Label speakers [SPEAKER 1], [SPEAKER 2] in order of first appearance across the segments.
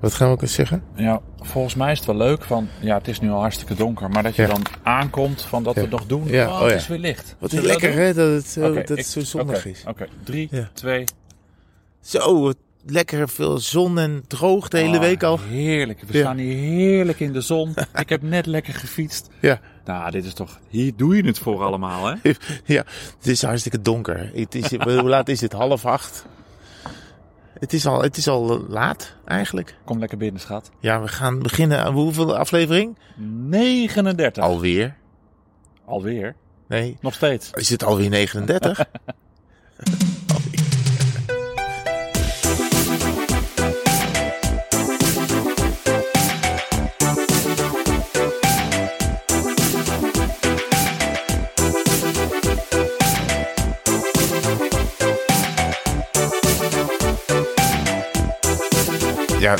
[SPEAKER 1] Wat gaan we ook eens zeggen?
[SPEAKER 2] Ja, volgens mij is het wel leuk van, ja, het is nu al hartstikke donker, maar dat je
[SPEAKER 1] Ja.
[SPEAKER 2] dan aankomt van dat we
[SPEAKER 1] Ja.
[SPEAKER 2] het nog doen.
[SPEAKER 1] Ja,
[SPEAKER 2] Oh,
[SPEAKER 1] oh
[SPEAKER 2] het
[SPEAKER 1] ja.
[SPEAKER 2] is weer licht.
[SPEAKER 1] Wat
[SPEAKER 2] Zullen we
[SPEAKER 1] lekker
[SPEAKER 2] dat doen?
[SPEAKER 1] hè, dat het, eh,
[SPEAKER 2] Oké,
[SPEAKER 1] dat
[SPEAKER 2] ik-
[SPEAKER 1] het zo zonnig
[SPEAKER 2] oké,
[SPEAKER 1] is.
[SPEAKER 2] Oké, drie,
[SPEAKER 1] Ja.
[SPEAKER 2] twee.
[SPEAKER 1] Zo, wat lekker veel zon en droog de hele
[SPEAKER 2] Ah,
[SPEAKER 1] week al.
[SPEAKER 2] Heerlijk. We
[SPEAKER 1] Ja.
[SPEAKER 2] staan hier heerlijk in de zon. Ik heb net lekker gefietst.
[SPEAKER 1] Ja,
[SPEAKER 2] Nou, dit is toch... Hier doe je het voor allemaal, hè?
[SPEAKER 1] ja, het is hartstikke donker. Het is, hoe laat is het? Half acht? Het is al, het is al eh, laat eigenlijk.
[SPEAKER 2] Kom lekker binnen, schat.
[SPEAKER 1] Ja, we gaan beginnen aan hoeveel aflevering?
[SPEAKER 2] 39.
[SPEAKER 1] Alweer?
[SPEAKER 2] Alweer.
[SPEAKER 1] Nee,
[SPEAKER 2] Nog steeds.
[SPEAKER 1] is het alweer 39? Ja,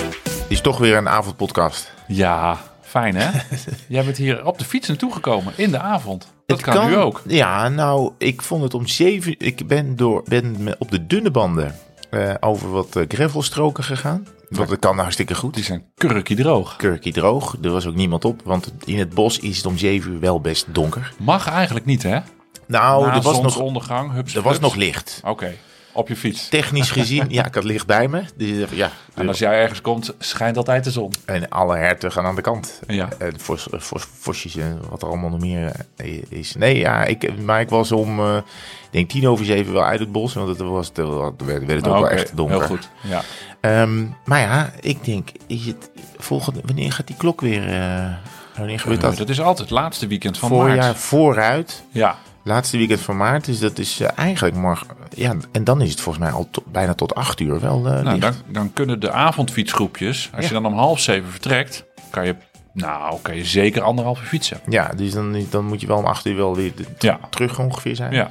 [SPEAKER 1] is toch weer een avondpodcast.
[SPEAKER 2] Ja, fijn, hè? Jij bent hier op de fiets naartoe gekomen in de avond. Dat
[SPEAKER 1] Het
[SPEAKER 2] kan, nu ook.
[SPEAKER 1] Ja, nou, ik vond het om zeven... Ik ben, door, ben me- op de dunne banden eh, over wat eh, gravelstroken gegaan. Want dat kan hartstikke goed.
[SPEAKER 2] Die zijn kurkie droog.
[SPEAKER 1] Kurkie droog, er was ook niemand op. Want in het bos is het om zeven uur wel best donker.
[SPEAKER 2] Mag eigenlijk niet, hè?
[SPEAKER 1] Nou,
[SPEAKER 2] Na
[SPEAKER 1] er was, nog,
[SPEAKER 2] zonsondergang, hups,
[SPEAKER 1] er was
[SPEAKER 2] flups.
[SPEAKER 1] nog licht.
[SPEAKER 2] Oké, op je fiets.
[SPEAKER 1] Technisch gezien, ja, ik had licht bij me. Dus, ja,
[SPEAKER 2] En als jij ergens komt, schijnt altijd de zon. Nou,
[SPEAKER 1] en alle herten gaan aan de kant.
[SPEAKER 2] Ja.
[SPEAKER 1] En vos, vos, vosjes en wat er allemaal nog meer eh, is. Nee, ja, ik, maar ik was om, eh, ik denk tien over zeven wel uit het bos. Want het was, het werd, werd het ook
[SPEAKER 2] Ah, Oké,
[SPEAKER 1] wel echt donker.
[SPEAKER 2] Heel goed. Ja.
[SPEAKER 1] Ehm, maar ja, ik denk, is het volgende, wanneer gaat die klok weer, eh, wanneer gebeurt dat?
[SPEAKER 2] Dat is altijd het laatste weekend van
[SPEAKER 1] Voorjaar
[SPEAKER 2] maart.
[SPEAKER 1] vooruit,
[SPEAKER 2] Ja,
[SPEAKER 1] laatste weekend van maart. Dus dat is eh, eigenlijk morgen, ja, en dan is het volgens mij al to- bijna tot acht uur wel eh
[SPEAKER 2] nou,
[SPEAKER 1] licht.
[SPEAKER 2] dan, dan kunnen de avondfietsgroepjes, als
[SPEAKER 1] Ja.
[SPEAKER 2] je dan om half zeven vertrekt, kan je, nou, kan je zeker anderhalf uur fietsen.
[SPEAKER 1] Ja, dus dan, is- dan moet je wel om acht uur wel weer de-
[SPEAKER 2] Ja.
[SPEAKER 1] terug ongeveer zijn.
[SPEAKER 2] Ja,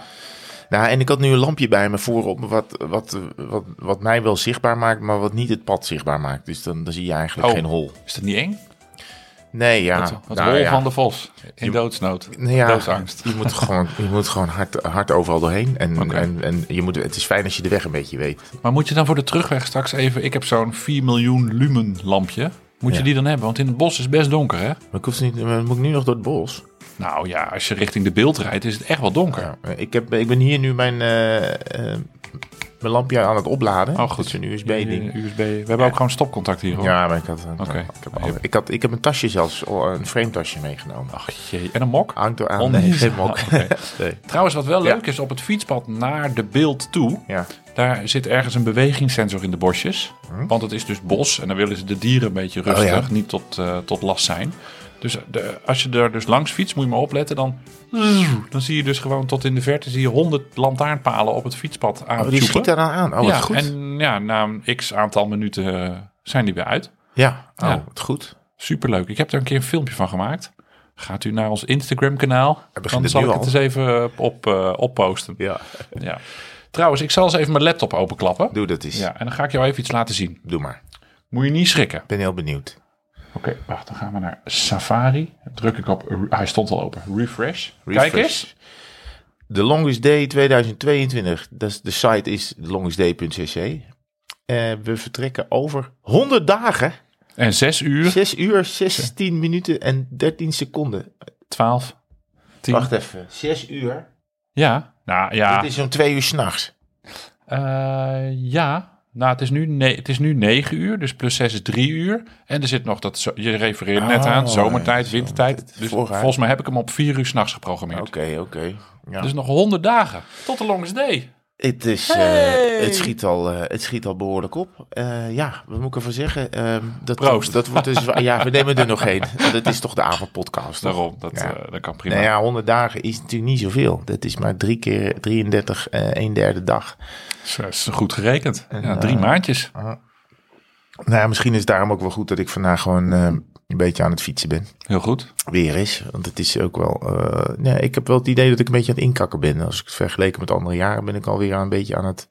[SPEAKER 1] Nou, en ik had nu een lampje bij me voorop, wat, wat, wat, wat mij wel zichtbaar maakt, maar wat niet het pad zichtbaar maakt. Dus dan, dan zie je eigenlijk
[SPEAKER 2] Oh.
[SPEAKER 1] geen hol.
[SPEAKER 2] is dat niet eng?
[SPEAKER 1] Nee, ja.
[SPEAKER 2] Het, het
[SPEAKER 1] nou
[SPEAKER 2] hol
[SPEAKER 1] ja.
[SPEAKER 2] van de vos in doodsnood,
[SPEAKER 1] Nou ja,
[SPEAKER 2] doodsangst.
[SPEAKER 1] Je moet gewoon, je moet gewoon hard, hard overal doorheen. En,
[SPEAKER 2] Oké.
[SPEAKER 1] en, en je moet, het is fijn als je de weg een beetje weet.
[SPEAKER 2] Maar moet je dan voor de terugweg straks even, ik heb zo'n 4 miljoen lumen lampje, moet
[SPEAKER 1] Ja.
[SPEAKER 2] je die dan hebben? Want in het bos is het best donker, hè?
[SPEAKER 1] Maar ik hoef niet, maar moet ik nu nog door het bos?
[SPEAKER 2] Nou ja, als je richting de beeld rijdt, is het echt wel donker.
[SPEAKER 1] Ja, ik, heb, ik ben hier nu mijn, eh, eh, mijn lampje aan het opladen.
[SPEAKER 2] Oh, goed.
[SPEAKER 1] Dat is een
[SPEAKER 2] Ja,
[SPEAKER 1] USB-ding.
[SPEAKER 2] USB. We hebben ook gewoon stopcontact hier, hoor.
[SPEAKER 1] Ja, maar ik had,
[SPEAKER 2] Oké.
[SPEAKER 1] ik, heb alle- ik, had, ik heb een tasje zelfs, oh, een frame-tasje meegenomen.
[SPEAKER 2] Ach jee, en een mok?
[SPEAKER 1] Hangt er aan.
[SPEAKER 2] Oh,
[SPEAKER 1] Ah, Nee,
[SPEAKER 2] nee.
[SPEAKER 1] geen mok.
[SPEAKER 2] Oké.
[SPEAKER 1] Nee.
[SPEAKER 2] Trouwens, wat wel
[SPEAKER 1] Ja.
[SPEAKER 2] leuk is, op het fietspad naar de beeld toe,
[SPEAKER 1] Ja.
[SPEAKER 2] daar zit ergens een bewegingssensor in de bosjes. Want het is dus bos en dan willen ze de dieren een beetje rustig,
[SPEAKER 1] Hm? Oh, ja.
[SPEAKER 2] niet tot, eh, tot last zijn. Dus de, als je daar dus langs fietst, moet je maar opletten, dan, dan zie je dus gewoon tot in de verte zie je 100 lantaarnpalen op het fietspad aan
[SPEAKER 1] Oh,
[SPEAKER 2] het
[SPEAKER 1] die
[SPEAKER 2] joepen.
[SPEAKER 1] schiet daar dan aan. Oh, wat
[SPEAKER 2] ja,
[SPEAKER 1] goed.
[SPEAKER 2] En ja, na een x aantal minuten eh, zijn die weer uit.
[SPEAKER 1] Ja, oh,
[SPEAKER 2] Ja.
[SPEAKER 1] wat goed.
[SPEAKER 2] Superleuk. Ik heb daar een keer een filmpje van gemaakt. Gaat u naar ons Instagram kanaal.
[SPEAKER 1] begint
[SPEAKER 2] Dan
[SPEAKER 1] het
[SPEAKER 2] zal
[SPEAKER 1] nu
[SPEAKER 2] ik
[SPEAKER 1] al.
[SPEAKER 2] het eens even eh, op, eh, opposten.
[SPEAKER 1] Ja.
[SPEAKER 2] Ja. Trouwens, ik zal eens even mijn laptop openklappen.
[SPEAKER 1] Doe dat eens.
[SPEAKER 2] Ja, en dan ga ik jou even iets laten zien.
[SPEAKER 1] Doe maar.
[SPEAKER 2] Moet je niet schrikken.
[SPEAKER 1] Ik ben heel benieuwd.
[SPEAKER 2] Oké, wacht. Dan gaan we naar Safari. Dan Druk ik op... re- ah, Hij stond al open. Refresh. Kijk
[SPEAKER 1] Refresh.
[SPEAKER 2] eens.
[SPEAKER 1] The Longest Day 2022. Dat is, de site is thelongestday.cc. Eh, we vertrekken over 100 dagen.
[SPEAKER 2] En 6 uur,
[SPEAKER 1] 6 uur, 16 minuten en 13 seconden.
[SPEAKER 2] 12, 10.
[SPEAKER 1] Wacht even. 6 uur?
[SPEAKER 2] Ja. Nou ja.
[SPEAKER 1] Dit is zo'n 2 uur s'nachts.
[SPEAKER 2] Eh, ja. Nou, het is, nu ne- het is nu 9 uur, dus plus 6 is 3 uur. En er zit nog dat, zo- je refereert net
[SPEAKER 1] Oh,
[SPEAKER 2] aan, zomertijd,
[SPEAKER 1] ja,
[SPEAKER 2] wintertijd.
[SPEAKER 1] zomertijd.
[SPEAKER 2] Dus
[SPEAKER 1] Vooruit.
[SPEAKER 2] volgens mij heb ik hem op 4 uur s'nachts geprogrammeerd.
[SPEAKER 1] Oké, oké. Ja.
[SPEAKER 2] Dus nog 100 dagen, tot de longest day.
[SPEAKER 1] het, is, eh,
[SPEAKER 2] Hey!
[SPEAKER 1] het, schiet al, eh, het schiet al behoorlijk op. Eh, ja, wat moet ik ervan zeggen? Ehm, dat,
[SPEAKER 2] Proost.
[SPEAKER 1] Dat wordt dus, ja, we nemen er nog één. Dat is toch de avondpodcast. toch?
[SPEAKER 2] Daarom, dat,
[SPEAKER 1] Ja.
[SPEAKER 2] eh, dat kan prima.
[SPEAKER 1] Nou ja, 100 dagen is natuurlijk niet zoveel. Dat is maar drie keer 33, eh een derde dag.
[SPEAKER 2] Zo, is goed gerekend. ja,
[SPEAKER 1] eh,
[SPEAKER 2] drie maandjes.
[SPEAKER 1] Nou ja, misschien is het daarom ook wel goed dat ik vandaag gewoon eh, een beetje aan het fietsen ben.
[SPEAKER 2] Heel goed.
[SPEAKER 1] Weer eens. Want het is ook wel. eh, nee, ik heb wel het idee dat ik een beetje aan het inkakken ben. Als ik het vergeleken met andere jaren ben ik alweer een beetje aan het.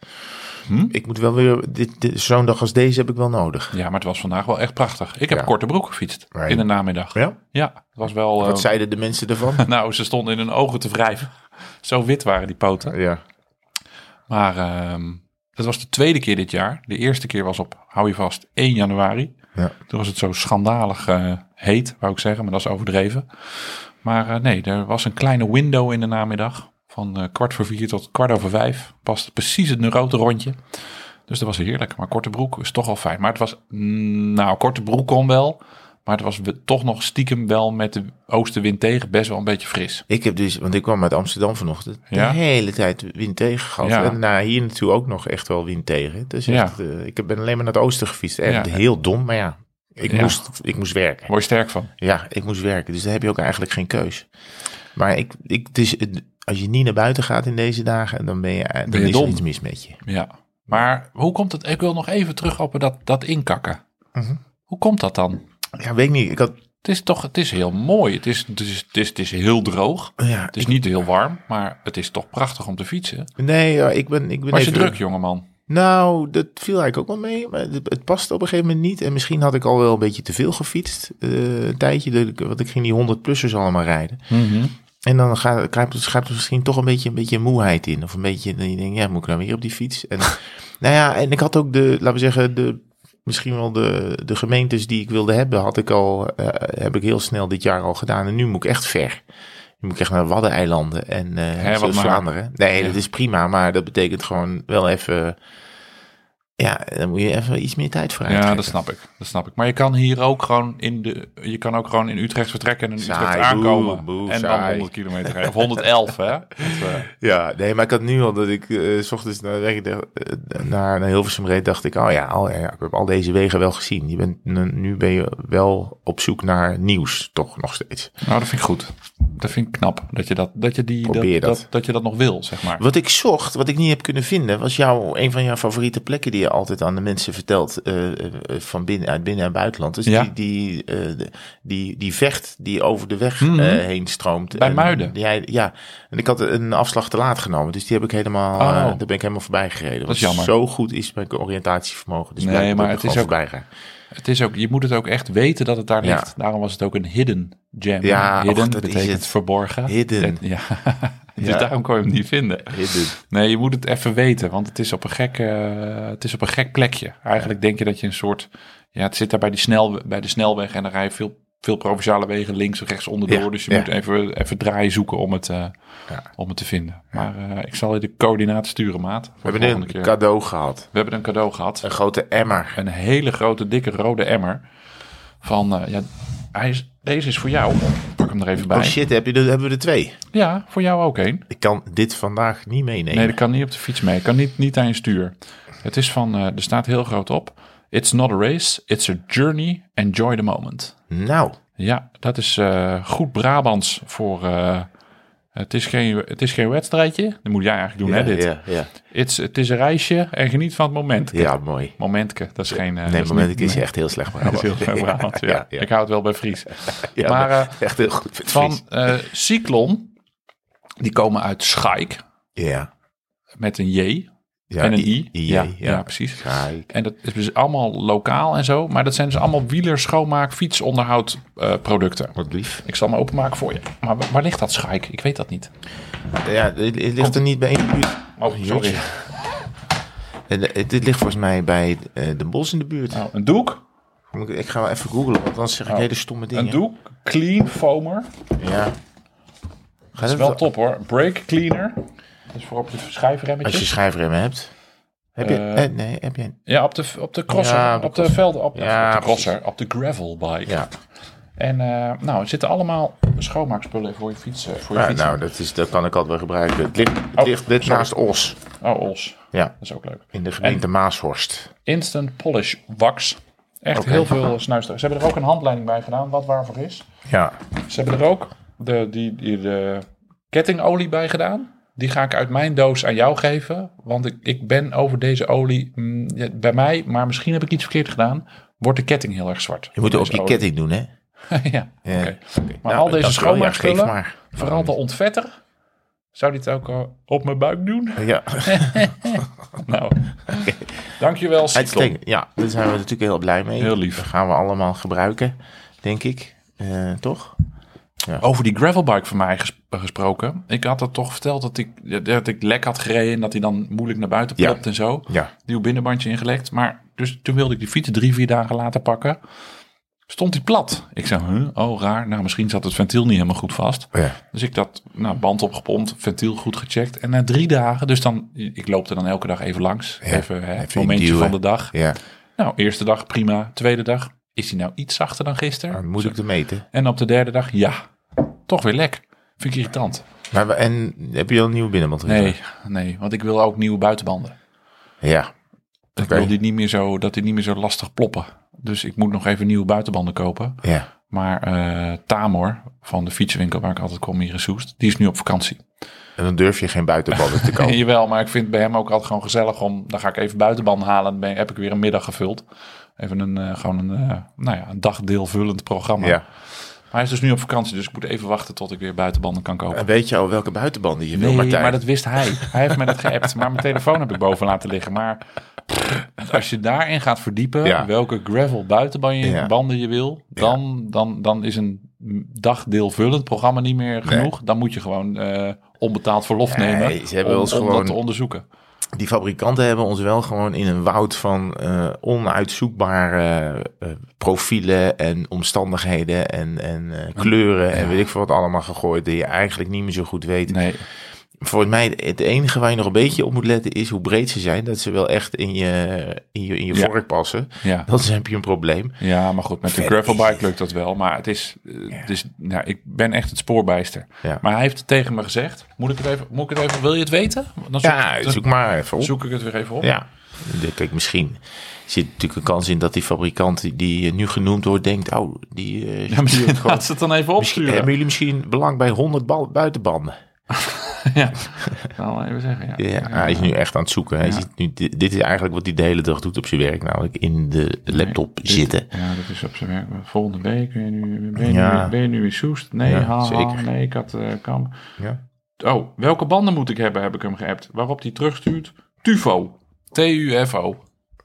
[SPEAKER 2] Hm?
[SPEAKER 1] Ik moet wel weer. Dit, dit- Zo'n dag als deze heb ik wel nodig.
[SPEAKER 2] Ja, maar het was vandaag wel echt prachtig. Ik heb
[SPEAKER 1] Ja.
[SPEAKER 2] korte broek gefietst
[SPEAKER 1] Nee.
[SPEAKER 2] in de namiddag.
[SPEAKER 1] Ja?
[SPEAKER 2] Ja, het was wel... eh,
[SPEAKER 1] Wat zeiden de mensen ervan?
[SPEAKER 2] Nou, ze stonden in hun ogen te wrijven. Zo wit waren die poten.
[SPEAKER 1] ja.
[SPEAKER 2] Maar ehm, dat was de tweede keer dit jaar. De eerste keer was op, hou je vast, 1 januari.
[SPEAKER 1] Ja.
[SPEAKER 2] Toen was het zo schandalig eh, heet, wou ik zeggen, maar dat is overdreven. Maar eh, nee, er was een kleine window in de namiddag. Van eh, kwart voor vier tot kwart over vijf. Past precies het neurote rondje. Dus dat was heerlijk. Maar korte broek is toch al fijn. Maar het was, mm, nou, korte broek kon wel. Maar het was we- toch nog stiekem wel met de oostenwind tegen best wel een beetje fris.
[SPEAKER 1] Ik heb dus, want ik kwam uit Amsterdam vanochtend,
[SPEAKER 2] Ja.
[SPEAKER 1] de hele tijd wind tegen gehad.
[SPEAKER 2] Ja.
[SPEAKER 1] En nou, hier natuurlijk ook nog echt wel wind tegen. Dus
[SPEAKER 2] Ja.
[SPEAKER 1] echt, eh, ik ben alleen maar naar het oosten gefietst. Echt
[SPEAKER 2] Ja.
[SPEAKER 1] heel dom, maar ja, ik,
[SPEAKER 2] Ja.
[SPEAKER 1] Moest, ik moest werken.
[SPEAKER 2] Word je sterk van.
[SPEAKER 1] Ja, ik moest werken, dus daar heb je ook eigenlijk geen keus. Maar ik, ik, het is, het- als je niet naar buiten gaat in deze dagen, dan ben je, eh, dan
[SPEAKER 2] Ben je
[SPEAKER 1] is er
[SPEAKER 2] dom.
[SPEAKER 1] iets mis met je.
[SPEAKER 2] Ja. Maar hoe komt het? Ik wil nog even terug op dat, dat inkakken.
[SPEAKER 1] Mhm.
[SPEAKER 2] Hoe komt dat dan?
[SPEAKER 1] Ja, weet ik niet. Ik had,
[SPEAKER 2] Het is toch het is heel mooi. Het is, het, is, het, is, het is heel droog.
[SPEAKER 1] ja,
[SPEAKER 2] Het is niet heel warm, maar het is toch prachtig om te fietsen.
[SPEAKER 1] nee, ja, ik ben, ik ben
[SPEAKER 2] Was je
[SPEAKER 1] even-
[SPEAKER 2] druk, jongeman?
[SPEAKER 1] Nou, dat viel eigenlijk ook wel mee. Maar het, het paste op een gegeven moment niet. En misschien had ik al wel een beetje te veel gefietst. eh, een tijdje, dat ik- want ik ging die 100-plussers allemaal rijden.
[SPEAKER 2] Mhm.
[SPEAKER 1] En dan gaat, kruipt, het- schuipt er misschien toch een beetje, een beetje moeheid in. Of een beetje, dan denk je, ja, moet ik nou weer op die fiets? En, nou ja, en ik had ook de, laten we zeggen, de, misschien wel de, de gemeentes die ik wilde hebben, had ik al, eh, heb ik heel snel dit jaar al gedaan. En nu moet ik echt ver. Nu moet ik echt naar Waddeneilanden en eh
[SPEAKER 2] wat maar.
[SPEAKER 1] Vlaanderen. Nee,
[SPEAKER 2] Ja.
[SPEAKER 1] dat is prima, maar dat betekent gewoon wel even, ja, dan moet je even iets meer tijd voor
[SPEAKER 2] Ja, dat
[SPEAKER 1] uittrekken.
[SPEAKER 2] snap ik. Dat snap ik. Maar je kan hier ook gewoon in de. Je kan ook gewoon in Utrecht vertrekken en in
[SPEAKER 1] Saai,
[SPEAKER 2] Utrecht aankomen.
[SPEAKER 1] boe, boe,
[SPEAKER 2] en dan
[SPEAKER 1] saai.
[SPEAKER 2] 100 kilometer rijden. Of 111, hè? Dat, eh,
[SPEAKER 1] Ja, nee, maar ik had nu al dat ik eh, s ochtends naar, de weg, dacht, eh, naar, naar Hilversum reed, dacht ik, oh ja, al, ja, ik heb al deze wegen wel gezien. Je bent, nu- nu ben je wel op zoek naar nieuws, toch nog steeds.
[SPEAKER 2] nou, dat vind ik goed. Dat vind ik knap. Dat je dat, dat, je die,
[SPEAKER 1] Probeer dat.
[SPEAKER 2] Dat, dat je dat nog wil, zeg maar.
[SPEAKER 1] Wat ik zocht, wat ik niet heb kunnen vinden, was jouw, een van jouw favoriete plekken die je altijd aan de mensen vertelt eh, eh, eh, van binnen, uit binnen- en buitenland. Dus
[SPEAKER 2] Ja.
[SPEAKER 1] die, die, eh, de- die, die vecht die over de weg
[SPEAKER 2] Mhm.
[SPEAKER 1] eh, heen stroomt.
[SPEAKER 2] Bij
[SPEAKER 1] En
[SPEAKER 2] Muiden.
[SPEAKER 1] jij- ja, en ik had een afslag te laat genomen, dus die heb ik helemaal,
[SPEAKER 2] Oh.
[SPEAKER 1] eh, daar ben ik helemaal voorbij gereden. Want
[SPEAKER 2] jammer.
[SPEAKER 1] Zo goed is mijn oriëntatievermogen, dus
[SPEAKER 2] Nee,
[SPEAKER 1] blijkbaar
[SPEAKER 2] maar
[SPEAKER 1] ben ik
[SPEAKER 2] het is
[SPEAKER 1] gewoon voorbij gegaan.
[SPEAKER 2] Het is ook, je moet het ook echt weten dat het daar
[SPEAKER 1] Ja.
[SPEAKER 2] ligt. Daarom was het ook een hidden gem.
[SPEAKER 1] Ja,
[SPEAKER 2] hidden
[SPEAKER 1] och, dat is
[SPEAKER 2] betekent
[SPEAKER 1] het.
[SPEAKER 2] verborgen.
[SPEAKER 1] Hidden.
[SPEAKER 2] En- ja.
[SPEAKER 1] Ja.
[SPEAKER 2] Dus daarom kon je hem niet vinden.
[SPEAKER 1] Hidden.
[SPEAKER 2] Nee, je moet het even weten, want het is op een gek, eh, het is op een gek plekje. Eigenlijk denk je dat je een soort, ja, het zit daar bij, die snel, bij de snelweg en dan rij je veel, veel provinciale wegen links en rechts onderdoor.
[SPEAKER 1] Ja,
[SPEAKER 2] dus je
[SPEAKER 1] ja.
[SPEAKER 2] moet even, even draaien zoeken om het, eh,
[SPEAKER 1] Ja.
[SPEAKER 2] om het te vinden. Maar eh, ik zal je de coördinaten sturen, maat.
[SPEAKER 1] We
[SPEAKER 2] voor de
[SPEAKER 1] hebben
[SPEAKER 2] volgende
[SPEAKER 1] een
[SPEAKER 2] keer.
[SPEAKER 1] cadeau gehad,
[SPEAKER 2] We hebben een cadeau gehad
[SPEAKER 1] een grote emmer.
[SPEAKER 2] een hele grote, dikke rode emmer. Van, eh, ja, hij is, deze is voor jou. Pak hem er even bij.
[SPEAKER 1] Oh shit, heb je de, hebben we er twee?
[SPEAKER 2] Ja, voor jou ook één.
[SPEAKER 1] Ik kan dit vandaag niet meenemen.
[SPEAKER 2] Nee, dat kan niet op de fiets mee. Kan niet, niet aan je stuur. Het is van, eh, er staat heel groot op. It's not a race, it's a journey. Enjoy the moment.
[SPEAKER 1] Nou,
[SPEAKER 2] Ja, dat is eh, goed Brabants voor... eh, het is, geen, het is geen wedstrijdje. Dat moet jij eigenlijk doen,
[SPEAKER 1] ja,
[SPEAKER 2] hè, dit.
[SPEAKER 1] ja, ja.
[SPEAKER 2] It's, het is een reisje en geniet van het moment.
[SPEAKER 1] ja mooi.
[SPEAKER 2] Momentke, dat is geen... eh, dat
[SPEAKER 1] Nee,
[SPEAKER 2] is
[SPEAKER 1] moment
[SPEAKER 2] niet-
[SPEAKER 1] ik is echt heel slecht.
[SPEAKER 2] Dat is heel
[SPEAKER 1] Brabant.
[SPEAKER 2] geen Brabant, ja.
[SPEAKER 1] ja, ja.
[SPEAKER 2] Ik hou het wel bij Fries.
[SPEAKER 1] Ja,
[SPEAKER 2] maar, eh,
[SPEAKER 1] echt heel goed. met
[SPEAKER 2] van
[SPEAKER 1] Fries.
[SPEAKER 2] eh Cyclon. Die komen uit Schaik
[SPEAKER 1] ja.
[SPEAKER 2] met een J
[SPEAKER 1] ja,
[SPEAKER 2] en een I.
[SPEAKER 1] ja,
[SPEAKER 2] ja, ja. precies.
[SPEAKER 1] Schaik.
[SPEAKER 2] En dat is dus allemaal lokaal en zo. Maar dat zijn dus allemaal wieler, schoonmaak, fiets, onderhoud eh, producten.
[SPEAKER 1] Wat lief.
[SPEAKER 2] Ik zal hem openmaken voor je. Maar wa- waar ligt dat Schaik? Ik weet dat niet.
[SPEAKER 1] Ja, het, het ligt er niet bij in de buurt.
[SPEAKER 2] Oh, sorry.
[SPEAKER 1] En, eh, dit ligt volgens mij bij eh de bos in de buurt.
[SPEAKER 2] Nou, een doek.
[SPEAKER 1] Moet Ik, ik ga wel even googlen, want anders zeg ik hele stomme dingen.
[SPEAKER 2] Een doek. Clean foamer.
[SPEAKER 1] Ja.
[SPEAKER 2] Dat is wel top hoor. Brake cleaner. Dat is voor op je
[SPEAKER 1] Als je
[SPEAKER 2] schijfremmetjes.
[SPEAKER 1] schijfremmen hebt. Heb je,
[SPEAKER 2] Eh,
[SPEAKER 1] eh, nee, heb je,
[SPEAKER 2] Ja, op de, op de crosser.
[SPEAKER 1] Ja,
[SPEAKER 2] op de veld. Op,
[SPEAKER 1] Ja,
[SPEAKER 2] op de
[SPEAKER 1] precies.
[SPEAKER 2] crosser. Op de gravelbike.
[SPEAKER 1] ja.
[SPEAKER 2] En eh, nou, er zitten allemaal schoonmaakspullen voor je fiets. eh, voor je
[SPEAKER 1] Ja,
[SPEAKER 2] fiets.
[SPEAKER 1] nou, dat, is, dat kan ik altijd wel gebruiken. Het ligt, het
[SPEAKER 2] Oh,
[SPEAKER 1] ligt dit
[SPEAKER 2] sorry.
[SPEAKER 1] naast Os.
[SPEAKER 2] Oh, Os.
[SPEAKER 1] Ja,
[SPEAKER 2] Dat is ook leuk.
[SPEAKER 1] in de gemeente Maashorst.
[SPEAKER 2] Instant polish wax. Echt
[SPEAKER 1] Oké.
[SPEAKER 2] heel veel snuister. Ze hebben er ook een handleiding bij gedaan, wat waarvoor is.
[SPEAKER 1] Ja.
[SPEAKER 2] Ze hebben er ook de, die, die, de kettingolie bij gedaan. Die ga ik uit mijn doos aan jou geven. Want ik, ik ben over deze olie mm, ja, bij mij, maar misschien heb ik iets verkeerd gedaan. Wordt de ketting heel erg zwart.
[SPEAKER 1] Je moet er
[SPEAKER 2] Deze
[SPEAKER 1] ook je
[SPEAKER 2] olie.
[SPEAKER 1] ketting doen, hè?
[SPEAKER 2] ja,
[SPEAKER 1] Ja.
[SPEAKER 2] oké.
[SPEAKER 1] Oké.
[SPEAKER 2] Maar
[SPEAKER 1] Nou, dat
[SPEAKER 2] al deze
[SPEAKER 1] wel, ja, geef
[SPEAKER 2] schoonmaakspullen,
[SPEAKER 1] maar.
[SPEAKER 2] vooral de ontvetter. Zou die het ook eh, op mijn buik doen?
[SPEAKER 1] Ja,
[SPEAKER 2] Nou, dankjewel Cyclone.
[SPEAKER 1] uitstekend. Ja, daar zijn we natuurlijk heel blij mee.
[SPEAKER 2] Heel lief.
[SPEAKER 1] Dat gaan we allemaal gebruiken, denk ik. Eh, toch?
[SPEAKER 2] Over die gravelbike van mij ges- gesproken. Ik had dat toch verteld dat ik, dat ik lek had gereden en dat hij dan moeilijk naar buiten
[SPEAKER 1] Ja.
[SPEAKER 2] plopt en zo.
[SPEAKER 1] Ja.
[SPEAKER 2] Nieuw binnenbandje ingelekt. Maar dus toen wilde ik die fiets drie, vier dagen later pakken. Stond hij plat. Ik zei, huh? oh raar. Nou, misschien zat het ventiel niet helemaal goed vast.
[SPEAKER 1] Oh Ja.
[SPEAKER 2] Dus ik dat nou, band opgepompt, ventiel goed gecheckt. En na drie dagen, dus dan, ik loop er dan elke dag even langs.
[SPEAKER 1] Ja,
[SPEAKER 2] even hè, het
[SPEAKER 1] even
[SPEAKER 2] momentje
[SPEAKER 1] induwen.
[SPEAKER 2] van de dag.
[SPEAKER 1] ja.
[SPEAKER 2] Nou, eerste dag prima. Tweede dag, is hij nou iets zachter dan
[SPEAKER 1] Dan
[SPEAKER 2] gisteren?
[SPEAKER 1] moet ik te meten.
[SPEAKER 2] En op de derde dag, ja, toch weer lek. Vind ik irritant.
[SPEAKER 1] Maar, we- en heb je al een nieuwe binnenband?
[SPEAKER 2] Nee, nee, want ik wil ook nieuwe buitenbanden.
[SPEAKER 1] Ja.
[SPEAKER 2] Ik
[SPEAKER 1] Oké.
[SPEAKER 2] wil die niet meer zo, dat die niet meer zo lastig ploppen. Dus ik moet nog even nieuwe buitenbanden kopen.
[SPEAKER 1] Ja.
[SPEAKER 2] Maar eh, Tamor, van de fietsenwinkel waar ik altijd kom hier in Soest, die is nu op vakantie.
[SPEAKER 1] En dan durf je geen buitenballen te kopen.
[SPEAKER 2] Jawel, maar ik vind het bij hem ook altijd gewoon gezellig om. Dan ga ik even buitenband halen. Dan ben- heb ik weer een middag gevuld. Even een, eh, gewoon een, eh, nou ja, een dagdeelvullend programma.
[SPEAKER 1] ja.
[SPEAKER 2] Maar hij is dus nu op vakantie, dus ik moet even wachten tot ik weer buitenbanden kan kopen.
[SPEAKER 1] En weet je al welke buitenbanden je wil,
[SPEAKER 2] nee,
[SPEAKER 1] Martijn?
[SPEAKER 2] maar dat wist hij. Hij heeft mij dat geappt, maar mijn telefoon heb ik boven laten liggen. Maar als je daarin gaat verdiepen,
[SPEAKER 1] Ja.
[SPEAKER 2] welke gravel buitenbanden je,
[SPEAKER 1] Ja.
[SPEAKER 2] banden je wil, dan, dan, dan is een dagdeelvullend programma niet meer genoeg. Dan moet je gewoon eh, onbetaald verlof
[SPEAKER 1] Nee,
[SPEAKER 2] nemen
[SPEAKER 1] ze hebben
[SPEAKER 2] om,
[SPEAKER 1] ons
[SPEAKER 2] om
[SPEAKER 1] gewoon-
[SPEAKER 2] dat te onderzoeken.
[SPEAKER 1] Die fabrikanten hebben ons wel gewoon in een woud van eh, onuitzoekbare eh, eh, profielen en omstandigheden en, en eh, kleuren en weet ik veel wat allemaal gegooid die je eigenlijk niet meer zo goed weet.
[SPEAKER 2] Nee,
[SPEAKER 1] Volgens mij het enige waar je nog een beetje op moet letten is hoe breed ze zijn. Dat ze wel echt in je, in je, in je
[SPEAKER 2] Ja.
[SPEAKER 1] vork passen.
[SPEAKER 2] ja.
[SPEAKER 1] Dan heb je een probleem.
[SPEAKER 2] Ja, maar goed, met een
[SPEAKER 1] Verder
[SPEAKER 2] gravelbike lukt dat wel. Maar het is, eh, het is nou, ik ben echt het spoorbijster.
[SPEAKER 1] Ja.
[SPEAKER 2] Maar hij heeft het tegen me gezegd. Moet ik het even, moet ik het even wil je het weten? Dan zoek,
[SPEAKER 1] Ja,
[SPEAKER 2] dan
[SPEAKER 1] zoek maar even op.
[SPEAKER 2] zoek ik het weer even op.
[SPEAKER 1] Ja. De- Kijk, misschien zit natuurlijk een kans in dat die fabrikant die eh, nu genoemd wordt denkt, oh, die eh,
[SPEAKER 2] Ja, maar
[SPEAKER 1] stuurt gewoon
[SPEAKER 2] laat ze het dan even
[SPEAKER 1] Misschien,
[SPEAKER 2] opsturen.
[SPEAKER 1] hebben jullie misschien belang bij 100 bal, buitenbanden?
[SPEAKER 2] Ja, nou even zeggen. Ja.
[SPEAKER 1] Ja, hij is nu echt aan het zoeken. Hij
[SPEAKER 2] Ja.
[SPEAKER 1] zit nu, dit, dit is eigenlijk wat hij de hele dag doet op zijn werk, namelijk in de laptop
[SPEAKER 2] Dit-
[SPEAKER 1] zitten.
[SPEAKER 2] Ja, dat is op zijn werk. Volgende week ben je nu, ben je
[SPEAKER 1] Ja.
[SPEAKER 2] nu, ben je nu in Soest. Nee,
[SPEAKER 1] Ja,
[SPEAKER 2] haha,
[SPEAKER 1] zeker.
[SPEAKER 2] nee, ik had eh, kamp.
[SPEAKER 1] Ja.
[SPEAKER 2] Oh, welke banden moet ik hebben, heb ik hem geappt. Waarop hij terugstuurt, TUFO. T-U-F-O.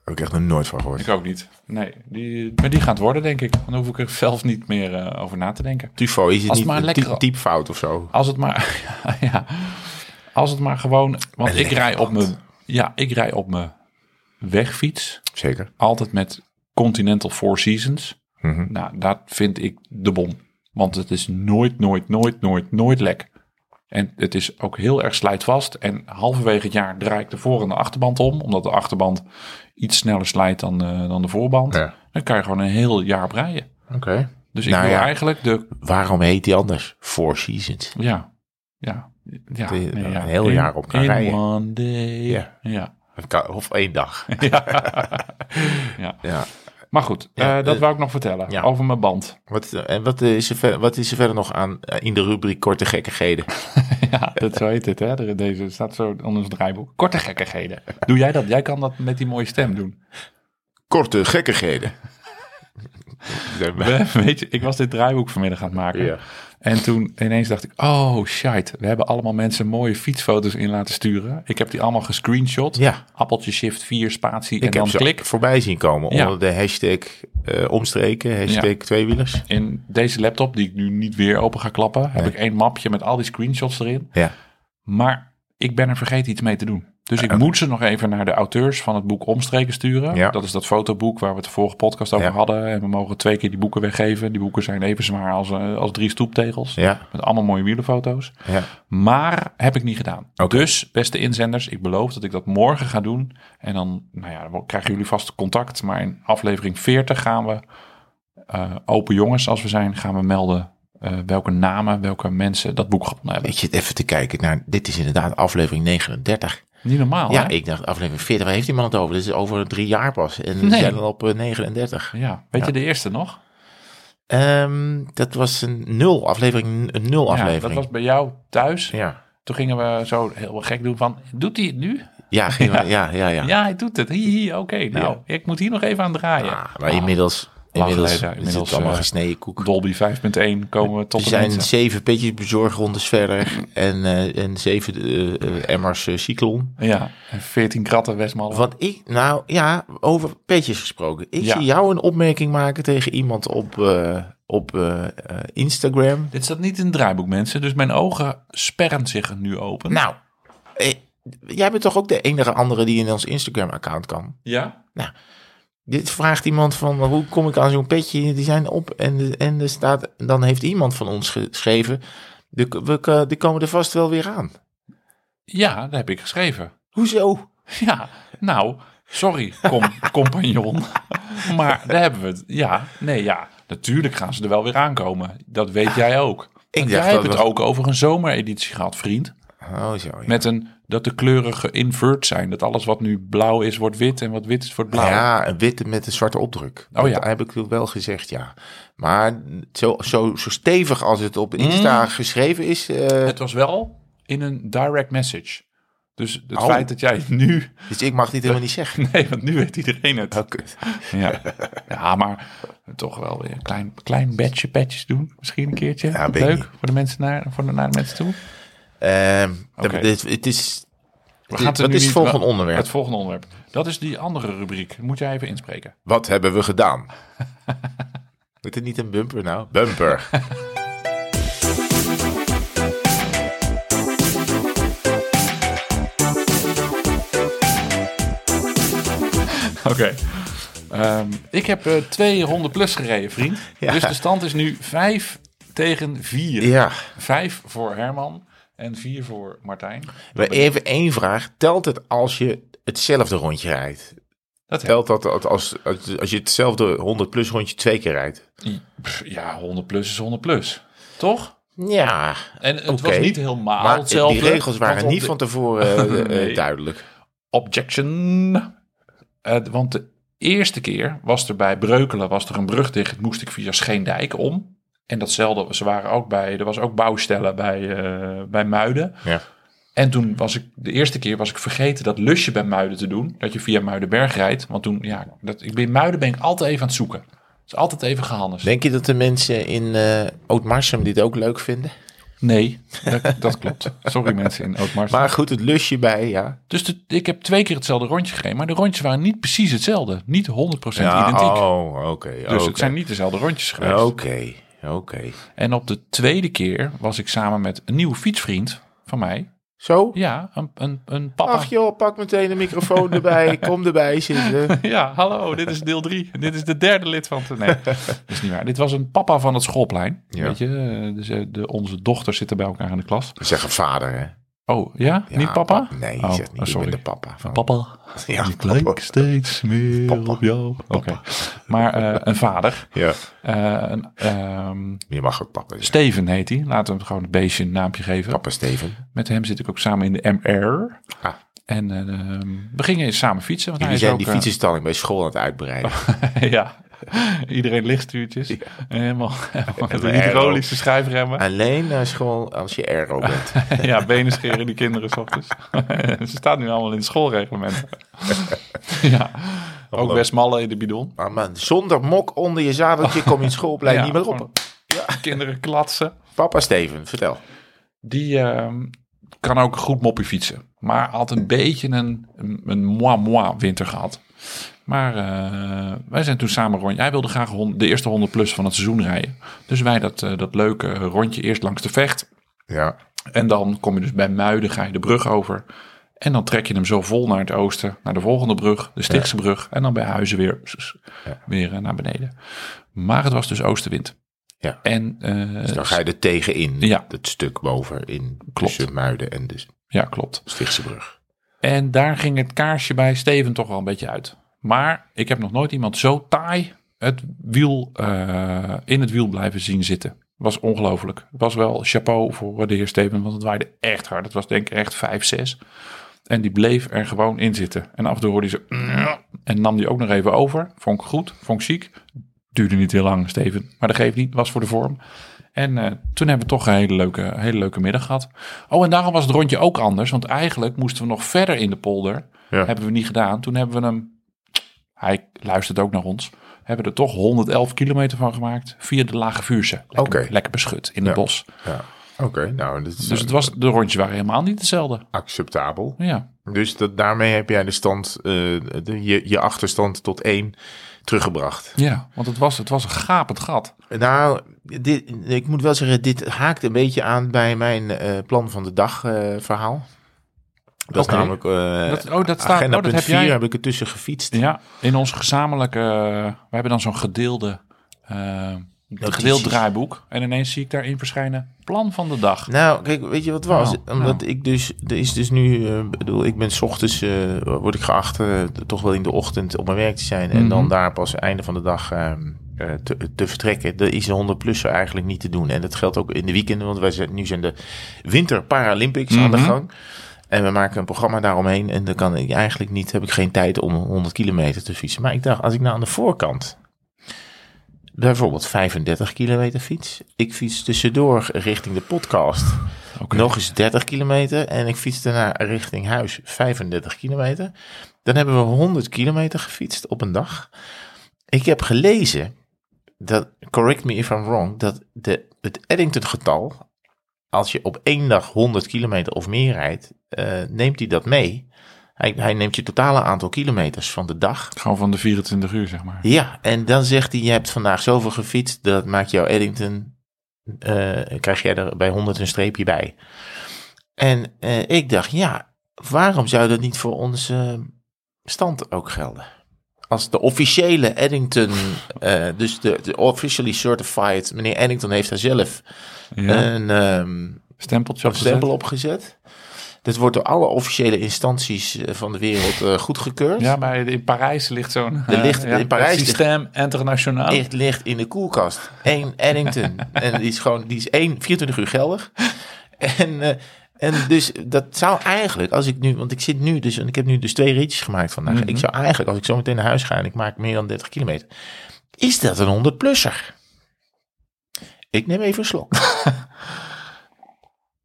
[SPEAKER 1] Heb ik echt nog nooit van gehoord.
[SPEAKER 2] Ik ook niet. Nee, die, maar die gaat worden, denk ik. Dan hoef ik er zelf niet meer eh, over na te denken.
[SPEAKER 1] Tufo, is het
[SPEAKER 2] Als het
[SPEAKER 1] niet
[SPEAKER 2] maar
[SPEAKER 1] een
[SPEAKER 2] lekker-
[SPEAKER 1] typ- typfout of zo?
[SPEAKER 2] Als het maar, ja, als het maar gewoon, want
[SPEAKER 1] Een
[SPEAKER 2] ik rij op
[SPEAKER 1] lekker
[SPEAKER 2] mijn, ja, ik rij op mijn wegfiets
[SPEAKER 1] Zeker.
[SPEAKER 2] altijd met Continental Four Seasons.
[SPEAKER 1] Mhm.
[SPEAKER 2] Nou, dat vind ik de bom, want het is nooit, nooit, nooit, nooit, nooit lek. En het is ook heel erg slijtvast. En halverwege het jaar draai ik de voor- en de achterband om. Omdat de achterband iets sneller slijt dan, eh, dan de voorband.
[SPEAKER 1] Ja.
[SPEAKER 2] Dan kan je gewoon een heel jaar op rijden.
[SPEAKER 1] Oké.
[SPEAKER 2] Dus ik
[SPEAKER 1] Nou
[SPEAKER 2] wil
[SPEAKER 1] ja.
[SPEAKER 2] eigenlijk de.
[SPEAKER 1] Waarom heet die anders? Four Seasons.
[SPEAKER 2] Ja. Ja. ja,
[SPEAKER 1] De-
[SPEAKER 2] nee, ja.
[SPEAKER 1] een heel
[SPEAKER 2] In-
[SPEAKER 1] jaar op kan
[SPEAKER 2] in
[SPEAKER 1] rijden.
[SPEAKER 2] One day.
[SPEAKER 1] Ja.
[SPEAKER 2] Ja. Ja.
[SPEAKER 1] Of kan- Of één dag. Ja.
[SPEAKER 2] Maar goed,
[SPEAKER 1] Ja,
[SPEAKER 2] eh, dat
[SPEAKER 1] eh,
[SPEAKER 2] wou ik nog vertellen.
[SPEAKER 1] ja.
[SPEAKER 2] Over mijn band.
[SPEAKER 1] Wat, en wat is, er ver- wat is er verder nog aan eh, in de rubriek korte gekkigheden?
[SPEAKER 2] ja, dat zo heet het. Hè? Er- Deze staat zo onder ons draaiboek. Korte gekkigheden. Doe jij dat? Jij kan dat met die mooie stem doen.
[SPEAKER 1] Korte gekkigheden.
[SPEAKER 2] We- Weet je, ik was dit draaiboek vanmiddag aan het maken.
[SPEAKER 1] Ja.
[SPEAKER 2] En toen ineens dacht ik, oh shit, we hebben allemaal mensen mooie fietsfoto's in laten sturen. Ik heb die allemaal gescreenshot.
[SPEAKER 1] Ja.
[SPEAKER 2] Appeltje shift 4 spatie en
[SPEAKER 1] Ik heb
[SPEAKER 2] dan
[SPEAKER 1] ze
[SPEAKER 2] klik.
[SPEAKER 1] voorbij zien komen
[SPEAKER 2] Ja.
[SPEAKER 1] onder de hashtag eh, omstreken, hashtag tweewielers.
[SPEAKER 2] In deze laptop, die ik nu niet weer open ga klappen, heb ik één mapje met al die screenshots erin.
[SPEAKER 1] Ja.
[SPEAKER 2] Maar ik ben er vergeten iets mee te doen. Dus ik moet ze nog even naar de auteurs van het boek Omstreken sturen.
[SPEAKER 1] Eh, Ja.
[SPEAKER 2] Dat is dat fotoboek waar we het de vorige podcast over
[SPEAKER 1] Ja.
[SPEAKER 2] hadden. En we mogen twee keer die boeken weggeven. Die boeken zijn even zwaar als, eh, als drie stoeptegels.
[SPEAKER 1] Ja,
[SPEAKER 2] Met allemaal mooie wielenfoto's.
[SPEAKER 1] ja.
[SPEAKER 2] Maar heb ik niet gedaan.
[SPEAKER 1] Oké.
[SPEAKER 2] Dus, beste inzenders, ik beloof dat ik dat morgen ga doen. En dan, nou ja, dan krijgen jullie vast contact. Maar in aflevering 40 gaan we, eh, open jongens als we zijn, gaan we melden eh, welke namen, welke mensen dat boek gewonnen hebben.
[SPEAKER 1] Ik zit even te kijken naar, dit is inderdaad aflevering 39.
[SPEAKER 2] Niet normaal,
[SPEAKER 1] ja,
[SPEAKER 2] Oh, hè?
[SPEAKER 1] ik dacht aflevering 40, waar heeft die man het over? Dit is over drie jaar pas en we
[SPEAKER 2] Nee.
[SPEAKER 1] zijn al op eh, 39.
[SPEAKER 2] Ja, weet je de eerste nog?
[SPEAKER 1] Ehm, dat was een nul aflevering, een nul
[SPEAKER 2] Ja, dat
[SPEAKER 1] aflevering.
[SPEAKER 2] was bij jou thuis.
[SPEAKER 1] Ja,
[SPEAKER 2] Toen gingen we zo heel gek doen van, doet hij het nu?
[SPEAKER 1] ja, ging- ja, ja. ja,
[SPEAKER 2] Ja, hij doet het. Hi, hi, Oké, nou, ik moet hier nog even aan draaien.
[SPEAKER 1] Ah, maar inmiddels
[SPEAKER 2] Lang
[SPEAKER 1] Inmiddels,
[SPEAKER 2] geleden,
[SPEAKER 1] is
[SPEAKER 2] inmiddels,
[SPEAKER 1] het allemaal
[SPEAKER 2] eh,
[SPEAKER 1] gesneden koek.
[SPEAKER 2] Dolby 5.1 komen we tot
[SPEAKER 1] We
[SPEAKER 2] de
[SPEAKER 1] zijn
[SPEAKER 2] mensen.
[SPEAKER 1] zeven pitjes bezorgrondes verder en, eh, en zeven eh, eh, emmers eh, cyclon.
[SPEAKER 2] Ja, en 14 kratten Westmalle.
[SPEAKER 1] Want ik, nou ja, over petjes gesproken. Ik
[SPEAKER 2] Ja.
[SPEAKER 1] zie jou een opmerking maken tegen iemand op, eh, op eh, eh, Instagram.
[SPEAKER 2] Dit staat niet in het draaiboek, mensen. Dus mijn ogen sperren zich nu open.
[SPEAKER 1] Nou, eh, jij bent toch ook de enige andere die in ons Instagram-account kan?
[SPEAKER 2] Ja?
[SPEAKER 1] Dit vraagt iemand van hoe kom ik aan zo'n petje? Die zijn op en, en er staat, dan heeft iemand van ons geschreven, de, we, k- die komen er vast wel weer aan.
[SPEAKER 2] Ja, dat heb ik geschreven.
[SPEAKER 1] Hoezo?
[SPEAKER 2] Ja, nou, sorry, com compagnon. Maar daar hebben we het. Ja, nee, ja. Natuurlijk gaan ze er wel weer aankomen. Dat weet jij ook. Want
[SPEAKER 1] dacht
[SPEAKER 2] jij hebt
[SPEAKER 1] dat
[SPEAKER 2] het
[SPEAKER 1] we-
[SPEAKER 2] ook over een zomereditie gehad, vriend.
[SPEAKER 1] Oh zo, ja.
[SPEAKER 2] Met een, dat de kleuren geïnvert zijn. Dat alles wat nu blauw is, wordt wit. En wat wit is, wordt blauw.
[SPEAKER 1] Ja, een witte met een zwarte opdruk.
[SPEAKER 2] Nou. Oh, ja.
[SPEAKER 1] Dat heb ik wel gezegd, ja. Maar zo, zo, zo stevig als het op Insta
[SPEAKER 2] Mm.
[SPEAKER 1] geschreven is, eh,
[SPEAKER 2] Het was wel in een direct message. Dus het
[SPEAKER 1] Oh.
[SPEAKER 2] feit dat jij het nu...
[SPEAKER 1] dus ik mag dit helemaal niet zeggen.
[SPEAKER 2] Nee, want nu weet iedereen het.
[SPEAKER 1] Oh, kut.
[SPEAKER 2] Ja, ja maar toch wel weer een klein, klein bedje petjes doen. Misschien een keertje.
[SPEAKER 1] Ja, weet ik
[SPEAKER 2] Leuk
[SPEAKER 1] niet.
[SPEAKER 2] voor de, mensen naar, voor de, naar de mensen toe.
[SPEAKER 1] Ehm, dat-
[SPEAKER 2] Oké.
[SPEAKER 1] dit, het is,
[SPEAKER 2] We
[SPEAKER 1] dit- wat
[SPEAKER 2] nu
[SPEAKER 1] is
[SPEAKER 2] niet-
[SPEAKER 1] het volgende
[SPEAKER 2] wa-
[SPEAKER 1] onderwerp?
[SPEAKER 2] Het volgende onderwerp. Dat is die andere rubriek. Moet jij even inspreken.
[SPEAKER 1] Wat hebben we gedaan? Wordt het niet een bumper nou? Bumper.
[SPEAKER 2] Oké. Ehm, ik heb eh, twee ronden plus gereden, vriend.
[SPEAKER 1] Ja.
[SPEAKER 2] Dus de stand is nu 5 tegen 4.
[SPEAKER 1] ja.
[SPEAKER 2] 5 voor Herman en 4 voor Martijn.
[SPEAKER 1] Maar even één vraag. Telt het als je hetzelfde rondje rijdt?
[SPEAKER 2] Dat heb-
[SPEAKER 1] Telt dat als, als, als je hetzelfde 100 plus rondje twee keer rijdt?
[SPEAKER 2] Pff, Ja, 100 plus is 100 plus. Toch?
[SPEAKER 1] Ja,
[SPEAKER 2] En het
[SPEAKER 1] Oké.
[SPEAKER 2] was niet helemaal
[SPEAKER 1] maar
[SPEAKER 2] hetzelfde.
[SPEAKER 1] die regels
[SPEAKER 2] want
[SPEAKER 1] waren
[SPEAKER 2] op
[SPEAKER 1] niet
[SPEAKER 2] de-
[SPEAKER 1] van tevoren eh, eh,
[SPEAKER 2] Nee.
[SPEAKER 1] duidelijk.
[SPEAKER 2] Objection. Eh, want de eerste keer was er bij Breukelen was er een brug dicht. Moest ik via Scheendijk om. En datzelfde, ze waren ook bij, er was ook bouwstellen bij, eh, bij Muiden.
[SPEAKER 1] Ja.
[SPEAKER 2] En toen was ik, de eerste keer was ik vergeten dat lusje bij Muiden te doen. Dat je via Muidenberg rijdt. Want toen, ja, dat, ik ben, in Muiden ben ik altijd even aan het zoeken. Het is altijd even gehannes.
[SPEAKER 1] Denk je dat de mensen in eh Oud-Marsum dit ook leuk vinden?
[SPEAKER 2] Nee, dat, dat klopt. Sorry mensen in Ootmars.
[SPEAKER 1] Maar goed, het lusje bij, ja.
[SPEAKER 2] Dus de- ik heb twee keer hetzelfde rondje gereden. Maar de rondjes waren niet precies hetzelfde. Niet 100% identiek.
[SPEAKER 1] oh, oké.
[SPEAKER 2] Dus
[SPEAKER 1] oké.
[SPEAKER 2] het zijn niet dezelfde rondjes geweest.
[SPEAKER 1] Oké, oké.
[SPEAKER 2] En op de tweede keer was ik samen met een nieuwe fietsvriend van mij.
[SPEAKER 1] Zo?
[SPEAKER 2] Ja, een, een, een papa.
[SPEAKER 1] Ach joh, pak meteen de microfoon erbij. Kom erbij zitten.
[SPEAKER 2] Ja, hallo, dit is deel 3. dit is de derde lid van het... Nee, dat is niet waar. Dit was een papa van het schoolplein.
[SPEAKER 1] Ja.
[SPEAKER 2] Weet je, eh, dus eh, de, onze dochters zitten bij elkaar in de klas.
[SPEAKER 1] Zeggen vader, hè?
[SPEAKER 2] Oh, ja?
[SPEAKER 1] Ja,
[SPEAKER 2] niet papa?
[SPEAKER 1] Nee, ik
[SPEAKER 2] Oh,
[SPEAKER 1] zeg niet.
[SPEAKER 2] sorry.
[SPEAKER 1] Ik ben de papa. Van.
[SPEAKER 2] Papa,
[SPEAKER 1] Ja,
[SPEAKER 2] ik lijk steeds meer
[SPEAKER 1] Papa.
[SPEAKER 2] op jou. Oké, maar eh, een vader.
[SPEAKER 1] Ja,
[SPEAKER 2] eh, een, ehm,
[SPEAKER 1] je mag ook papa zeggen.
[SPEAKER 2] Steven heet hij. Laten we hem gewoon het beestje een naampje geven.
[SPEAKER 1] Papa Steven.
[SPEAKER 2] Met hem zit ik ook samen in de MR.
[SPEAKER 1] Ah.
[SPEAKER 2] En eh, ehm, we gingen eens samen fietsen. Want
[SPEAKER 1] Jullie
[SPEAKER 2] hij is
[SPEAKER 1] zijn die
[SPEAKER 2] ook, eh,
[SPEAKER 1] fietsenstalling bij school aan het uitbreiden.
[SPEAKER 2] ja, iedereen lichtstuurtjes. En helemaal, helemaal met
[SPEAKER 1] een
[SPEAKER 2] hydraulische schijfremmen.
[SPEAKER 1] Alleen naar school als je aero bent.
[SPEAKER 2] ja, benen scheren die kinderen 's ochtends. Ze staan nu allemaal in het schoolreglementen. ja, ook best malle in de bidon.
[SPEAKER 1] Maar man, zonder mok onder je zadeltje kom je het schoolplein
[SPEAKER 2] Ja,
[SPEAKER 1] niet meer op.
[SPEAKER 2] gewoon Kinderen klatsen.
[SPEAKER 1] Papa Steven, vertel.
[SPEAKER 2] Die ehm, kan ook goed moppie fietsen. Maar had een beetje een, een, een moi-moi winter gehad. Maar eh, wij zijn toen samen rond. Hij wilde graag hon- de eerste 100 plus van het seizoen rijden. Dus wij dat, eh, dat leuke rondje eerst langs de vecht.
[SPEAKER 1] Ja.
[SPEAKER 2] En dan kom je dus bij Muiden, ga je de brug over. En dan trek je hem zo vol naar het oosten, naar de volgende brug, de Stichtse brug. En dan bij Huizen weer, weer eh, naar beneden. Maar het was dus oostenwind.
[SPEAKER 1] Ja.
[SPEAKER 2] En eh,
[SPEAKER 1] Dus dan ga je er tegenin.
[SPEAKER 2] Ja.
[SPEAKER 1] Dat stuk boven in
[SPEAKER 2] Klopt.
[SPEAKER 1] tussen Muiden en de
[SPEAKER 2] ja, klopt.
[SPEAKER 1] Stichtse brug.
[SPEAKER 2] En daar ging het kaarsje bij Steven toch wel een beetje uit. Maar ik heb nog nooit iemand zo taai het wiel, eh, in het wiel blijven zien zitten. Was ongelooflijk. Het was wel chapeau voor de heer Steven, want het waaide echt hard. Het was denk ik echt 5, 6. En die bleef er gewoon in zitten. En af en toe hoorde hij zo... En nam die ook nog even over. Vond ik goed, vond ik chic. Duurde niet heel lang, Steven. Maar dat geeft niet, was voor de vorm. En eh, toen hebben we toch een hele leuke, hele leuke middag gehad. Oh, en daarom was het rondje ook anders. Want eigenlijk moesten we nog verder in de polder.
[SPEAKER 1] Ja.
[SPEAKER 2] Hebben we niet gedaan. Toen hebben we hem... Hij luistert ook naar ons. Hebben er toch 111 kilometer van gemaakt via de Lage Vuurse. Lekker,
[SPEAKER 1] Oké.
[SPEAKER 2] lekker beschut in het
[SPEAKER 1] Ja.
[SPEAKER 2] bos.
[SPEAKER 1] Ja. Oké, nou, dat is
[SPEAKER 2] Dus het was, de rondjes waren helemaal niet hetzelfde.
[SPEAKER 1] acceptabel.
[SPEAKER 2] Ja,
[SPEAKER 1] Dus dat, daarmee heb jij de stand, eh, de, je, je achterstand tot één teruggebracht.
[SPEAKER 2] ja want het was, het was een gapend gat.
[SPEAKER 1] Nou, dit, ik moet wel zeggen, dit haakt een beetje aan bij mijn eh, plan van de dag eh, verhaal. Dat
[SPEAKER 2] Oké.
[SPEAKER 1] is namelijk eh,
[SPEAKER 2] Dat- oh, dat staat-
[SPEAKER 1] agenda
[SPEAKER 2] oh, dat
[SPEAKER 1] punt
[SPEAKER 2] heb jij.
[SPEAKER 1] 4 heb ik er tussen gefietst.
[SPEAKER 2] Ja, in ons gezamenlijke... eh, we hebben dan zo'n gedeelde... eh, een gedeeld draaiboek. En ineens zie ik daarin verschijnen... Plan van de dag.
[SPEAKER 1] Nou, kijk, weet je wat het was?
[SPEAKER 2] Nou,
[SPEAKER 1] Omdat
[SPEAKER 2] nou.
[SPEAKER 1] ik dus, er is dus nu, eh, bedoel, ik ben 's ochtends, eh, word ik geacht eh, toch wel in de ochtend op mijn werk te zijn. En dan
[SPEAKER 2] Mhm.
[SPEAKER 1] daar pas einde van de dag eh, eh, te, te vertrekken. Dat is een 100 plus eigenlijk niet te doen. En dat geldt ook in de weekenden, want wij zijn, nu zijn de Winter Paralympics aan
[SPEAKER 2] Mhm.
[SPEAKER 1] de gang. En we maken een programma daaromheen. En dan kan ik eigenlijk niet, heb ik geen tijd om 100 kilometer te fietsen. Maar ik dacht, als ik nou aan de voorkant bijvoorbeeld 35 kilometer fiets. Ik fiets tussendoor richting de podcast.
[SPEAKER 2] Oké.
[SPEAKER 1] Nog eens 30 kilometer. En ik fiets daarna richting huis 35 kilometer. Dan hebben we 100 kilometer gefietst op een dag. Ik heb gelezen, dat, correct me if I'm wrong, dat de, het Eddington-getal, als je op één dag 100 kilometer of meer rijdt, eh, neemt hij dat mee. Hij, hij neemt je totale aantal kilometers van de dag.
[SPEAKER 2] Gewoon van de 24 uur, zeg maar.
[SPEAKER 1] Ja, en dan zegt hij, je hebt vandaag zoveel gefietst, dat maakt jouw Eddington, eh, krijg jij er bij 100 een streepje bij. En eh, ik dacht, ja, waarom zou dat niet voor onze stand ook gelden? Als de officiële Eddington, eh, dus de, de officially certified, meneer Eddington heeft daar zelf
[SPEAKER 2] Ja.
[SPEAKER 1] een ehm,
[SPEAKER 2] Stempeltje opgezet.
[SPEAKER 1] Eh, stempel op gezet. Dat wordt door alle officiële instanties eh, van de wereld eh, goedgekeurd.
[SPEAKER 2] Ja, maar in Parijs ligt zo'n...
[SPEAKER 1] Er
[SPEAKER 2] eh,
[SPEAKER 1] ligt-
[SPEAKER 2] ja,
[SPEAKER 1] in Parijs ligt-
[SPEAKER 2] Systeem internationaal.
[SPEAKER 1] Echt ligt in de koelkast. Eén Eddington. en die is gewoon, die is één, 24 uur geldig. En, eh, en dus dat zou eigenlijk, als ik nu, want ik zit nu dus, en ik heb nu dus twee ritjes gemaakt vandaag.
[SPEAKER 2] Mhm.
[SPEAKER 1] Ik zou eigenlijk, als ik zo meteen naar huis ga en ik maak meer dan 30 kilometer, is dat een 100-plusser? Ik neem even een slok.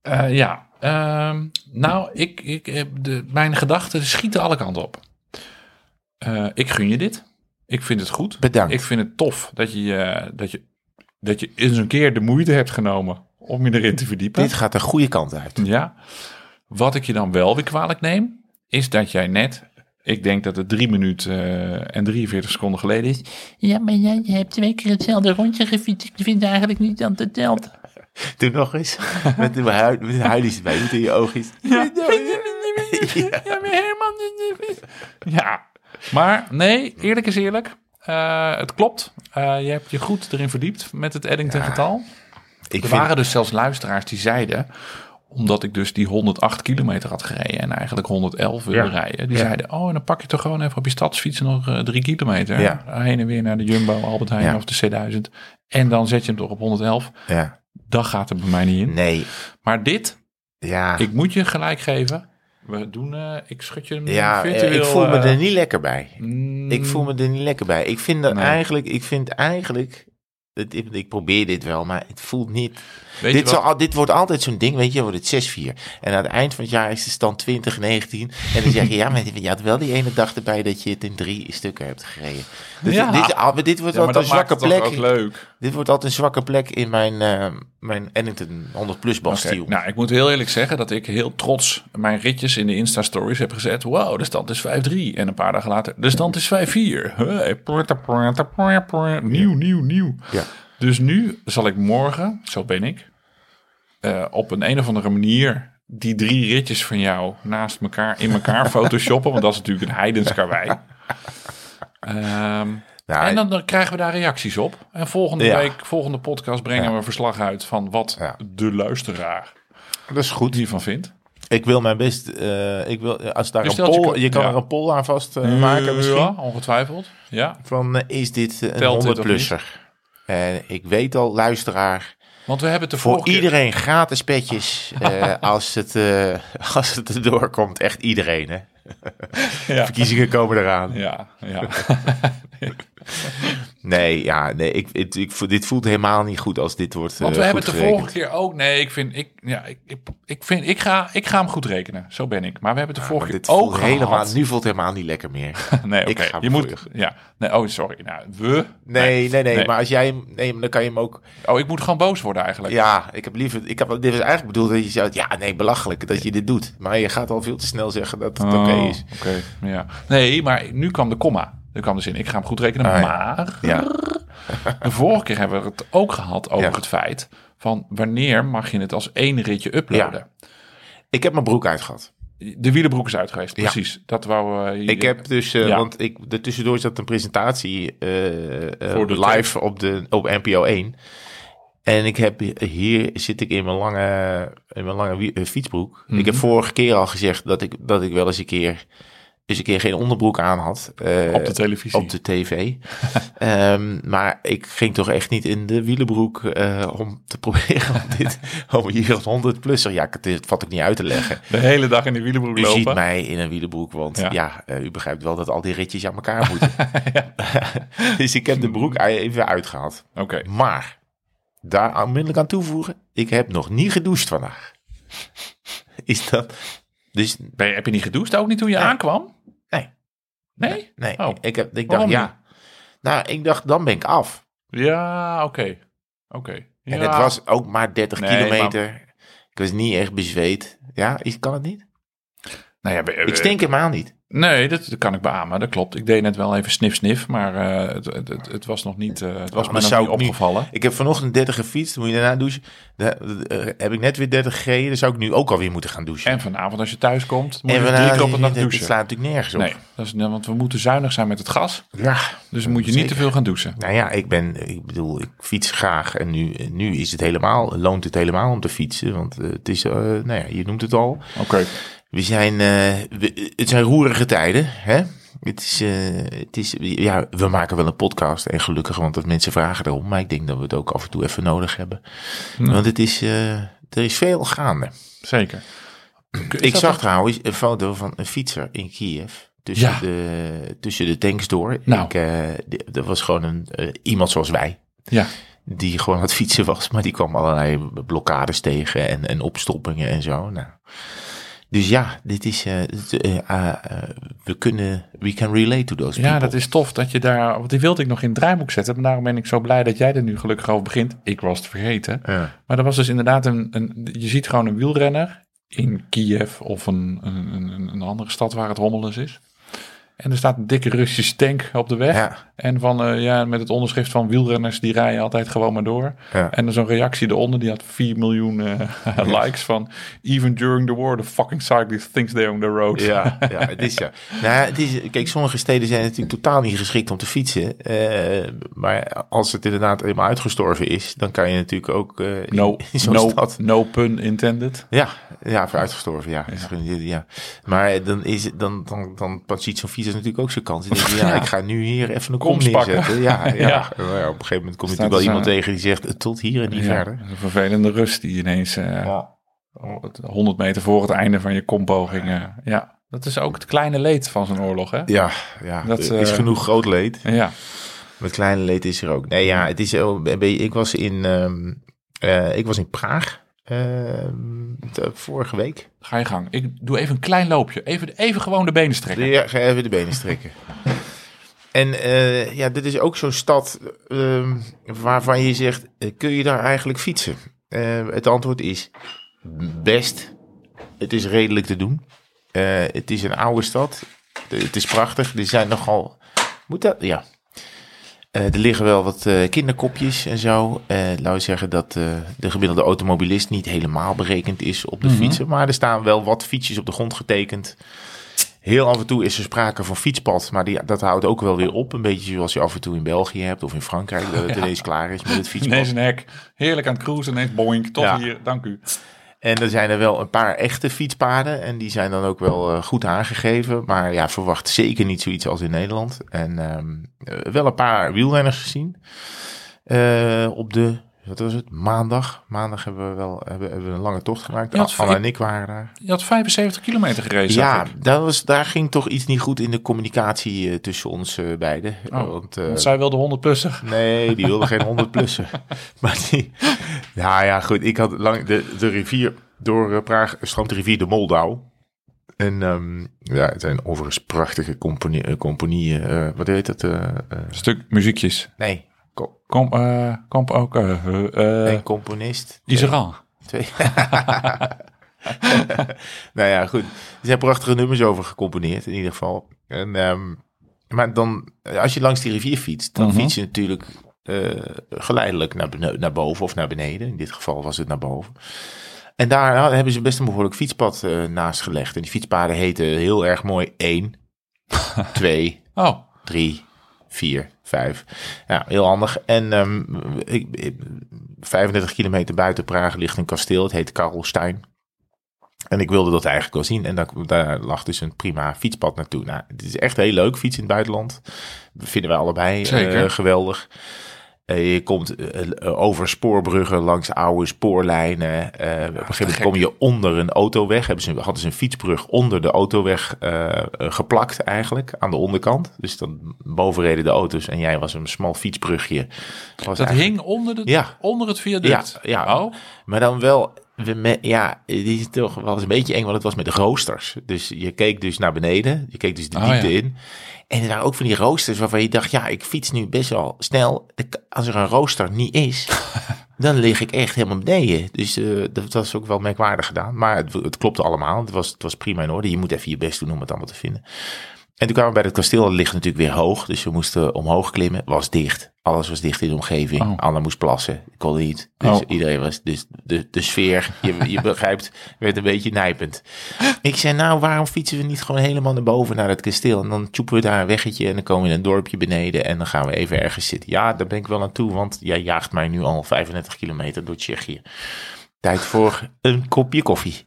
[SPEAKER 2] Eh, ja, Ehm, nou, ik, ik, eh, de, mijn gedachten schieten alle kanten op. Eh, ik gun je dit. Ik vind het goed.
[SPEAKER 1] Bedankt.
[SPEAKER 2] Ik vind het tof dat je, eh, dat je, dat je eens een keer de moeite hebt genomen om je erin te verdiepen.
[SPEAKER 1] Dit gaat de goede kant uit.
[SPEAKER 2] Ja. Wat ik je dan wel weer kwalijk neem, is dat jij net, ik denk dat het drie minuten eh, en 43 seconden geleden is.
[SPEAKER 3] Ja, maar jij hebt twee keer hetzelfde rondje gefietst. Ik vind eigenlijk niet dat het telt.
[SPEAKER 1] Doe nog eens. Met een huid, met een huilies erbij, niet in je oogjes.
[SPEAKER 2] Ja, maar helemaal niet. Ja, maar nee, eerlijk is eerlijk. Eh, het klopt. Eh, je hebt je goed erin verdiept met het Eddington-getal.
[SPEAKER 1] Ik
[SPEAKER 2] Er
[SPEAKER 1] vind-
[SPEAKER 2] waren dus zelfs luisteraars die zeiden, omdat ik dus die 108 kilometer had gereden en eigenlijk 111 wilde rijden, die zeiden, oh, en dan pak je toch gewoon even op je stadsfiets nog eh, drie kilometer Eh,
[SPEAKER 1] Ja.
[SPEAKER 2] heen en weer naar de Jumbo, Albert Heijn
[SPEAKER 1] Ja.
[SPEAKER 2] of de C1000 en dan zet je hem toch op 111.
[SPEAKER 1] ja.
[SPEAKER 2] Dat gaat er bij mij niet in.
[SPEAKER 1] Nee,
[SPEAKER 2] Maar dit,
[SPEAKER 1] ja.
[SPEAKER 2] ik moet je gelijk geven. We doen, eh, ik schud je hem
[SPEAKER 1] ja, eh,
[SPEAKER 2] virtueel.
[SPEAKER 1] ik voel me
[SPEAKER 2] eh,
[SPEAKER 1] er niet lekker bij.
[SPEAKER 2] mm,
[SPEAKER 1] Ik voel me er niet lekker bij. Ik vind dat
[SPEAKER 2] Nee.
[SPEAKER 1] eigenlijk, ik vind eigenlijk, het, ik, ik probeer dit wel, maar het voelt niet.
[SPEAKER 2] Weet
[SPEAKER 1] Dit,
[SPEAKER 2] je
[SPEAKER 1] zal,
[SPEAKER 2] wat?
[SPEAKER 1] al- dit wordt altijd zo'n ding, weet je, wordt het 6-4. En aan het eind van het jaar is de stand 2019. En dan zeg je, ja, maar je had wel die ene dag erbij dat je het in drie stukken hebt gereden. Dus
[SPEAKER 2] Ja.
[SPEAKER 1] dit, is al- maar dit wordt
[SPEAKER 2] Ja, maar
[SPEAKER 1] altijd
[SPEAKER 2] dat
[SPEAKER 1] een
[SPEAKER 2] maakt
[SPEAKER 1] zwakke
[SPEAKER 2] het toch ook
[SPEAKER 1] plek.
[SPEAKER 2] leuk.
[SPEAKER 1] Dit wordt altijd een zwakke plek in mijn, eh, mijn Eddington 100 plus
[SPEAKER 2] Oké,
[SPEAKER 1] bastiel.
[SPEAKER 2] Nou, ik moet heel eerlijk zeggen dat ik heel trots mijn ritjes in de Insta-stories heb gezet. Wow, de stand is 5-3. En een paar dagen later, de stand is 5-4. Hey, prrrt, prrrt, prrrt, prrrt. Nieuw, nieuw, nieuw.
[SPEAKER 1] Ja.
[SPEAKER 2] Dus nu zal ik morgen, zo ben ik, eh, op een, een of andere manier die drie ritjes van jou naast elkaar in elkaar photoshoppen. Want dat is natuurlijk een heidens karwei. Ehm,
[SPEAKER 1] Nou,
[SPEAKER 2] en dan, dan krijgen we daar reacties op. En volgende
[SPEAKER 1] Ja.
[SPEAKER 2] week, volgende podcast, brengen we een verslag uit van wat
[SPEAKER 1] Ja.
[SPEAKER 2] de luisteraar nou,
[SPEAKER 1] dat is goed.
[SPEAKER 2] hiervan vindt.
[SPEAKER 1] Ik wil mijn best. eh, ik wil, als daar
[SPEAKER 2] Dus
[SPEAKER 1] een
[SPEAKER 2] dat je
[SPEAKER 1] poll,
[SPEAKER 2] kan-
[SPEAKER 1] je kan
[SPEAKER 2] ja.
[SPEAKER 1] er een poll aan vastmaken misschien.
[SPEAKER 2] Ja, ongetwijfeld. Ja,
[SPEAKER 1] Van eh, is dit eh, een
[SPEAKER 2] Telt dit of
[SPEAKER 1] 100 plusser? En ik weet al, luisteraar,
[SPEAKER 2] want we hebben het de
[SPEAKER 1] voor
[SPEAKER 2] vorige keer-
[SPEAKER 1] iedereen gratis petjes eh, als, het, eh als het erdoor komt. Echt iedereen, hè?
[SPEAKER 2] Ja,
[SPEAKER 1] Verkiezingen komen eraan.
[SPEAKER 2] ja. ja.
[SPEAKER 1] Nee, ja, nee ik, ik, ik, vo- dit voelt helemaal niet goed als dit wordt. eh,
[SPEAKER 2] Want we hebben het
[SPEAKER 1] goed
[SPEAKER 2] de
[SPEAKER 1] gerekend.
[SPEAKER 2] vorige keer ook. Nee, ik vind. Ik, ja, ik, ik, ik vind ik, ga, ik ga hem goed rekenen. Zo ben ik. Maar we hebben het de vorige
[SPEAKER 1] Maar dit
[SPEAKER 2] keer
[SPEAKER 1] voelt
[SPEAKER 2] ook
[SPEAKER 1] helemaal,
[SPEAKER 2] gehad.
[SPEAKER 1] nu voelt het helemaal niet lekker meer.
[SPEAKER 2] Nee,
[SPEAKER 1] Ik
[SPEAKER 2] oké.
[SPEAKER 1] ga
[SPEAKER 2] Je
[SPEAKER 1] hem
[SPEAKER 2] moet.
[SPEAKER 1] voor
[SPEAKER 2] Ja. Nee, oh, sorry. Nou, we.
[SPEAKER 1] Nee, nee, nee,
[SPEAKER 2] Nee.
[SPEAKER 1] Maar als jij hem neemt, dan kan je hem ook.
[SPEAKER 2] Oh, ik moet gewoon boos worden eigenlijk.
[SPEAKER 1] Ja, ik heb liever. Ik heb, dit was eigenlijk bedoeld dat je zei: ja, nee, belachelijk dat je dit doet. Maar je gaat al veel te snel zeggen dat het
[SPEAKER 2] Oh,
[SPEAKER 1] oké is.
[SPEAKER 2] oké, ja. Nee, maar nu kwam de komma. Nu kwam de zin. Ik ga hem goed rekenen.
[SPEAKER 1] Ah, ja.
[SPEAKER 2] Maar
[SPEAKER 1] Ja,
[SPEAKER 2] de vorige keer hebben we het ook gehad over
[SPEAKER 1] Ja.
[SPEAKER 2] het feit van wanneer mag je het als één ritje uploaden.
[SPEAKER 1] ik heb mijn broek uitgehad.
[SPEAKER 2] De wielenbroek is uit geweest.
[SPEAKER 1] Ja.
[SPEAKER 2] Precies. Dat wou eh,
[SPEAKER 1] Ik heb dus, eh,
[SPEAKER 2] Ja.
[SPEAKER 1] want ik, tussendoor zat een presentatie eh, eh,
[SPEAKER 2] Voor de
[SPEAKER 1] live op, de, op NPO 1. En ik heb, hier zit ik in mijn lange, in mijn lange wie- eh, fietsbroek. Ik
[SPEAKER 2] Mhm.
[SPEAKER 1] heb vorige keer al gezegd dat ik, dat ik wel eens een keer, eens een keer geen onderbroek aan had. eh,
[SPEAKER 2] op de televisie.
[SPEAKER 1] op de tv. Ehm, maar ik ging toch echt niet in de wielenbroek eh, om te proberen om dit om hier een 100 plusser. Ja, het, is- het valt ook niet uit te leggen.
[SPEAKER 2] de hele dag in de wielenbroek
[SPEAKER 1] U
[SPEAKER 2] lopen.
[SPEAKER 1] ziet mij in een wielenbroek, want
[SPEAKER 2] Ja.
[SPEAKER 1] ja, eh, u begrijpt wel dat al die ritjes aan elkaar moeten. dus ik heb de broek even uitgehaald.
[SPEAKER 2] Oké.
[SPEAKER 1] Maar daar onmiddellijk aan toevoegen, ik heb nog niet gedoucht vandaag. Is dat? Dus
[SPEAKER 2] Ben je, heb je niet gedoucht ook niet toen je
[SPEAKER 1] Nee.
[SPEAKER 2] aankwam?
[SPEAKER 1] Nee.
[SPEAKER 2] Nee?
[SPEAKER 1] nee,
[SPEAKER 2] Oh,
[SPEAKER 1] ik, heb, ik
[SPEAKER 2] waarom
[SPEAKER 1] dacht
[SPEAKER 2] niet?
[SPEAKER 1] ja. Nou, ik dacht dan ben ik af.
[SPEAKER 2] Ja, oké. Oké.
[SPEAKER 1] En
[SPEAKER 2] Ja.
[SPEAKER 1] het was ook maar 30
[SPEAKER 2] Nee,
[SPEAKER 1] kilometer. Ik was niet echt bezweet. Ja, ik kan het niet.
[SPEAKER 2] Nou ja, we- we-
[SPEAKER 1] Ik stink helemaal niet.
[SPEAKER 2] Nee, dat, dat kan ik beamen. Dat klopt. Ik deed net wel even snif snif, maar eh, het, het, het, het was nog niet, eh, het was me
[SPEAKER 1] anders
[SPEAKER 2] nog
[SPEAKER 1] zou
[SPEAKER 2] niet
[SPEAKER 1] ik nu-
[SPEAKER 2] opgevallen.
[SPEAKER 1] Ik heb vanochtend 30 gefietst. Moet je daarna douchen. Da- eh, heb ik net weer 30 gereden. Dan zou ik nu ook alweer moeten gaan douchen.
[SPEAKER 2] En vanavond als je thuis komt, moet je
[SPEAKER 1] vandaag
[SPEAKER 2] drie keer op een dag
[SPEAKER 1] Het
[SPEAKER 2] douchen.
[SPEAKER 1] slaat natuurlijk nergens op.
[SPEAKER 2] Nee, dat is, want we moeten zuinig zijn met het gas.
[SPEAKER 1] Ja,
[SPEAKER 2] Dus moet je niet te
[SPEAKER 1] Zeker.
[SPEAKER 2] veel gaan douchen.
[SPEAKER 1] nou ja, ik ben, ik bedoel, ik fiets graag. En nu, nu is het helemaal, loont het helemaal om te fietsen. Want eh, het is, eh, nou ja, je noemt het al.
[SPEAKER 2] Oké.
[SPEAKER 1] We zijn, eh, we- het zijn roerige tijden, hè? Het is, eh, het is, ja, we maken wel een podcast en gelukkig, want dat mensen vragen erom. Maar ik denk dat we het ook af en toe even nodig hebben. Want het is, eh, er is veel gaande.
[SPEAKER 2] Zeker.
[SPEAKER 1] ik zag trouwens een foto van een fietser in Kiev. Tussen,
[SPEAKER 2] Ja.
[SPEAKER 1] de, tussen de tanks door.
[SPEAKER 2] Nou.
[SPEAKER 1] Ik, eh, d- dat was gewoon een, eh, iemand zoals wij.
[SPEAKER 2] Ja,
[SPEAKER 1] Die gewoon aan het fietsen was. Maar die kwam allerlei blokkades tegen en, en opstoppingen en zo. Nou. Dus ja, dit is. eh, het, eh, ah, eh, we kunnen. We can relate to those
[SPEAKER 2] ja,
[SPEAKER 1] people.
[SPEAKER 2] dat is tof dat je daar... Want die wilde ik nog in het draaiboek zetten. Maar daarom ben ik zo blij dat jij er nu gelukkig over begint. Ik was het vergeten.
[SPEAKER 1] Ja.
[SPEAKER 2] Maar er was dus inderdaad een, een. Je ziet gewoon een wielrenner
[SPEAKER 1] Mhm.
[SPEAKER 2] in Kiev of een, een, een, een andere stad waar het hommelens is. En er staat een dikke Russische tank op de weg.
[SPEAKER 1] Ja.
[SPEAKER 2] En van, eh, ja, met het onderschrift van wielrenners die rijden altijd gewoon maar door.
[SPEAKER 1] Ja.
[SPEAKER 2] En dan zo'n reactie eronder, die had 4 miljoen eh, likes van... Even during the war, the fucking cyclist thinks they own the road.
[SPEAKER 1] Ja, ja, het is ja. Nou, het is, kijk, sommige steden zijn natuurlijk totaal niet geschikt om te fietsen. eh, maar als het inderdaad helemaal uitgestorven is, dan kan je natuurlijk ook eh, in-
[SPEAKER 2] No,
[SPEAKER 1] in zo'n
[SPEAKER 2] no,
[SPEAKER 1] stad.
[SPEAKER 2] no pun intended.
[SPEAKER 1] Ja, ja, voor uitgestorven, ja. ja. Maar eh, dan, is, het- dan, dan, dan pas ziet zo'n fietser natuurlijk ook zijn kans. Dan denk je, ja,
[SPEAKER 2] Ja.
[SPEAKER 1] ik ga nu hier even een kom
[SPEAKER 2] Komst pakken.
[SPEAKER 1] neerzetten. Ja, ja.
[SPEAKER 2] Ja.
[SPEAKER 1] Nou ja, op een gegeven moment kom je natuurlijk wel
[SPEAKER 2] Staat dus
[SPEAKER 1] iemand
[SPEAKER 2] aan-
[SPEAKER 1] tegen die zegt, "Eh, tot hier en niet
[SPEAKER 2] Ja,
[SPEAKER 1] verder.
[SPEAKER 2] Een vervelende rust die ineens... eh,
[SPEAKER 1] Ja.
[SPEAKER 2] 100 meter voor het einde van je kompogingen. Ja, dat is ook het kleine leed van zo'n oorlog, hè?
[SPEAKER 1] Ja, ja,
[SPEAKER 2] Dat,
[SPEAKER 1] er is
[SPEAKER 2] eh,
[SPEAKER 1] genoeg groot leed.
[SPEAKER 2] Ja,
[SPEAKER 1] Met kleine leed is er ook. Nee, ja, het is, ook een beetje- ik was in, ehm, eh, ik was in Praag ehm, de- vorige week.
[SPEAKER 2] ga je gang. Ik doe even een klein loopje. Even, even gewoon de benen strekken.
[SPEAKER 1] Ja, ga even de benen strekken. En eh, ja, dit is ook zo'n stad ehm, waarvan je zegt, eh, kun je daar eigenlijk fietsen? Eh, het antwoord is best. Het is redelijk te doen. Eh, het is een oude stad. De- het is prachtig. Er zijn nogal... Moet dat? Ja. Eh, er liggen wel wat eh, kinderkopjes en zo. Eh laten we zeggen dat eh, de gemiddelde automobilist niet helemaal berekend is op de fietsen. Maar er staan wel wat fietsjes op de grond getekend. Heel af en toe is er sprake van fietspad, maar die, dat houdt ook wel weer op. Een beetje zoals je af en toe in België hebt of in Frankrijk, dat het ineens klaar is met het fietspad.
[SPEAKER 2] Ineens een hek. Heerlijk aan het cruisen. Ineens boink. Tot
[SPEAKER 1] Ja.
[SPEAKER 2] hier. Dank u.
[SPEAKER 1] En er zijn er wel een paar echte fietspaden. En die zijn dan ook wel eh, goed aangegeven. Maar ja, verwacht zeker niet zoiets als in Nederland. En ehm, eh, wel een paar wielrenners gezien. eh, op de wat was het? Maandag. Maandag hebben we wel hebben, hebben we een lange tocht gemaakt.
[SPEAKER 2] Je had
[SPEAKER 1] Anna
[SPEAKER 2] vijf-
[SPEAKER 1] en ik waren daar.
[SPEAKER 2] Je had 75 kilometer gereden. zag
[SPEAKER 1] Ja,
[SPEAKER 2] ik.
[SPEAKER 1] dat was, daar ging toch iets niet goed in de communicatie eh, tussen ons eh, beiden.
[SPEAKER 2] Oh,
[SPEAKER 1] Want, eh,
[SPEAKER 2] Want zij wilde 100 plussen.
[SPEAKER 1] Nee, die wilde geen 100 plussen. Maar die, nou ja, goed. Ik had lang de, de rivier door eh, Praag stroomt de rivier de Moldau. En ehm, ja, het zijn overigens prachtige compagnie, eh, componieën. eh, wat heet dat? eh, eh,
[SPEAKER 2] Stuk muziekjes.
[SPEAKER 1] nee,
[SPEAKER 2] Kom, eh, kom ook. eh eh, eh,
[SPEAKER 1] één componist.
[SPEAKER 2] Israël.
[SPEAKER 1] Twee. nou ja, goed. Er zijn prachtige nummers over gecomponeerd, in ieder geval. En, ehm, maar dan, eh, als je langs die rivier fietst, dan
[SPEAKER 2] Mhm.
[SPEAKER 1] fiets je natuurlijk eh, geleidelijk naar, bene- naar boven of naar beneden. In dit geval was het naar boven. En daar nou, hebben ze best een behoorlijk fietspad eh, naast gelegd. En die fietspaden heten heel erg mooi 1, 2,
[SPEAKER 2] Oh,
[SPEAKER 1] drie, vier, vijf. Ja, heel handig. En ehm, ik, ik- 35 kilometer buiten Praag ligt een kasteel. Het heet Karlstein. En ik wilde dat eigenlijk wel zien. En daar, daar lag dus een prima fietspad naartoe. Nou, het is echt heel leuk fietsen in het buitenland. Vinden we allebei
[SPEAKER 2] Zeker.
[SPEAKER 1] eh, geweldig. Eh, je komt eh, eh, over spoorbruggen langs oude spoorlijnen. Eh, op een gegeven moment
[SPEAKER 2] gek.
[SPEAKER 1] kom je onder een autoweg. Hebben ze, hadden ze een fietsbrug onder de autoweg eh, eh, geplakt eigenlijk, aan de onderkant. Dus dan boven reden de auto's en jij was een smal fietsbrugje. Was
[SPEAKER 2] dat
[SPEAKER 1] eigenlijk-
[SPEAKER 2] hing onder, de,
[SPEAKER 1] Ja.
[SPEAKER 2] onder het viaduct.
[SPEAKER 1] Ja, ja.
[SPEAKER 2] Oh,
[SPEAKER 1] Maar dan wel, we me- ja, die is toch wel eens een beetje eng, want het was met roosters. Dus je keek dus naar beneden, je keek dus de
[SPEAKER 2] Oh,
[SPEAKER 1] diepte
[SPEAKER 2] ja.
[SPEAKER 1] in. En er waren ook van die roosters waarvan je dacht, ja, ik fiets nu best wel snel. Ik- Als er een rooster niet is, dan lig ik echt helemaal beneden. Dus eh, dat was ook wel merkwaardig gedaan. Maar het, het klopte allemaal, het was, het was prima in orde. Je moet even je best doen om het allemaal te vinden. En toen kwamen we bij het kasteel, dat ligt natuurlijk weer hoog. Dus we moesten omhoog klimmen. Was dicht. Alles was dicht in de omgeving.
[SPEAKER 2] Oh.
[SPEAKER 1] Anna moest plassen. Ik kon niet. Dus
[SPEAKER 2] Oh.
[SPEAKER 1] iedereen was. Dus de, de sfeer, je, je begrijpt, werd een beetje nijpend. Ik zei, nou, waarom fietsen we niet gewoon helemaal naar boven naar het kasteel? En dan tjoepen we daar een weggetje en dan komen we in een dorpje beneden. En dan gaan we even ergens zitten. Ja, daar ben ik wel aan toe, want jij jaagt mij nu al 35 kilometer door Tsjechië. Tijd voor een kopje koffie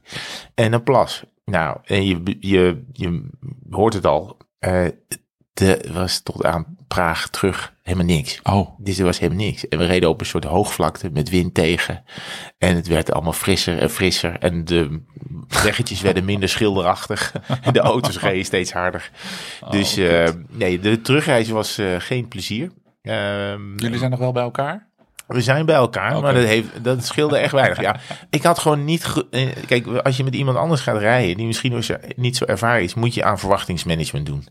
[SPEAKER 1] en een plas. Nou, en je, je, je hoort het al. Eh er was tot aan Praag terug helemaal niks.
[SPEAKER 2] oh.
[SPEAKER 1] Dus er was helemaal niks. En we reden op een soort hoogvlakte met wind tegen. En het werd allemaal frisser en frisser. En de weggetjes werden minder schilderachtig. En de auto's reden steeds harder. dus
[SPEAKER 2] kut.
[SPEAKER 1] eh, nee, de terugreis was eh, geen plezier. Ehm,
[SPEAKER 2] Jullie zijn nog wel bij elkaar?
[SPEAKER 1] we zijn bij elkaar,
[SPEAKER 2] Oké.
[SPEAKER 1] maar dat, heeft, dat scheelde echt weinig. Ja, ik had gewoon niet. ge- eh, Kijk, als je met iemand anders gaat rijden, die misschien nog zo- niet zo ervaren is, moet je aan verwachtingsmanagement doen.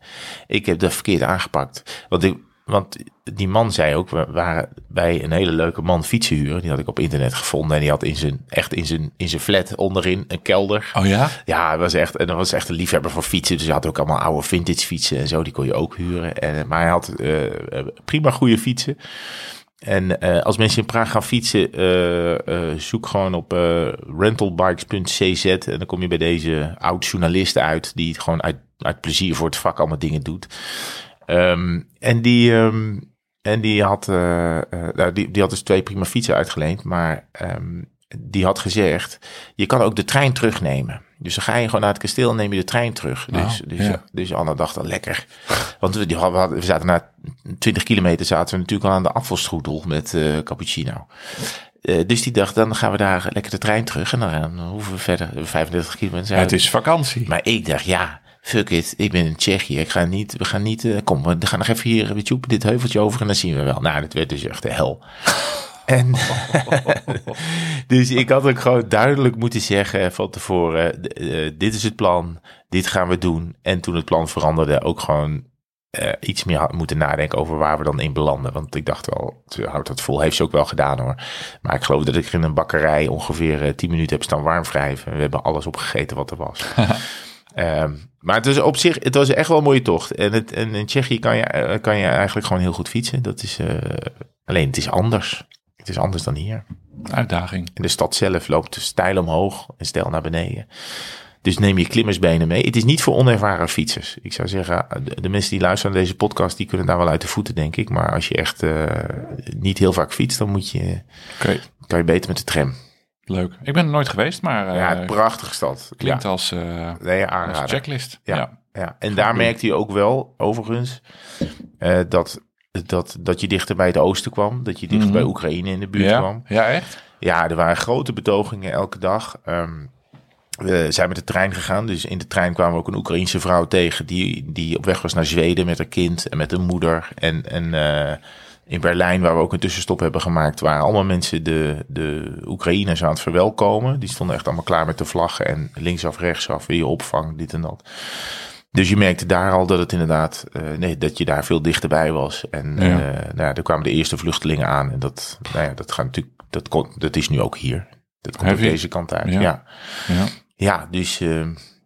[SPEAKER 1] Ik heb dat verkeerd aangepakt. Want, ik, want die man zei ook, we waren bij een hele leuke man fietsen huren. Die had ik op internet gevonden. En die had in zijn, echt in zijn, in zijn flat onderin een kelder.
[SPEAKER 2] Oh ja?
[SPEAKER 1] Ja, hij was echt, en hij was echt een liefhebber van fietsen. Dus hij had ook allemaal oude vintage fietsen en zo. Die kon je ook huren. En, maar hij had eh, eh, prima goede fietsen. En eh, als mensen in Praag gaan fietsen, eh, eh, zoek gewoon op eh, rentalbikes.cz. En dan kom je bij deze oud-journalist uit, die het gewoon uit, uit plezier voor het vak allemaal dingen doet. Ehm, en die, ehm, en die, had, eh, eh, nou, die, die had dus twee prima fietsen uitgeleend. Maar ehm, die had gezegd, je kan ook de trein terugnemen. Dus dan ga je gewoon naar het kasteel en neem je de trein terug.
[SPEAKER 2] Nou,
[SPEAKER 1] dus, dus,
[SPEAKER 2] ja.
[SPEAKER 1] dus Anna dacht al lekker. Want we, die hadden- we hadden- we zaten na 20 kilometer zaten we natuurlijk al aan de afvalstroedel met eh, cappuccino. Eh, dus die dacht, dan gaan we daar lekker de trein terug. En dan, gaan- dan hoeven we verder, 35 kilometer. zijn we
[SPEAKER 2] het is vakantie.
[SPEAKER 1] maar ik dacht, ja, fuck it. Ik ben in Tsjechië. Ik ga niet, we gaan niet, eh, kom, we gaan nog even hier met Joep dit heuveltje over en dan zien we wel. Nou, dat werd dus echt de hel. En dus ik had ook gewoon duidelijk moeten zeggen van tevoren, d- eh, dit is het plan, dit gaan we doen. En toen het plan veranderde, ook gewoon eh, iets meer had moeten nadenken over waar we dan in belanden. Want ik dacht wel, ze houdt dat vol, heeft ze ook wel gedaan hoor. Maar ik geloof dat ik er in een bakkerij ongeveer eh, 10 minuten heb staan warm wrijven. We hebben alles opgegeten wat er was. Ehm, maar het was op zich, het was echt wel een mooie tocht. En, het, en in Tsjechië kan je, eh, kan je eigenlijk gewoon heel goed fietsen. Dat is, eh, alleen het is anders. Het is anders dan hier.
[SPEAKER 2] Uitdaging.
[SPEAKER 1] En de stad zelf loopt steil omhoog en steil naar beneden. Dus neem je klimmersbenen mee. Het is niet voor onervaren fietsers. Ik zou zeggen, de- de mensen die luisteren naar deze podcast, die kunnen daar wel uit de voeten, denk ik. Maar als je echt eh, niet heel vaak fietst, dan moet je,
[SPEAKER 2] Oké,
[SPEAKER 1] kan je beter met de tram.
[SPEAKER 2] leuk. Ik ben er nooit geweest, maar eh,
[SPEAKER 1] ja, prachtige stad.
[SPEAKER 2] klinkt
[SPEAKER 1] ja.
[SPEAKER 2] als, eh,
[SPEAKER 1] Nee,
[SPEAKER 2] als
[SPEAKER 1] aanrader.
[SPEAKER 2] checklist.
[SPEAKER 1] Ja.
[SPEAKER 2] Ja.
[SPEAKER 1] Ja, en daar merkte je ook wel, overigens, eh, dat dat, dat je dichter bij het oosten kwam. Dat je dichter
[SPEAKER 2] Mhm.
[SPEAKER 1] bij Oekraïne in de buurt
[SPEAKER 2] Ja,
[SPEAKER 1] kwam.
[SPEAKER 2] ja, echt?
[SPEAKER 1] Ja, er waren grote betogingen elke dag. Ehm, we zijn met de trein gegaan. Dus in de trein kwamen we ook een Oekraïense vrouw tegen. Die, die op weg was naar Zweden met haar kind en met een moeder. En, en eh, in Berlijn, waar we ook een tussenstop hebben gemaakt. waren allemaal mensen de, de Oekraïners aan het verwelkomen. Die stonden echt allemaal klaar met de vlaggen. En linksaf, rechtsaf, wil je opvang, dit en dat. Dus je merkte daar al dat het inderdaad, eh, nee, dat je daar veel dichterbij was. En eh
[SPEAKER 2] Ja.
[SPEAKER 1] nou ja, er kwamen de eerste vluchtelingen aan. En dat, nou ja, dat, gaat natuurlijk, dat, kon, dat is nu ook hier. Dat komt
[SPEAKER 2] Heb
[SPEAKER 1] ook
[SPEAKER 2] je-
[SPEAKER 1] deze kant uit.
[SPEAKER 2] Ja.
[SPEAKER 1] Ja, ja.
[SPEAKER 2] Ja.
[SPEAKER 1] dus, eh,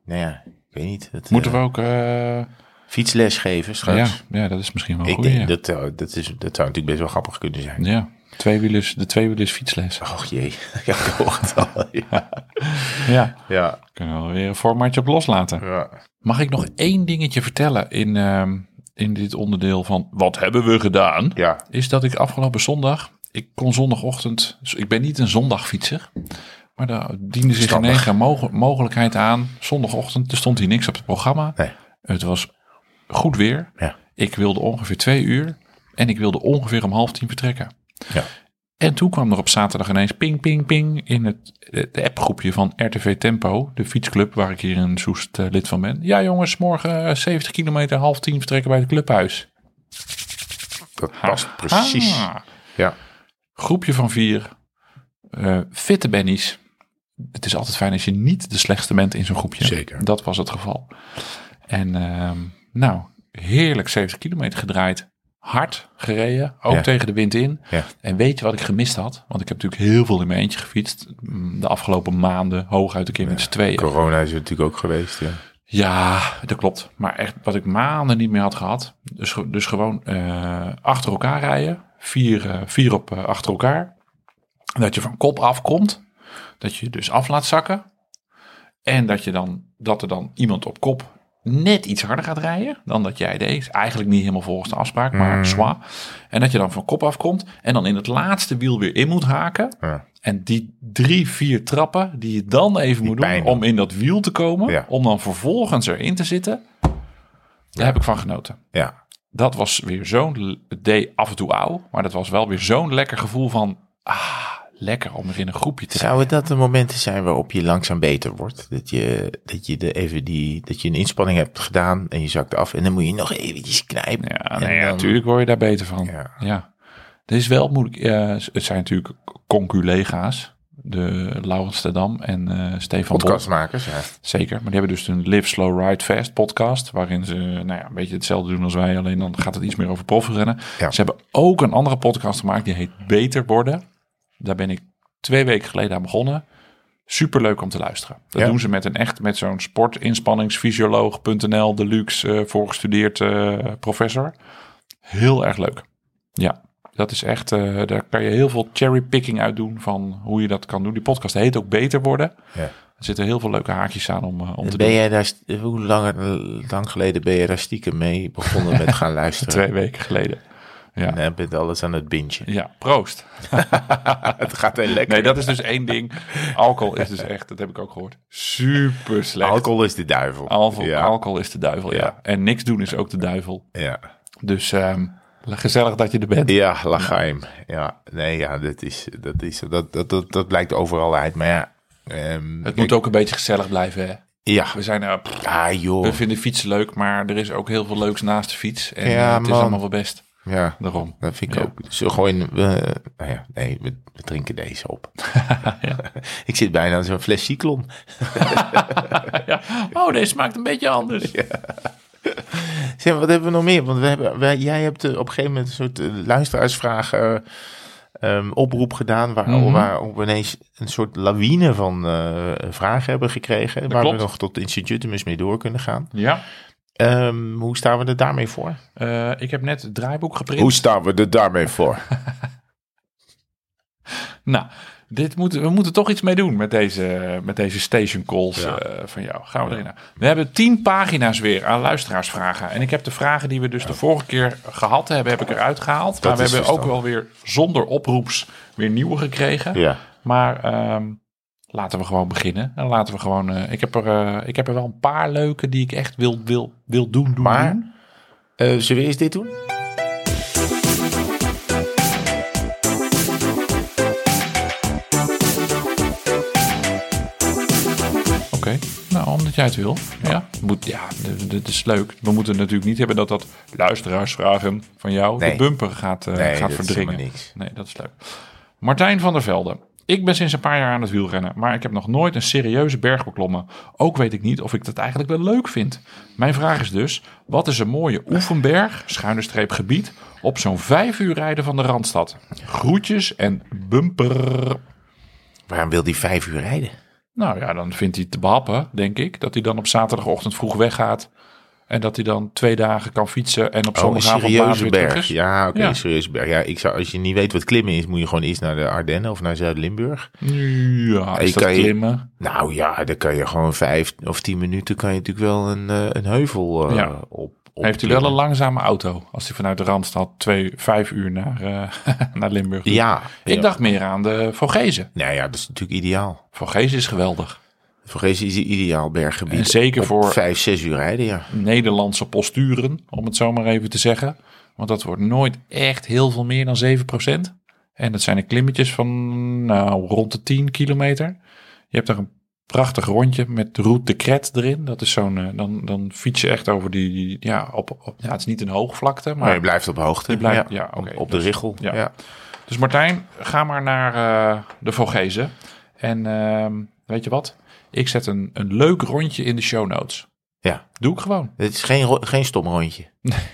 [SPEAKER 1] nou ja, ik weet niet. Dat,
[SPEAKER 2] Moeten
[SPEAKER 1] eh,
[SPEAKER 2] we ook... eh,
[SPEAKER 1] Fietsles geven
[SPEAKER 2] ja,
[SPEAKER 1] straks.
[SPEAKER 2] ja, dat is misschien wel
[SPEAKER 1] ik
[SPEAKER 2] goed.
[SPEAKER 1] denk
[SPEAKER 2] Ja.
[SPEAKER 1] dat, eh, dat, is, dat zou natuurlijk best wel grappig kunnen zijn.
[SPEAKER 2] ja. Tweewielers, de tweewielers fietsles.
[SPEAKER 1] Och jee, ja, ik hoor het al. Ja,
[SPEAKER 2] Ja,
[SPEAKER 1] ja,
[SPEAKER 2] kunnen we weer een formaatje op loslaten.
[SPEAKER 1] ja.
[SPEAKER 2] Mag ik nog één dingetje vertellen in, ehm, in dit onderdeel van wat hebben we gedaan?
[SPEAKER 1] ja.
[SPEAKER 2] Is dat ik afgelopen zondag, ik kon zondagochtend, ik ben niet een zondagfietser, maar daar diende zich in
[SPEAKER 1] Verstandig.
[SPEAKER 2] één keer moge- mogelijkheid aan. Zondagochtend, er stond hier niks op het programma.
[SPEAKER 1] Nee.
[SPEAKER 2] Het was goed weer.
[SPEAKER 1] Ja.
[SPEAKER 2] Ik wilde ongeveer twee uur en ik wilde ongeveer om half tien vertrekken.
[SPEAKER 1] Ja.
[SPEAKER 2] En toen kwam er op zaterdag ineens ping, ping, ping in het, het appgroepje van RTV Tempo, de fietsclub waar ik hier in Soest eh, lid van ben. Ja jongens, morgen eh, 70 kilometer, half tien vertrekken bij het clubhuis.
[SPEAKER 1] dat past precies.
[SPEAKER 2] Ah
[SPEAKER 1] Ja,
[SPEAKER 2] groepje van vier, eh, fitte bennies. Het is altijd fijn als je niet de slechtste bent in zo'n groepje.
[SPEAKER 1] Zeker.
[SPEAKER 2] Dat was het geval. En ehm, nou, heerlijk 70 kilometer gedraaid. Hard gereden, ook
[SPEAKER 1] Ja.
[SPEAKER 2] tegen de wind in.
[SPEAKER 1] Ja.
[SPEAKER 2] En weet je wat ik gemist had? Want ik heb natuurlijk heel veel in mijn eentje gefietst. mm, De afgelopen maanden, hooguit een keer met z'n tweeën.
[SPEAKER 1] corona is er natuurlijk ook geweest. Ja.
[SPEAKER 2] Ja, dat klopt. Maar echt wat ik maanden niet meer had gehad. Dus, ge- dus gewoon eh, achter elkaar rijden. Vier, eh, vier op eh, achter elkaar. Dat je van kop afkomt. Dat je dus af laat zakken. En dat, je dan, dat er dan iemand op kop net iets harder gaat rijden dan dat jij deed. Eigenlijk niet helemaal volgens de afspraak, maar
[SPEAKER 1] Mm.
[SPEAKER 2] zwaar. En dat je dan van kop afkomt en dan in het laatste wiel weer in moet haken.
[SPEAKER 1] Ja.
[SPEAKER 2] En die drie, vier trappen die je dan even moet doen
[SPEAKER 1] pijn
[SPEAKER 2] om in dat wiel te komen,
[SPEAKER 1] Ja.
[SPEAKER 2] om dan vervolgens erin te zitten, daar heb ik van genoten.
[SPEAKER 1] ja.
[SPEAKER 2] Dat was weer zo'n, l- het deed af en toe oud, maar dat was wel weer zo'n lekker gevoel van, ah, lekker om er in een groepje te zijn.
[SPEAKER 1] Zouden dat de momenten zijn waarop je langzaam beter wordt? Dat je, dat je, de, even die, dat je een inspanning hebt gedaan en je zakt af en dan moet je nog eventjes knijpen.
[SPEAKER 2] Ja,
[SPEAKER 1] En
[SPEAKER 2] nee, ja,
[SPEAKER 1] dan-
[SPEAKER 2] natuurlijk word je daar beter van.
[SPEAKER 1] Ja.
[SPEAKER 2] Ja. Het is wel moeilijk. eh, het zijn natuurlijk conculega's. De Laurens Stedam en eh Stefan Bos.
[SPEAKER 1] Podcastmakers, ja.
[SPEAKER 2] Zeker, maar die hebben dus een Live Slow Ride Fast podcast, waarin ze nou ja, een beetje hetzelfde doen als wij, alleen dan gaat het iets meer over profrennen.
[SPEAKER 1] Ja.
[SPEAKER 2] Ze hebben ook een andere podcast gemaakt, die heet Beter Worden. Daar ben ik twee weken geleden aan begonnen. Superleuk om te luisteren. Dat
[SPEAKER 1] Ja.
[SPEAKER 2] doen ze met een echt, met zo'n sportinspanningsfysioloog.nl, deluxe, eh voorgestudeerd eh, professor. Heel erg leuk. Ja, dat is echt, eh, daar kan je heel veel cherrypicking uit doen van hoe je dat kan doen. Die podcast heet ook Beter Worden.
[SPEAKER 1] ja.
[SPEAKER 2] Er zitten heel veel leuke haakjes aan om, eh, om te
[SPEAKER 1] Ben
[SPEAKER 2] doen.
[SPEAKER 1] jij daar, st- hoe lang, lang geleden ben je daar stiekem mee begonnen met gaan luisteren?
[SPEAKER 2] Twee weken geleden. Ja,
[SPEAKER 1] En bent alles aan het bingen.
[SPEAKER 2] ja proost.
[SPEAKER 1] Het gaat heel lekker.
[SPEAKER 2] Nee, dat is dus één ding. Alcohol is dus echt, dat heb ik ook gehoord, super slecht. Alcohol,
[SPEAKER 1] Alcohol is de duivel.
[SPEAKER 2] alcohol,
[SPEAKER 1] ja.
[SPEAKER 2] is de duivel, ja.
[SPEAKER 1] Ja.
[SPEAKER 2] En niks doen is ook de duivel.
[SPEAKER 1] Ja.
[SPEAKER 2] Dus ehm, gezellig dat je er bent.
[SPEAKER 1] Ja, Lachaim. Ja, nee, ja, dat, is, dat, is, dat, dat, dat, dat blijkt overal uit. Maar ja, ehm,
[SPEAKER 2] Het moet ook een beetje gezellig blijven, hè.
[SPEAKER 1] ja.
[SPEAKER 2] We zijn er... pff,
[SPEAKER 1] Ah,
[SPEAKER 2] we
[SPEAKER 1] joh.
[SPEAKER 2] vinden fietsen leuk, maar er is ook heel veel leuks naast de fiets. En
[SPEAKER 1] Ja,
[SPEAKER 2] eh, het is
[SPEAKER 1] man.
[SPEAKER 2] allemaal wel best.
[SPEAKER 1] Ja,
[SPEAKER 2] Daarom.
[SPEAKER 1] dat vind ik
[SPEAKER 2] Ja.
[SPEAKER 1] ook. Zo gooien we. Nou ja, nee, we, we drinken deze op. ik zit bijna aan zo'n fles cyclon.
[SPEAKER 2] Ja. Oh, deze smaakt een beetje anders.
[SPEAKER 1] Zeg, wat hebben we nog meer? Want we hebben, wij, jij hebt eh, op een gegeven moment een soort eh, luisteraarsvraag eh, ehm, oproep gedaan. Waar,
[SPEAKER 2] Mhm.
[SPEAKER 1] waar we ineens een soort lawine van eh, vragen hebben gekregen. waar
[SPEAKER 2] klopt.
[SPEAKER 1] we nog tot Institutumus mee door kunnen gaan.
[SPEAKER 2] Ja.
[SPEAKER 1] Ehm, hoe staan we er daarmee voor?
[SPEAKER 2] Eh, ik heb net het draaiboek geprint.
[SPEAKER 1] staan we er daarmee voor?
[SPEAKER 2] Nou, dit moet, we moeten toch iets mee doen met deze, met deze station calls
[SPEAKER 1] Ja.
[SPEAKER 2] eh, van jou. Gaan we erin. aan. We hebben tien pagina's weer aan luisteraarsvragen. En ik heb de vragen die we dus de vorige keer gehad hebben, heb ik eruit gehaald. maar we
[SPEAKER 1] is dus
[SPEAKER 2] hebben ook
[SPEAKER 1] verstandig.
[SPEAKER 2] wel weer zonder oproeps weer nieuwe gekregen.
[SPEAKER 1] ja.
[SPEAKER 2] Maar ehm, laten we gewoon beginnen. En laten we gewoon. eh, ik, heb er, eh, ik heb er wel een paar leuke die ik echt wil, wil, wil doen. doen
[SPEAKER 1] Maar-
[SPEAKER 2] doen.
[SPEAKER 1] Eh, zullen we eerst dit doen?
[SPEAKER 2] dat Nou, jij het wil. Ja, moet, ja d- d- dat is leuk. We moeten natuurlijk niet hebben dat dat luisteraarsvragen van jou
[SPEAKER 1] Nee.
[SPEAKER 2] de bumper gaat, eh,
[SPEAKER 1] Nee,
[SPEAKER 2] gaat
[SPEAKER 1] dat is
[SPEAKER 2] verdringen.
[SPEAKER 1] helemaal niks.
[SPEAKER 2] Nee, dat is leuk. Martijn van der Velde. Ik ben sinds een paar jaar aan het wielrennen, maar ik heb nog nooit een serieuze berg beklommen. Ook weet ik niet of ik dat eigenlijk wel leuk vind. Mijn vraag is dus, wat is een mooie oefenberg, schuine streep gebied, op zo'n vijf uur rijden van de Randstad? Groetjes en bumper.
[SPEAKER 1] Waarom wil die vijf uur rijden?
[SPEAKER 2] Nou ja, dan vindt hij het te behappen, denk ik. Dat hij dan op zaterdagochtend vroeg weggaat. En dat hij dan twee dagen kan fietsen. En op
[SPEAKER 1] Oh, een
[SPEAKER 2] zondagavond laat
[SPEAKER 1] serieuze
[SPEAKER 2] weer terug
[SPEAKER 1] berg.
[SPEAKER 2] is.
[SPEAKER 1] Ja, oké,
[SPEAKER 2] Ja.
[SPEAKER 1] een serieuze berg. Ja, ik zou, als je niet weet wat klimmen is, moet je gewoon eerst naar de Ardennen of naar Zuid-Limburg.
[SPEAKER 2] Ja, is
[SPEAKER 1] Ik
[SPEAKER 2] dat
[SPEAKER 1] kan je-
[SPEAKER 2] klimmen?
[SPEAKER 1] Nou ja, dan kan je gewoon vijf of tien minuten kan je natuurlijk wel een, eh, een heuvel eh,
[SPEAKER 2] Ja.
[SPEAKER 1] op, op.
[SPEAKER 2] Heeft hij wel een langzame auto? Als hij vanuit de Randstad twee, vijf uur naar, eh, naar Limburg doet.
[SPEAKER 1] Ja.
[SPEAKER 2] Ik
[SPEAKER 1] ja.
[SPEAKER 2] dacht meer aan de Vogezen.
[SPEAKER 1] Nou ja, dat is natuurlijk ideaal.
[SPEAKER 2] Vogezen is geweldig.
[SPEAKER 1] Vergees is een ideaal
[SPEAKER 2] En
[SPEAKER 1] berggebied.
[SPEAKER 2] zeker voor
[SPEAKER 1] Vijf, zes uur rijden, ja.
[SPEAKER 2] Nederlandse posturen, om het zo maar even te zeggen. Want dat wordt nooit echt heel veel meer dan 7%. En dat zijn de klimmetjes van nou, rond de 10 kilometer. Je hebt daar een prachtig rondje met Route de Kret erin. Dat is zo'n, eh, dan, dan fiets je echt over die, die- ja, op, op, ja, het is niet een hoogvlakte, maar...
[SPEAKER 1] Maar je blijft op hoogte.
[SPEAKER 2] Je blijft- ja,
[SPEAKER 1] op-
[SPEAKER 2] oké.
[SPEAKER 1] Op de richel.
[SPEAKER 2] Ja.
[SPEAKER 1] Ja.
[SPEAKER 2] Dus Martijn, ga maar naar eh, de Vogezen. En ehm, weet je wat? Ik zet een, een leuk rondje in de show notes.
[SPEAKER 1] Ja.
[SPEAKER 2] Doe ik gewoon.
[SPEAKER 1] Het is geen, ro- geen stom rondje.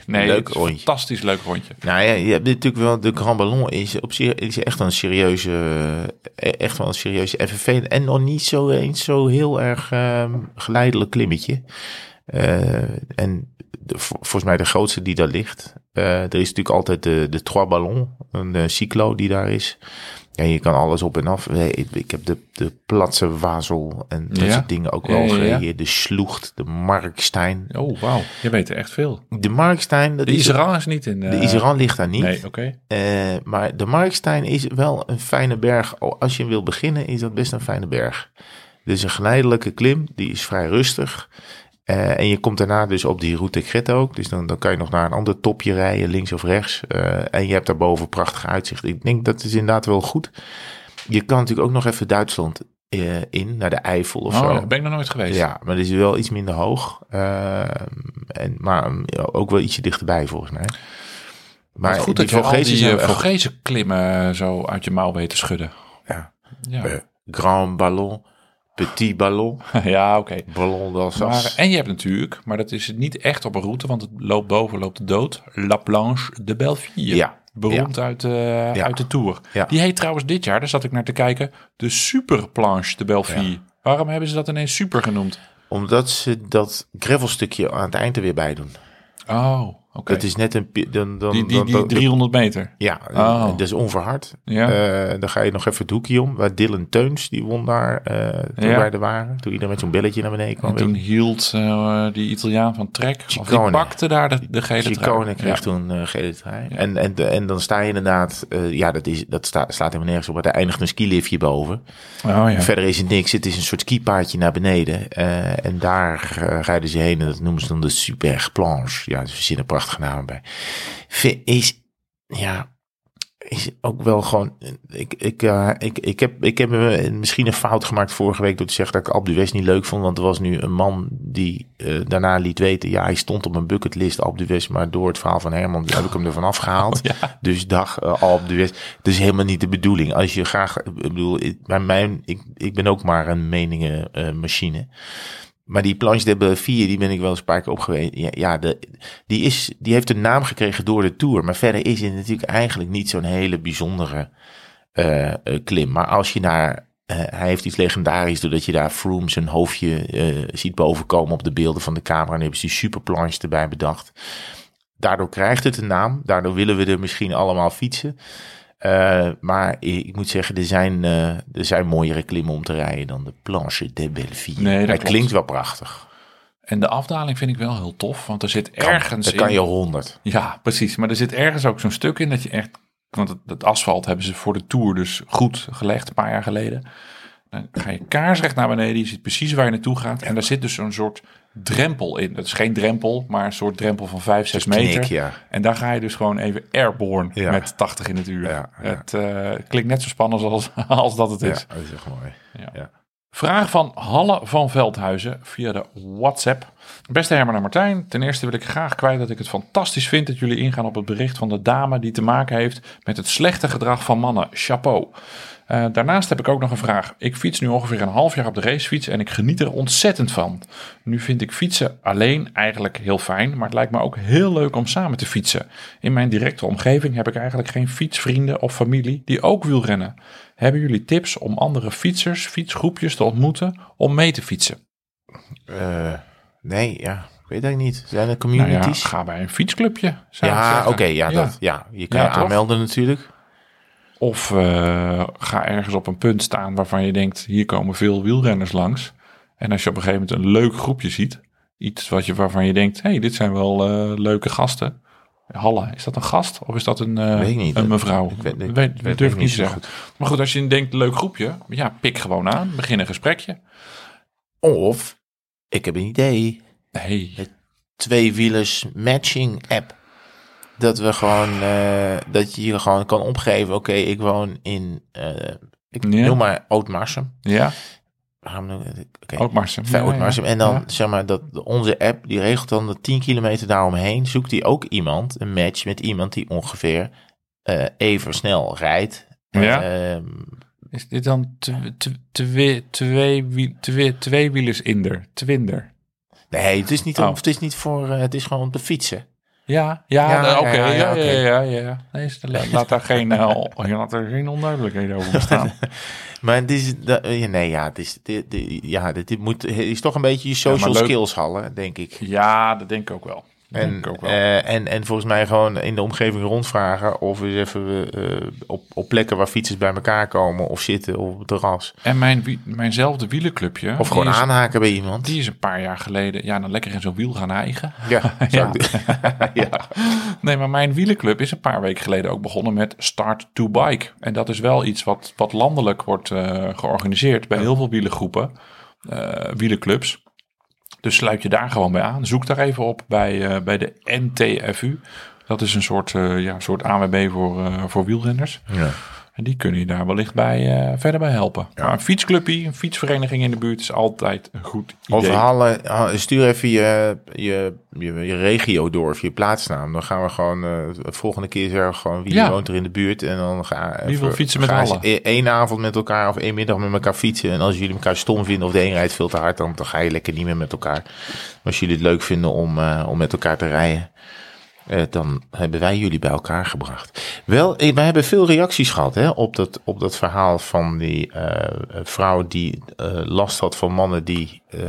[SPEAKER 2] Nee,
[SPEAKER 1] Leuk
[SPEAKER 2] het is een
[SPEAKER 1] rondje.
[SPEAKER 2] fantastisch leuk rondje.
[SPEAKER 1] Nou ja, je hebt natuurlijk wel de Grand Ballon is op zich is echt wel een serieuze, eh, echt wel een serieuze FNV en nog niet zo eens zo heel erg ehm, geleidelijk klimmetje. Eh, en de- vo- volgens mij de grootste die daar ligt. Eh, er is natuurlijk altijd de, de Trois Ballon, een eh, cyclo die daar is. En je kan alles op en af. Nee, Ik, ik heb de, de platse wazel en dat
[SPEAKER 2] Ja.
[SPEAKER 1] soort dingen ook
[SPEAKER 2] Ja,
[SPEAKER 1] wel
[SPEAKER 2] ja, ja.
[SPEAKER 1] gereden. De Sloegt, de Markstein.
[SPEAKER 2] Oh, wauw. Je weet er echt veel.
[SPEAKER 1] De Markstein, dat
[SPEAKER 2] De
[SPEAKER 1] is,
[SPEAKER 2] Iseran is niet in... eh,
[SPEAKER 1] de Iseran ligt daar niet.
[SPEAKER 2] Nee, oké.
[SPEAKER 1] Eh, maar de Markstein is wel een fijne berg. Al Als je wil beginnen, is dat best een fijne berg. Dus een geleidelijke klim, die is vrij rustig. Eh, en je komt daarna dus op die route Cret ook. Dus dan, dan kan je nog naar een ander topje rijden, links of rechts. Eh, en je hebt daarboven prachtig uitzicht. Ik denk dat is inderdaad wel goed. Je kan natuurlijk ook nog even Duitsland eh, in, naar de Eifel of
[SPEAKER 2] Oh,
[SPEAKER 1] zo.
[SPEAKER 2] daar ben ik nog nooit geweest.
[SPEAKER 1] Ja, maar dat is wel iets minder hoog. Ehm, en, maar mm, ook wel ietsje dichterbij volgens mij.
[SPEAKER 2] Maar goed dat je al
[SPEAKER 1] Vogezen
[SPEAKER 2] die
[SPEAKER 1] zijn
[SPEAKER 2] eh,
[SPEAKER 1] wel nou echt-
[SPEAKER 2] Vogezen klimmen eh, zo uit je mouw weet te schudden.
[SPEAKER 1] Ja.
[SPEAKER 2] Ja,
[SPEAKER 1] Eh, Grand Ballon, Petit Ballon,
[SPEAKER 2] ja oké.
[SPEAKER 1] Ballon
[SPEAKER 2] Maar,
[SPEAKER 1] d'Alsace.
[SPEAKER 2] en je hebt natuurlijk, maar dat is niet echt op een route, want het loopt boven, loopt de dood. La Planche de Belleville.
[SPEAKER 1] Ja.
[SPEAKER 2] Beroemd Uit, eh,
[SPEAKER 1] Ja.
[SPEAKER 2] uit de Tour.
[SPEAKER 1] Ja.
[SPEAKER 2] Die heet trouwens dit jaar, daar zat ik naar te kijken, de Super Planche de Belleville. Waarom hebben ze dat ineens super genoemd?
[SPEAKER 1] Omdat ze dat gravelstukje aan het eind er weer bij doen.
[SPEAKER 2] Oh, oké.
[SPEAKER 1] Dat is net een... pi- Dan, dan,
[SPEAKER 2] Die, die,
[SPEAKER 1] dan-
[SPEAKER 2] die
[SPEAKER 1] dan-
[SPEAKER 2] 300 meter.
[SPEAKER 1] Ja,
[SPEAKER 2] Oh.
[SPEAKER 1] dat is onverhard.
[SPEAKER 2] Ja.
[SPEAKER 1] Eh, dan ga je nog even het hoekje om. Waar Dylan Teuns, die won daar eh, toen
[SPEAKER 2] Ja.
[SPEAKER 1] wij er waren. Toen iedereen met zo'n belletje naar beneden kwam.
[SPEAKER 2] En toen hield eh, die Italiaan van Trek. Of die
[SPEAKER 1] Ciccone.
[SPEAKER 2] pakte daar de, de gele trui.
[SPEAKER 1] Chicone kreeg
[SPEAKER 2] Ja.
[SPEAKER 1] toen eh gele trui. En, en, en dan sta je inderdaad... eh, ja, dat, is, dat sta, slaat helemaal nergens op. Maar daar eindigt een skiliftje boven.
[SPEAKER 2] Oh, ja.
[SPEAKER 1] Verder is het niks. Het is een soort skipaadje naar beneden. Eh, en daar eh, rijden ze heen. En dat noemen ze dan de Super Planche. Ja, dus ze verzinnen prachtige namen bij. Ve- Is, ja, is ook wel gewoon... Ik, ik, eh, ik, ik heb, ik heb eh, misschien een fout gemaakt vorige week... door te zeggen dat ik Alpe d'Huez niet leuk vond. Want er was nu een man die eh, daarna liet weten... ja, hij stond op mijn bucketlist Alpe d'Huez... maar door het verhaal van Herman heb ik hem ervan afgehaald. Dus dag eh, Alpe d'Huez. Dat is helemaal niet de bedoeling. Als je graag... Ik bedoel, ik, bij mijn, ik, ik ben ook maar een meningenmachine... maar die Planche de Belleville, die ben ik wel eens een paar keer op geweest. Ja, ja, de, die, is, die heeft een naam gekregen door de Tour. Maar verder is het natuurlijk eigenlijk niet zo'n hele bijzondere eh, eh, klim. Maar als je naar... eh, hij heeft iets legendarisch doordat je daar Froome zijn hoofdje eh, ziet bovenkomen op de beelden van de camera. En daar hebben ze die superplanche erbij bedacht. Daardoor krijgt het een naam. Daardoor willen we er misschien allemaal fietsen. Eh, maar ik ik moet zeggen, er zijn, eh, er zijn mooiere klimmen om te rijden dan de Planche de Belleville.
[SPEAKER 2] Nee, dat
[SPEAKER 1] hij
[SPEAKER 2] klopt.
[SPEAKER 1] klinkt wel prachtig.
[SPEAKER 2] En de afdaling vind ik wel heel tof, want er zit
[SPEAKER 1] Kan-
[SPEAKER 2] ergens
[SPEAKER 1] Dan kan
[SPEAKER 2] in-
[SPEAKER 1] je honderd.
[SPEAKER 2] Ja, precies. Maar er zit ergens ook zo'n stuk in dat je echt... Want het, het asfalt hebben ze voor de Tour dus goed gelegd, een paar jaar geleden. Dan ga je kaarsrecht naar beneden, je ziet precies waar je naartoe gaat. En daar zit dus zo'n soort drempel in. Dat is geen drempel, maar een soort drempel van 5, 6
[SPEAKER 1] Zo'n knik,
[SPEAKER 2] meter.
[SPEAKER 1] ja.
[SPEAKER 2] En daar ga je dus gewoon even airborne
[SPEAKER 1] Ja.
[SPEAKER 2] met 80 in het uur.
[SPEAKER 1] Ja, ja.
[SPEAKER 2] Het eh, klinkt net zo spannend als, als dat het
[SPEAKER 1] Ja,
[SPEAKER 2] is.
[SPEAKER 1] dat is echt mooi.
[SPEAKER 2] Ja.
[SPEAKER 1] Ja.
[SPEAKER 2] Vraag van Halle van Veldhuizen via de WhatsApp. Beste Herman en Martijn, ten eerste wil ik graag kwijt dat ik het fantastisch vind dat jullie ingaan op het bericht van de dame die te maken heeft met het slechte gedrag van mannen. Chapeau. Eh, daarnaast heb ik ook nog een vraag. Ik fiets nu ongeveer een half jaar op de racefiets en ik geniet er ontzettend van. Nu vind ik fietsen alleen eigenlijk heel fijn, maar het lijkt me ook heel leuk om samen te fietsen. In mijn directe omgeving heb ik eigenlijk geen fietsvrienden of familie die ook wielrennen. Hebben jullie tips om andere fietsers, fietsgroepjes te ontmoeten om mee te fietsen?
[SPEAKER 1] Eh, nee, ja, ik weet eigenlijk niet. Zijn er
[SPEAKER 2] Nou ja,
[SPEAKER 1] communities?
[SPEAKER 2] ga bij een fietsclubje. zou ik
[SPEAKER 1] ja,
[SPEAKER 2] zeggen.
[SPEAKER 1] oké, ja, dat. Ja, je kan
[SPEAKER 2] Ja,
[SPEAKER 1] je
[SPEAKER 2] toch?
[SPEAKER 1] aanmelden natuurlijk.
[SPEAKER 2] Of eh, ga ergens op een punt staan waarvan je denkt, hier komen veel wielrenners langs. En als je op een gegeven moment een leuk groepje ziet, iets wat je, waarvan je denkt, hé, hey, dit zijn wel eh, leuke gasten. Halle, is dat een gast of is dat een, eh,
[SPEAKER 1] Weet ik niet.
[SPEAKER 2] een mevrouw?
[SPEAKER 1] Ik weet- ik
[SPEAKER 2] Dat
[SPEAKER 1] weet-
[SPEAKER 2] durf
[SPEAKER 1] weet
[SPEAKER 2] ik niet
[SPEAKER 1] niet
[SPEAKER 2] te
[SPEAKER 1] zo
[SPEAKER 2] zeggen. Maar goed, als je denkt, leuk groepje, ja, pik gewoon aan, begin een gesprekje.
[SPEAKER 1] Of, ik heb een idee,
[SPEAKER 2] Hey,
[SPEAKER 1] tweewielers matching app. Dat we gewoon, eh, dat je je gewoon kan opgeven. Oké, ik woon in, eh, ik
[SPEAKER 2] Ja.
[SPEAKER 1] noem maar Oud-Marsum.
[SPEAKER 2] ja,
[SPEAKER 1] Waarom noem ik het? Oké.
[SPEAKER 2] ook Marsum.
[SPEAKER 1] Ver
[SPEAKER 2] Ja, ja.
[SPEAKER 1] Oud-Marsum. En dan,
[SPEAKER 2] Ja.
[SPEAKER 1] zeg maar, dat onze app, die regelt dan dat 10 kilometer daaromheen, zoekt hij ook iemand, een match met iemand die ongeveer eh, even snel rijdt.
[SPEAKER 2] Ja.
[SPEAKER 1] Ehm,
[SPEAKER 2] Is dit dan tw- tw- twe- twee wie- twe- tweewielers inder? Twinder?
[SPEAKER 1] nee, het is niet, om-
[SPEAKER 2] Oh.
[SPEAKER 1] het is niet voor, eh, het is gewoon om te fietsen.
[SPEAKER 2] Ja, ja,
[SPEAKER 1] Ja,
[SPEAKER 2] da-
[SPEAKER 1] ja,
[SPEAKER 2] oké.
[SPEAKER 1] ja,
[SPEAKER 2] Ja, ja,
[SPEAKER 1] oké.
[SPEAKER 2] ja, ja, ja. Nee, is- la- laat daar geen, eh, on- laat daar geen onduidelijkheden over bestaan.
[SPEAKER 1] Maar het is, da- eh, nee, ja, het is, dit, dit- ja, dit, dit moet, het is toch een beetje je
[SPEAKER 2] Ja,
[SPEAKER 1] social
[SPEAKER 2] maar leuk-
[SPEAKER 1] skills halen, denk ik.
[SPEAKER 2] Ja, dat denk ik ook wel. Dat
[SPEAKER 1] En,
[SPEAKER 2] denk ik ook wel.
[SPEAKER 1] eh, en, en volgens mij gewoon in de omgeving rondvragen of eens even eh, op, op plekken waar fietsers bij elkaar komen of zitten of op het terras.
[SPEAKER 2] en mijn, wie- mijnzelfde wielenclubje.
[SPEAKER 1] Of gewoon
[SPEAKER 2] die is,
[SPEAKER 1] aanhaken bij iemand.
[SPEAKER 2] Die is een paar jaar geleden, ja, dan lekker in zo'n wiel gaan eigen.
[SPEAKER 1] Ja,
[SPEAKER 2] Ja.
[SPEAKER 1] zou ik doen. ja.
[SPEAKER 2] Nee, maar mijn wielenclub is een paar weken geleden ook begonnen met Start to Bike. En dat is wel iets wat, wat landelijk wordt eh, georganiseerd bij heel veel wielengroepen, eh wielenclubs. Dus sluit je daar gewoon bij aan. Zoek daar even op bij, eh, bij de NTFU. Dat is een soort, eh, ja, een soort AWB voor, eh, voor wielrenners.
[SPEAKER 1] Ja.
[SPEAKER 2] En die kunnen je daar wellicht bij, eh, verder bij helpen. Maar een fietsclubje, een fietsvereniging in de buurt is altijd een goed idee.
[SPEAKER 1] Of halen, ha- stuur even je, je, je, je regio door of je plaatsnaam. Dan gaan we gewoon, eh, de volgende keer zeggen we gewoon wie
[SPEAKER 2] Ja.
[SPEAKER 1] woont er in de buurt. En dan ga
[SPEAKER 2] Wie wil
[SPEAKER 1] even-
[SPEAKER 2] fietsen met
[SPEAKER 1] ga eens
[SPEAKER 2] Halle?
[SPEAKER 1] e- één avond met elkaar of één middag met elkaar fietsen. En als jullie elkaar stom vinden of de een rijdt veel te hard, dan, dan ga je lekker niet meer met elkaar. Maar als jullie het leuk vinden om, eh, om met elkaar te rijden. eh, dan hebben wij jullie bij elkaar gebracht. Wel, eh, wij hebben veel reacties gehad hè, op, dat, op dat verhaal van die eh, vrouw die eh, last had van mannen die eh,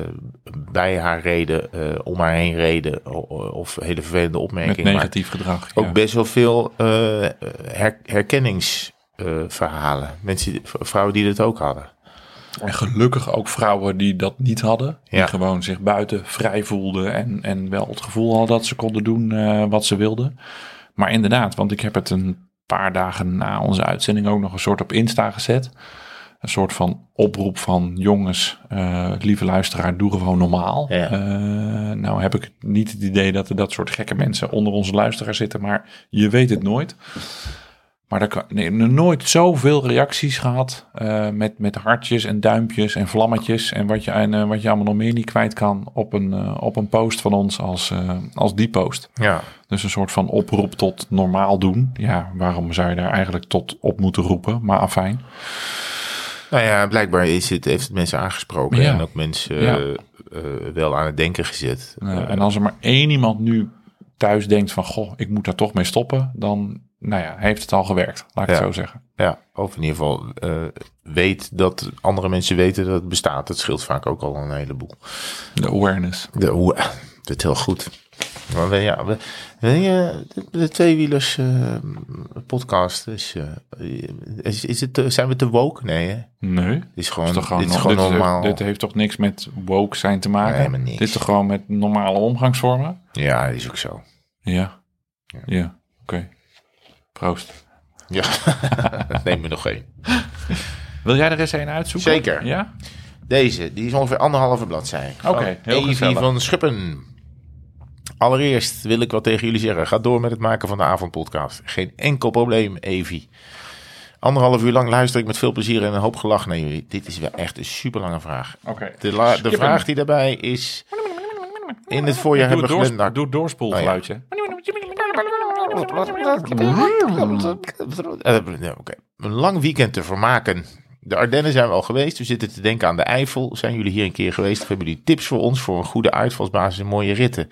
[SPEAKER 1] bij haar reden, eh, om haar heen reden o- o- of hele vervelende
[SPEAKER 2] met
[SPEAKER 1] opmerkingen. maakte
[SPEAKER 2] negatief gedrag.
[SPEAKER 1] ook
[SPEAKER 2] ja.
[SPEAKER 1] best wel veel eh, her- herkenningsverhalen. Mensen, die- vrouwen die dat ook hadden.
[SPEAKER 2] En gelukkig ook vrouwen die dat niet hadden.
[SPEAKER 1] Ja.
[SPEAKER 2] Die gewoon zich buiten vrij voelden. En, en wel het gevoel hadden dat ze konden doen eh, wat ze wilden. Maar inderdaad, want ik heb het een paar dagen na onze uitzending ook nog een soort op Insta gezet. Een soort van oproep van jongens, eh, lieve luisteraar, doe gewoon normaal.
[SPEAKER 1] Ja.
[SPEAKER 2] Eh, nou heb ik niet het idee dat er dat soort gekke mensen onder onze luisteraar zitten. Maar je weet het nooit. Maar er kwa- nee, nog nooit zoveel reacties gehad eh, met, met hartjes en duimpjes en vlammetjes en wat je, en, eh, wat je allemaal nog meer niet kwijt kan op een, eh, op een post van ons als, eh, als die post.
[SPEAKER 1] Ja.
[SPEAKER 2] Dus een soort van oproep tot normaal doen. Ja, waarom zou je daar eigenlijk tot op moeten roepen? Maar afijn.
[SPEAKER 1] Nou ja, blijkbaar is het, heeft het mensen aangesproken
[SPEAKER 2] Ja.
[SPEAKER 1] en ook mensen
[SPEAKER 2] Ja.
[SPEAKER 1] eh, eh, wel aan het denken gezet.
[SPEAKER 2] Eh, en als er maar één iemand nu thuis denkt van, goh, ik moet daar toch mee stoppen. Dan, nou ja, heeft het al gewerkt, laat ik
[SPEAKER 1] Ja.
[SPEAKER 2] het zo zeggen.
[SPEAKER 1] Ja, of in ieder geval eh, weet dat andere mensen weten dat het bestaat. Dat scheelt vaak ook al een heleboel.
[SPEAKER 2] De awareness.
[SPEAKER 1] De, hoe, dat is heel goed. Maar we- ja, we, we- ja, de, de tweewielers eh, podcast is, eh, is, is het, te- zijn we te woke? Nee, hè?
[SPEAKER 2] Nee.
[SPEAKER 1] Het is gewoon,
[SPEAKER 2] Is toch gewoon
[SPEAKER 1] dit is
[SPEAKER 2] no-
[SPEAKER 1] gewoon
[SPEAKER 2] dit,
[SPEAKER 1] normaal.
[SPEAKER 2] Dit heeft toch niks met woke zijn te maken?
[SPEAKER 1] Nee, helemaal niks.
[SPEAKER 2] Dit is toch gewoon met normale omgangsvormen?
[SPEAKER 1] Ja, dat is ook zo.
[SPEAKER 2] Ja. Ja, oké. Proost.
[SPEAKER 1] Ja, neem me nog één.
[SPEAKER 2] Wil jij er eens een uitzoeken?
[SPEAKER 1] Zeker.
[SPEAKER 2] Ja?
[SPEAKER 1] Deze, die is ongeveer anderhalve bladzij. Oké,
[SPEAKER 2] Oké, heel
[SPEAKER 1] Evie
[SPEAKER 2] gezellig.
[SPEAKER 1] van Schuppen. Allereerst wil ik wat tegen jullie zeggen. Ga door met het maken van de avondpodcast. Geen enkel probleem, Evie. Anderhalf uur lang luister ik met veel plezier en een hoop gelach naar jullie. Dit is wel echt een super lange vraag.
[SPEAKER 2] Oké.
[SPEAKER 1] De, la- de
[SPEAKER 2] Skippen.
[SPEAKER 1] vraag die daarbij is... In het voorjaar
[SPEAKER 2] Doe
[SPEAKER 1] hebben
[SPEAKER 2] het
[SPEAKER 1] we
[SPEAKER 2] doors-
[SPEAKER 1] Glendak.
[SPEAKER 2] doe het doorspoelgeluidje. Oh,
[SPEAKER 1] Eh, nee, oké. Een lang weekend te vermaken. De Ardennen zijn we al geweest. We zitten te denken aan de Eifel. Zijn jullie hier een keer geweest? Of hebben jullie tips voor ons voor een goede uitvalsbasis en mooie ritten?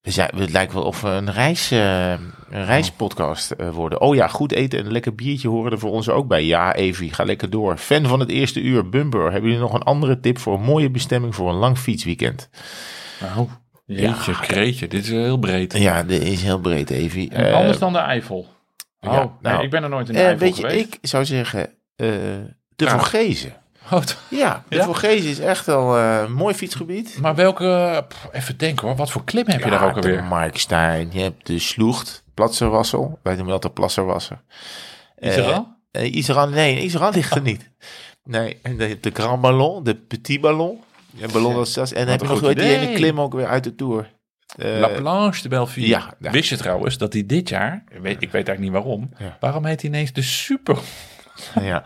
[SPEAKER 1] We zijn, het lijkt wel of we een, reis, eh, een reispodcast eh, worden. Oh ja, goed eten en een lekker biertje horen er voor ons ook bij. Ja, Evi, ga lekker door. Fan van het eerste uur, Bumper. Hebben jullie nog een andere tip voor een mooie bestemming voor een lang fietsweekend?
[SPEAKER 2] Nou, jeetje, kreetje. Dit is heel breed.
[SPEAKER 1] Ja, dit is heel breed, Evi.
[SPEAKER 2] En
[SPEAKER 1] Eh,
[SPEAKER 2] anders dan de Eifel. Oh,
[SPEAKER 1] ja,
[SPEAKER 2] nee,
[SPEAKER 1] nou,
[SPEAKER 2] ik ben er nooit in de
[SPEAKER 1] Eh,
[SPEAKER 2] Eifel
[SPEAKER 1] weet je,
[SPEAKER 2] geweest.
[SPEAKER 1] ik zou zeggen, eh de
[SPEAKER 2] Ja.
[SPEAKER 1] Vorgezen.
[SPEAKER 2] Oh, t-
[SPEAKER 1] Ja, de
[SPEAKER 2] Ja?
[SPEAKER 1] Vorgezen is echt wel eh, een mooi fietsgebied.
[SPEAKER 2] maar welke... pff, even denken hoor. Wat voor klim heb je daar ook
[SPEAKER 1] De
[SPEAKER 2] alweer?
[SPEAKER 1] Markstein, je hebt de Sloegt, Platserwassel. Wij noemen dat de Platserwasser.
[SPEAKER 2] Is er al? Ah.
[SPEAKER 1] Eh, Iseran, nee, Iseran ligt er niet. Nee, en dan heb je de Grand Ballon, de Petit Ballon. Ja, ballon dat zelfs- en dan heb je
[SPEAKER 2] een
[SPEAKER 1] nog
[SPEAKER 2] goed
[SPEAKER 1] weer die
[SPEAKER 2] idee.
[SPEAKER 1] ene klim ook weer uit de Tour. Eh,
[SPEAKER 2] La Planche de Belleville.
[SPEAKER 1] ja, ja.
[SPEAKER 2] Wist je trouwens dat hij dit jaar, ik weet, ik weet eigenlijk niet waarom,
[SPEAKER 1] Ja.
[SPEAKER 2] waarom heet hij ineens de Super?
[SPEAKER 1] Ja,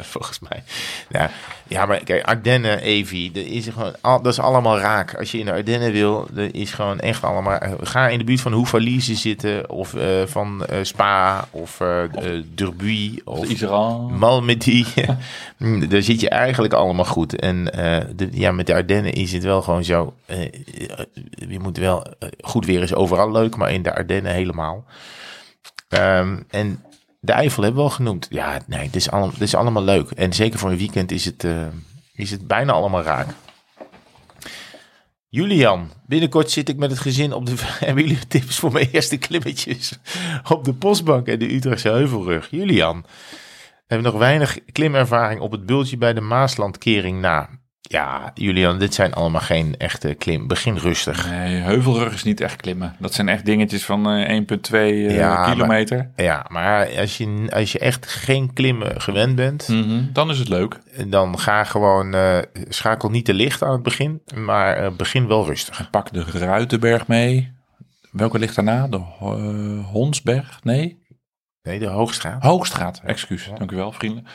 [SPEAKER 1] volgens mij. Ja, ja maar kijk, Ardennen, Evi, dat is, gewoon, al, dat is allemaal raak. Als je in de Ardennen wil, dat is gewoon echt allemaal... eh, Ga in de buurt van Hoefalize zitten, of eh, van eh, Spa, of eh eh, Derby,
[SPEAKER 2] Of
[SPEAKER 1] of
[SPEAKER 2] Iseran.
[SPEAKER 1] Malmedy. Mm, Daar zit je eigenlijk allemaal goed. En eh, de- ja, met de Ardennen is het wel gewoon zo... eh, eh, je moet wel... eh, goed weer is overal leuk, maar in de Ardennen helemaal. Ehm, en de Eifel hebben we al genoemd. Ja, nee, het is, allemaal, het is allemaal leuk. En zeker voor een weekend is het, eh, is het bijna allemaal raak. Julian, binnenkort zit ik met het gezin op de... Hebben jullie tips voor mijn eerste klimmetjes op de postbank en de Utrechtse Heuvelrug? Julian, we hebben nog weinig klimervaring op het bultje bij de Maaslandkering na. Ja, Julian, dit zijn allemaal geen echte klim. Begin rustig.
[SPEAKER 2] Nee, Heuvelrug is niet echt klimmen. Dat zijn echt dingetjes van eh, 1,2 eh,
[SPEAKER 1] Ja, maar-
[SPEAKER 2] kilometer.
[SPEAKER 1] Ja, maar als je, als je echt geen klimmen gewend bent...
[SPEAKER 2] Mhm, Dan is het leuk.
[SPEAKER 1] dan ga gewoon, eh, schakel niet te licht aan het begin, maar eh, begin wel rustig.
[SPEAKER 2] Pak de Ruitenberg mee. Welke ligt daarna? De eh, Honsberg? Nee?
[SPEAKER 1] Nee, de Hoogstraat.
[SPEAKER 2] Hoogstraat, excuus. Dank u wel, vrienden.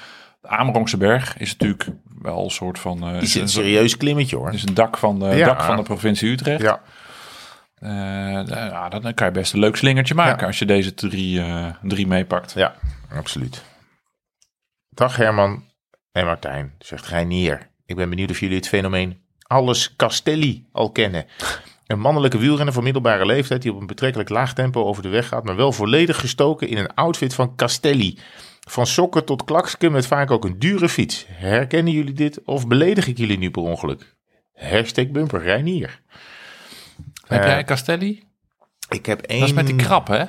[SPEAKER 2] De Amerongse Berg is natuurlijk wel een soort van... eh,
[SPEAKER 1] Is een
[SPEAKER 2] soort-
[SPEAKER 1] serieus klimmetje hoor.
[SPEAKER 2] is een dak van de,
[SPEAKER 1] Ja.
[SPEAKER 2] dak van de provincie Utrecht.
[SPEAKER 1] Ja,
[SPEAKER 2] Eh, nou, nou, dan kan je best een leuk slingertje maken
[SPEAKER 1] Ja.
[SPEAKER 2] als je deze drie, eh, drie meepakt.
[SPEAKER 1] ja, absoluut. Dag Herman en Martijn, zegt Reinier. Ik ben benieuwd of jullie het fenomeen Alles Castelli al kennen. Een mannelijke wielrenner van middelbare leeftijd die op een betrekkelijk laag tempo over de weg gaat, maar wel volledig gestoken in een outfit van Castelli. Van sokken tot klaksken met vaak ook een dure fiets. Herkennen jullie dit of beledig ik jullie nu per ongeluk? Hashtag bumper Reinier.
[SPEAKER 2] Heb
[SPEAKER 1] Eh,
[SPEAKER 2] jij Castelli?
[SPEAKER 1] Ik heb één...
[SPEAKER 2] Dat is met die krab, hè?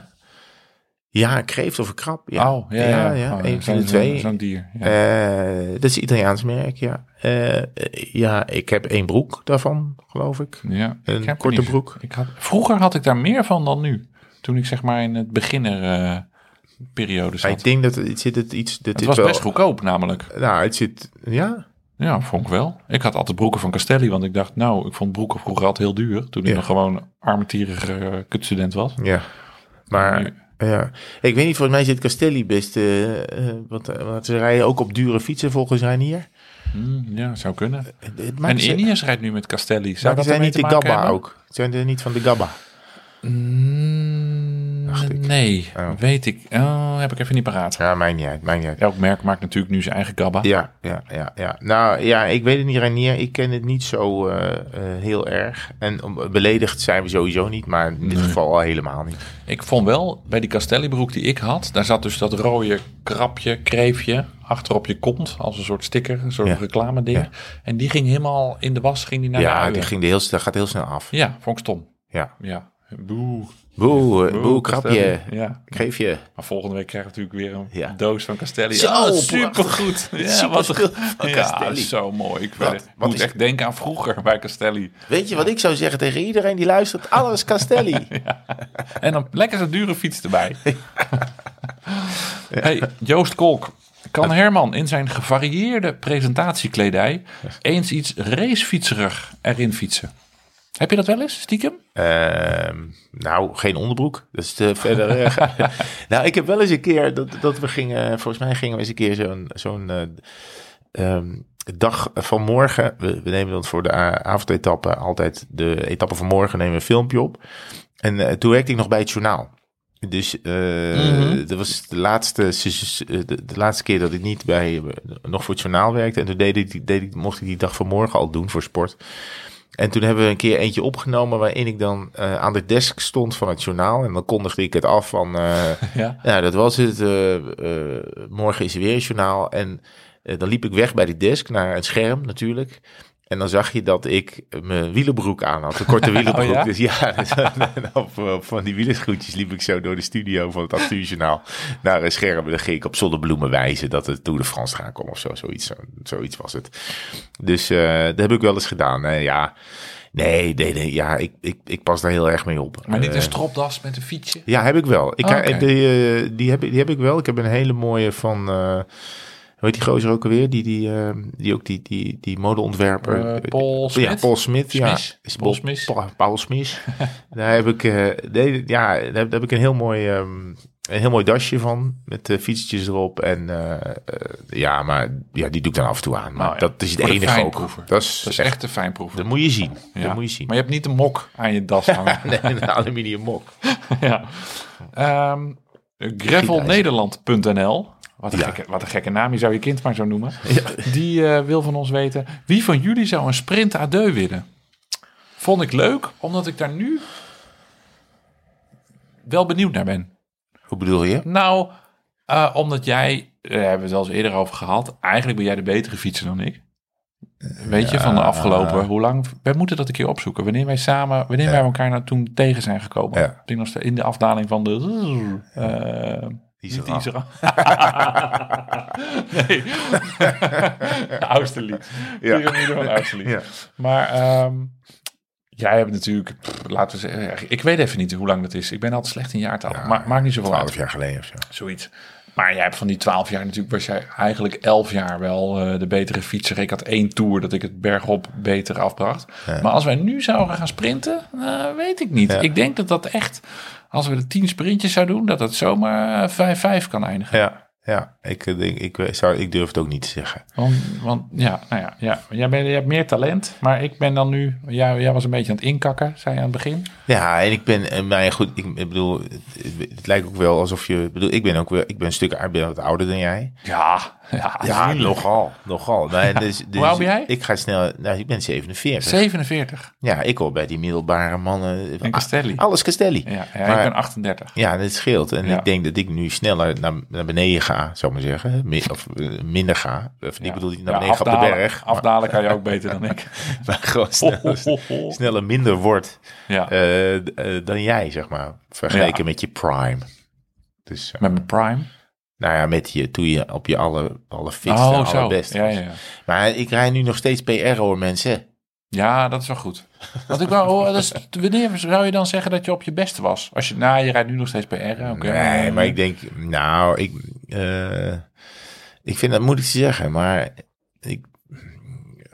[SPEAKER 1] Ja, een kreeft of een krab. Ja.
[SPEAKER 2] Oh, ja, ja.
[SPEAKER 1] ja,
[SPEAKER 2] Oh,
[SPEAKER 1] één van
[SPEAKER 2] zo'n-
[SPEAKER 1] de twee.
[SPEAKER 2] Zo'n dier. Ja.
[SPEAKER 1] Eh, dat is een Italiaans merk, ja. Eh, eh, ja, ik heb één broek daarvan, geloof ik.
[SPEAKER 2] Ja,
[SPEAKER 1] Een
[SPEAKER 2] ik heb er
[SPEAKER 1] korte
[SPEAKER 2] niet-
[SPEAKER 1] broek.
[SPEAKER 2] Ik had, vroeger had ik daar meer van dan nu. Toen ik zeg maar in het beginnerperiode
[SPEAKER 1] Maar
[SPEAKER 2] zat.
[SPEAKER 1] ik denk dat het zit het iets... Dat
[SPEAKER 2] Het
[SPEAKER 1] dit
[SPEAKER 2] was
[SPEAKER 1] wel,
[SPEAKER 2] best goedkoop namelijk.
[SPEAKER 1] Nou, het zit... Ja,
[SPEAKER 2] Ja, vond ik wel. Ik had altijd broeken van Castelli, want ik dacht, nou, ik vond broeken vroeger altijd heel duur. Toen ik
[SPEAKER 1] Ja.
[SPEAKER 2] nog gewoon armetierige eh, kutstudent was.
[SPEAKER 1] ja. Maar...
[SPEAKER 2] Nu-
[SPEAKER 1] Ja, ik weet niet, volgens mij zit Castelli best, eh, eh, want, eh, want ze rijden ook op dure fietsen volgens Reinier.
[SPEAKER 2] Hmm, ja, zou kunnen.
[SPEAKER 1] Het- Het
[SPEAKER 2] en
[SPEAKER 1] ze-
[SPEAKER 2] Ineos rijdt nu met Castelli. Zou
[SPEAKER 1] maken
[SPEAKER 2] dat
[SPEAKER 1] zij
[SPEAKER 2] ermee
[SPEAKER 1] niet
[SPEAKER 2] te
[SPEAKER 1] de
[SPEAKER 2] maken
[SPEAKER 1] Gabba
[SPEAKER 2] hebben?
[SPEAKER 1] ook? Zijn er niet van de Gabba?
[SPEAKER 2] Mm,
[SPEAKER 1] Dacht ik.
[SPEAKER 2] nee,
[SPEAKER 1] Oh.
[SPEAKER 2] weet ik. Oh, heb ik even niet paraat.
[SPEAKER 1] Ja, mij niet uit, mij niet uit.
[SPEAKER 2] Elk merk maakt natuurlijk nu zijn eigen gabba.
[SPEAKER 1] Ja, ja, ja, ja. Nou ja, ik weet het niet, Reinier. Ik ken het niet zo eh, eh, heel erg. En om- beledigd zijn we sowieso niet, maar in dit geval al helemaal niet.
[SPEAKER 2] Ik vond wel, bij die Castelli-broek die ik had, daar zat dus dat rode krapje, kreefje, achter op je kont, als een soort sticker, een soort
[SPEAKER 1] Ja.
[SPEAKER 2] reclame ding.
[SPEAKER 1] Ja.
[SPEAKER 2] En die ging helemaal in de was, ging die naar de
[SPEAKER 1] ja,
[SPEAKER 2] uien.
[SPEAKER 1] die ging de heel, dat gaat heel snel af.
[SPEAKER 2] Ja, vond ik stom.
[SPEAKER 1] Ja.
[SPEAKER 2] Ja. Boe.
[SPEAKER 1] Boe, eh, boe, krapje.
[SPEAKER 2] Castelli. Ja.
[SPEAKER 1] Geef je.
[SPEAKER 2] Maar volgende week krijgen we natuurlijk weer een
[SPEAKER 1] Ja.
[SPEAKER 2] doos van Castelli.
[SPEAKER 1] Zo,
[SPEAKER 2] oh,
[SPEAKER 1] prachtig.
[SPEAKER 2] supergoed. Ja, wat een-
[SPEAKER 1] Superspeel van
[SPEAKER 2] ja,
[SPEAKER 1] Castelli.
[SPEAKER 2] zo mooi. Ik
[SPEAKER 1] Wat-
[SPEAKER 2] weet-
[SPEAKER 1] wat
[SPEAKER 2] moet
[SPEAKER 1] is-
[SPEAKER 2] echt denken aan vroeger bij Castelli.
[SPEAKER 1] Weet je wat ik zou zeggen tegen iedereen die luistert? Alles Castelli.
[SPEAKER 2] En dan lekker zo'n dure fiets erbij. Hey, Joost Kolk. Kan Herman in zijn gevarieerde presentatiekledij eens iets racefietserig erin fietsen? Heb je dat wel eens, stiekem?
[SPEAKER 1] Ehm, nou, geen onderbroek. Dat is te verder. eh, nou, ik heb wel eens een keer dat, dat we gingen. Volgens mij gingen we eens een keer zo'n. zo'n eh, ehm, dag van morgen. We, we nemen dan voor de a- avondetappe altijd de etappe van morgen. Nemen we een filmpje op. En eh, toen werkte ik nog bij het journaal. Dus eh, dat was de laatste, se- eh, de, de laatste keer dat ik niet bij, nog voor het journaal werkte. En toen deed ik, die- deed ik, mocht ik die dag van morgen al doen voor sport. En toen hebben we een keer eentje opgenomen waarin ik dan eh, aan de desk stond van het journaal. En dan kondigde ik het af van, eh,
[SPEAKER 2] Ja.
[SPEAKER 1] nou dat was het, eh, eh, morgen is er weer een journaal. En eh, dan liep ik weg bij die desk naar het scherm natuurlijk. En dan zag je dat ik mijn wielenbroek aan had, een korte wielenbroek.
[SPEAKER 2] Oh, ja?
[SPEAKER 1] Dus ja, dus, en op, op van die wielerschoentjes liep ik zo door de studio van het Actuurjournaal naar een scherm. En dan ging ik op zonnebloemen wijzen dat het Tour de France gaan kwam of zo, zoiets, zo, zoiets was het. Dus eh, dat heb ik wel eens gedaan. Eh, ja, nee, nee, nee, ja, ik, ik, ik pas daar heel erg mee op.
[SPEAKER 2] Maar niet
[SPEAKER 1] Eh,
[SPEAKER 2] een stropdas met een fietsje.
[SPEAKER 1] ja, heb ik wel. Ik,
[SPEAKER 2] Oh, oké.
[SPEAKER 1] die, eh, die, heb, ik- die heb ik wel. Ik heb een hele mooie van. eh hoe heet die gozer ook alweer? Die, die, eh, die ook die, die, die modeontwerper.
[SPEAKER 2] Eh, Paul Smith?
[SPEAKER 1] Ja, Paul Smith. Ja,
[SPEAKER 2] Smith.
[SPEAKER 1] Is
[SPEAKER 2] Paul
[SPEAKER 1] Paul
[SPEAKER 2] Smith.
[SPEAKER 1] Smith. Paul Smith. daar heb ik, eh, nee, ja, daar heb, daar heb ik een heel mooi. ehm, een heel mooi dasje van, met eh, fietsetjes erop. En eh, eh, ja, maar ja, die doe ik dan af en toe aan. Maar
[SPEAKER 2] Nou ja,
[SPEAKER 1] dat is het
[SPEAKER 2] voor de
[SPEAKER 1] enige ook.
[SPEAKER 2] fijnproever.
[SPEAKER 1] Dat is,
[SPEAKER 2] Dat is
[SPEAKER 1] echt,
[SPEAKER 2] echt een fijnproever.
[SPEAKER 1] dat moet je zien.
[SPEAKER 2] Ja.
[SPEAKER 1] Dat moet je zien.
[SPEAKER 2] Maar je hebt niet een mok aan je das hangen.
[SPEAKER 1] nee, een aluminium mok.
[SPEAKER 2] ja. Ehm, Gravelnederland.nl. Wat een,
[SPEAKER 1] Ja.
[SPEAKER 2] gekke, wat een gekke naam, je zou je kind maar zo noemen. Die eh, wil van ons weten, wie van jullie zou een sprint adieu winnen? Vond ik leuk, omdat ik daar nu wel benieuwd naar ben.
[SPEAKER 1] Hoe bedoel je?
[SPEAKER 2] Nou, eh, omdat jij, daar hebben we het wel eens eerder over gehad, eigenlijk ben jij de betere fietser dan ik. Weet je, van de afgelopen, hoe lang? Wij moeten dat een keer opzoeken. Wanneer wij samen, wanneer wij elkaar nou toen tegen zijn gekomen.
[SPEAKER 1] Ja.
[SPEAKER 2] Ik denk nog steeds in de afdaling van de... eh,
[SPEAKER 1] Die is
[SPEAKER 2] niet
[SPEAKER 1] er af.
[SPEAKER 2] Isra. nee. Austerlitz.
[SPEAKER 1] Ja.
[SPEAKER 2] Piramide van Austerlitz.
[SPEAKER 1] Ja.
[SPEAKER 2] Maar ehm, jij hebt natuurlijk, pff, laten we zeggen, ik weet even niet hoe lang dat is. Ik ben altijd slecht in jaartallen. maar maakt niet zoveel uit.
[SPEAKER 1] Twaalf jaar geleden of zo.
[SPEAKER 2] Zoiets. Maar jij hebt van die twaalf jaar natuurlijk, was jij eigenlijk elf jaar wel eh, de betere fietser. Ik had één tour dat ik het bergop beter afbracht. Maar als wij nu zouden gaan sprinten, eh, weet ik niet.
[SPEAKER 1] Ja.
[SPEAKER 2] Ik denk dat dat echt, als we de tien sprintjes zouden doen, dat dat zomaar eh, 5-5 kan eindigen.
[SPEAKER 1] Ja, ja. Ik, eh, denk, ik, eh, zou, ik durf het ook niet te zeggen.
[SPEAKER 2] Want, want ja, nou ja, ja. Jij, bent- jij hebt meer talent, maar ik ben dan nu, jij, jij was een beetje aan het inkakken, zei je aan het begin.
[SPEAKER 1] Ja, en ik ben, eh, maar ja, goed, ik, ik bedoel, het, het lijkt ook wel alsof je, ik bedoel, ik ben ook wel, ik ben een stuk ik ben wat ouder dan jij.
[SPEAKER 2] Ja, ja, aanzienlijk.
[SPEAKER 1] Ah, nogal, nogal. Nee, dus, dus
[SPEAKER 2] Hoe oud ben jij?
[SPEAKER 1] Ik ga snel, nou, ik ben 47.
[SPEAKER 2] 47
[SPEAKER 1] ja, ik hoor bij die middelbare mannen. eh, ah,
[SPEAKER 2] en Castelli.
[SPEAKER 1] Alles Castelli.
[SPEAKER 2] Ja, ja
[SPEAKER 1] Maar-
[SPEAKER 2] ik ben 38.
[SPEAKER 1] Ja, dat scheelt. En
[SPEAKER 2] Ja.
[SPEAKER 1] ik denk dat ik nu sneller naar, naar beneden ga, zou ik maar zeggen. hè, mi- of eh, minder ga. Of,
[SPEAKER 2] Ja.
[SPEAKER 1] Ik bedoel, niet
[SPEAKER 2] Ja,
[SPEAKER 1] naar beneden ga op de
[SPEAKER 2] afdalen-
[SPEAKER 1] berg. Maar,
[SPEAKER 2] Afdalen kan je ook beter dan ik.
[SPEAKER 1] maar gewoon sneller,
[SPEAKER 2] Ho, ho, ho.
[SPEAKER 1] sneller minder wordt.
[SPEAKER 2] Ja.
[SPEAKER 1] eh, d- eh, dan jij, zeg maar. Vergeleken
[SPEAKER 2] Ja.
[SPEAKER 1] met je prime. Dus, eh,
[SPEAKER 2] Met mijn prime.
[SPEAKER 1] nou ja, met je, toen je op je alle, alle fitste,
[SPEAKER 2] Oh, zo.
[SPEAKER 1] allerbeste
[SPEAKER 2] Ja,
[SPEAKER 1] was.
[SPEAKER 2] ja, ja.
[SPEAKER 1] Maar ik rij nu nog steeds PR hoor, mensen.
[SPEAKER 2] ja, dat is wel goed. Want ik wou, horen, dat is- wanneer zou je dan zeggen dat je op je beste was? Als je, nou, je rijdt nu nog steeds PR. hè, oké.
[SPEAKER 1] Nee, maar ik denk, nou, ik, eh, ik vind dat moeilijk te zeggen. Maar ik,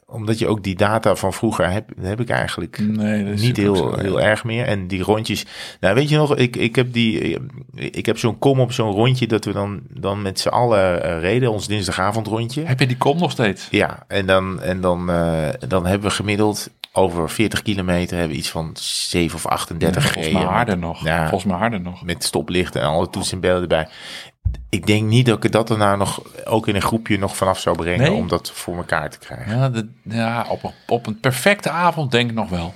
[SPEAKER 1] omdat je ook die data van vroeger hebt, heb ik eigenlijk...
[SPEAKER 2] Nee, dat is
[SPEAKER 1] niet
[SPEAKER 2] natuurlijk
[SPEAKER 1] heel,
[SPEAKER 2] zo, ja.
[SPEAKER 1] heel erg meer. En die rondjes. Nou, weet je nog, ik, ik heb, die, ik heb zo'n kom op zo'n rondje dat we dan, dan met z'n allen eh, reden, ons dinsdagavondrondje.
[SPEAKER 2] Heb je die kom nog steeds?
[SPEAKER 1] Ja, en dan, en dan, eh, dan hebben we gemiddeld over 40 kilometer hebben we iets van 7 of 38
[SPEAKER 2] Volgens mij
[SPEAKER 1] gereden.
[SPEAKER 2] harder nog.
[SPEAKER 1] Ja.
[SPEAKER 2] Volgens mij harder nog.
[SPEAKER 1] Met stoplichten en alle toetsen en bellen erbij. Ik denk niet dat ik dat daarna nog ook in een groepje nog vanaf zou brengen
[SPEAKER 2] Nee?
[SPEAKER 1] om dat voor elkaar te krijgen.
[SPEAKER 2] Ja, de- ja op, een- op een perfecte avond denk ik nog wel.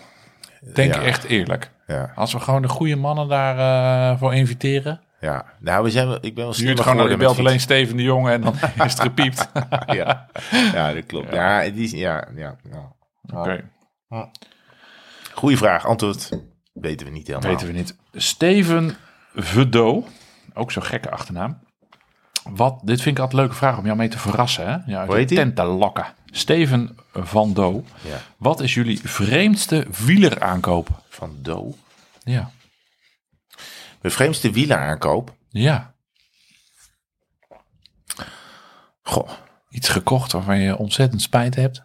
[SPEAKER 2] Denk
[SPEAKER 1] Ja.
[SPEAKER 2] echt eerlijk.
[SPEAKER 1] Ja,
[SPEAKER 2] Als we gewoon de goede mannen daarvoor voor inviteren.
[SPEAKER 1] ja. nou, we zijn, wel- ik ben wel
[SPEAKER 2] Stuurt
[SPEAKER 1] slimmer
[SPEAKER 2] gewoon naar de
[SPEAKER 1] geworden met
[SPEAKER 2] belt alleen Steven de Jong en dan is het gepiept. Oké.
[SPEAKER 1] ja. ja, dat klopt. Ja, het is, ja, ja, ja. Goeie vraag. Antwoord weten we niet helemaal.
[SPEAKER 2] Weten we niet. Steven Vedo, ook zo'n gekke achternaam. Wat, dit vind ik altijd een leuke vraag om jou mee te verrassen. Hè? Ja, uit
[SPEAKER 1] Hoe heet
[SPEAKER 2] de
[SPEAKER 1] die?
[SPEAKER 2] tent te lokken. Steven van Do.
[SPEAKER 1] Ja.
[SPEAKER 2] Wat is jullie vreemdste wieleraankoop?
[SPEAKER 1] Van Do.
[SPEAKER 2] Ja.
[SPEAKER 1] Mijn vreemdste wieleraankoop.
[SPEAKER 2] Ja.
[SPEAKER 1] Goh.
[SPEAKER 2] Iets gekocht waarvan je ontzettend spijt hebt.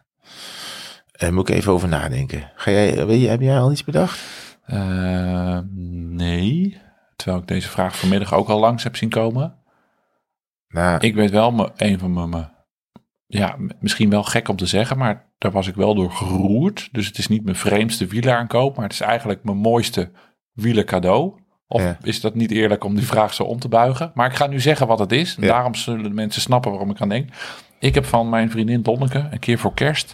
[SPEAKER 1] Daar moet ik even over nadenken. Ga jij, weet je, heb jij al iets bedacht?
[SPEAKER 2] Eh, nee. Terwijl ik deze vraag vanmiddag ook al langs heb zien komen.
[SPEAKER 1] Nou,
[SPEAKER 2] Ik weet wel, me- een van mijn- mijn... Ja, m- misschien wel gek om te zeggen, maar daar was ik wel door geroerd. Dus het is niet mijn vreemdste wielaankoop, maar het is eigenlijk mijn mooiste wielercadeau. Of
[SPEAKER 1] Ja.
[SPEAKER 2] is dat niet eerlijk om die vraag zo om te buigen? Maar ik ga nu zeggen wat het is. En
[SPEAKER 1] Ja.
[SPEAKER 2] Daarom zullen de mensen snappen waarom ik aan denk. Ik heb van mijn vriendin Lonneke een keer voor kerst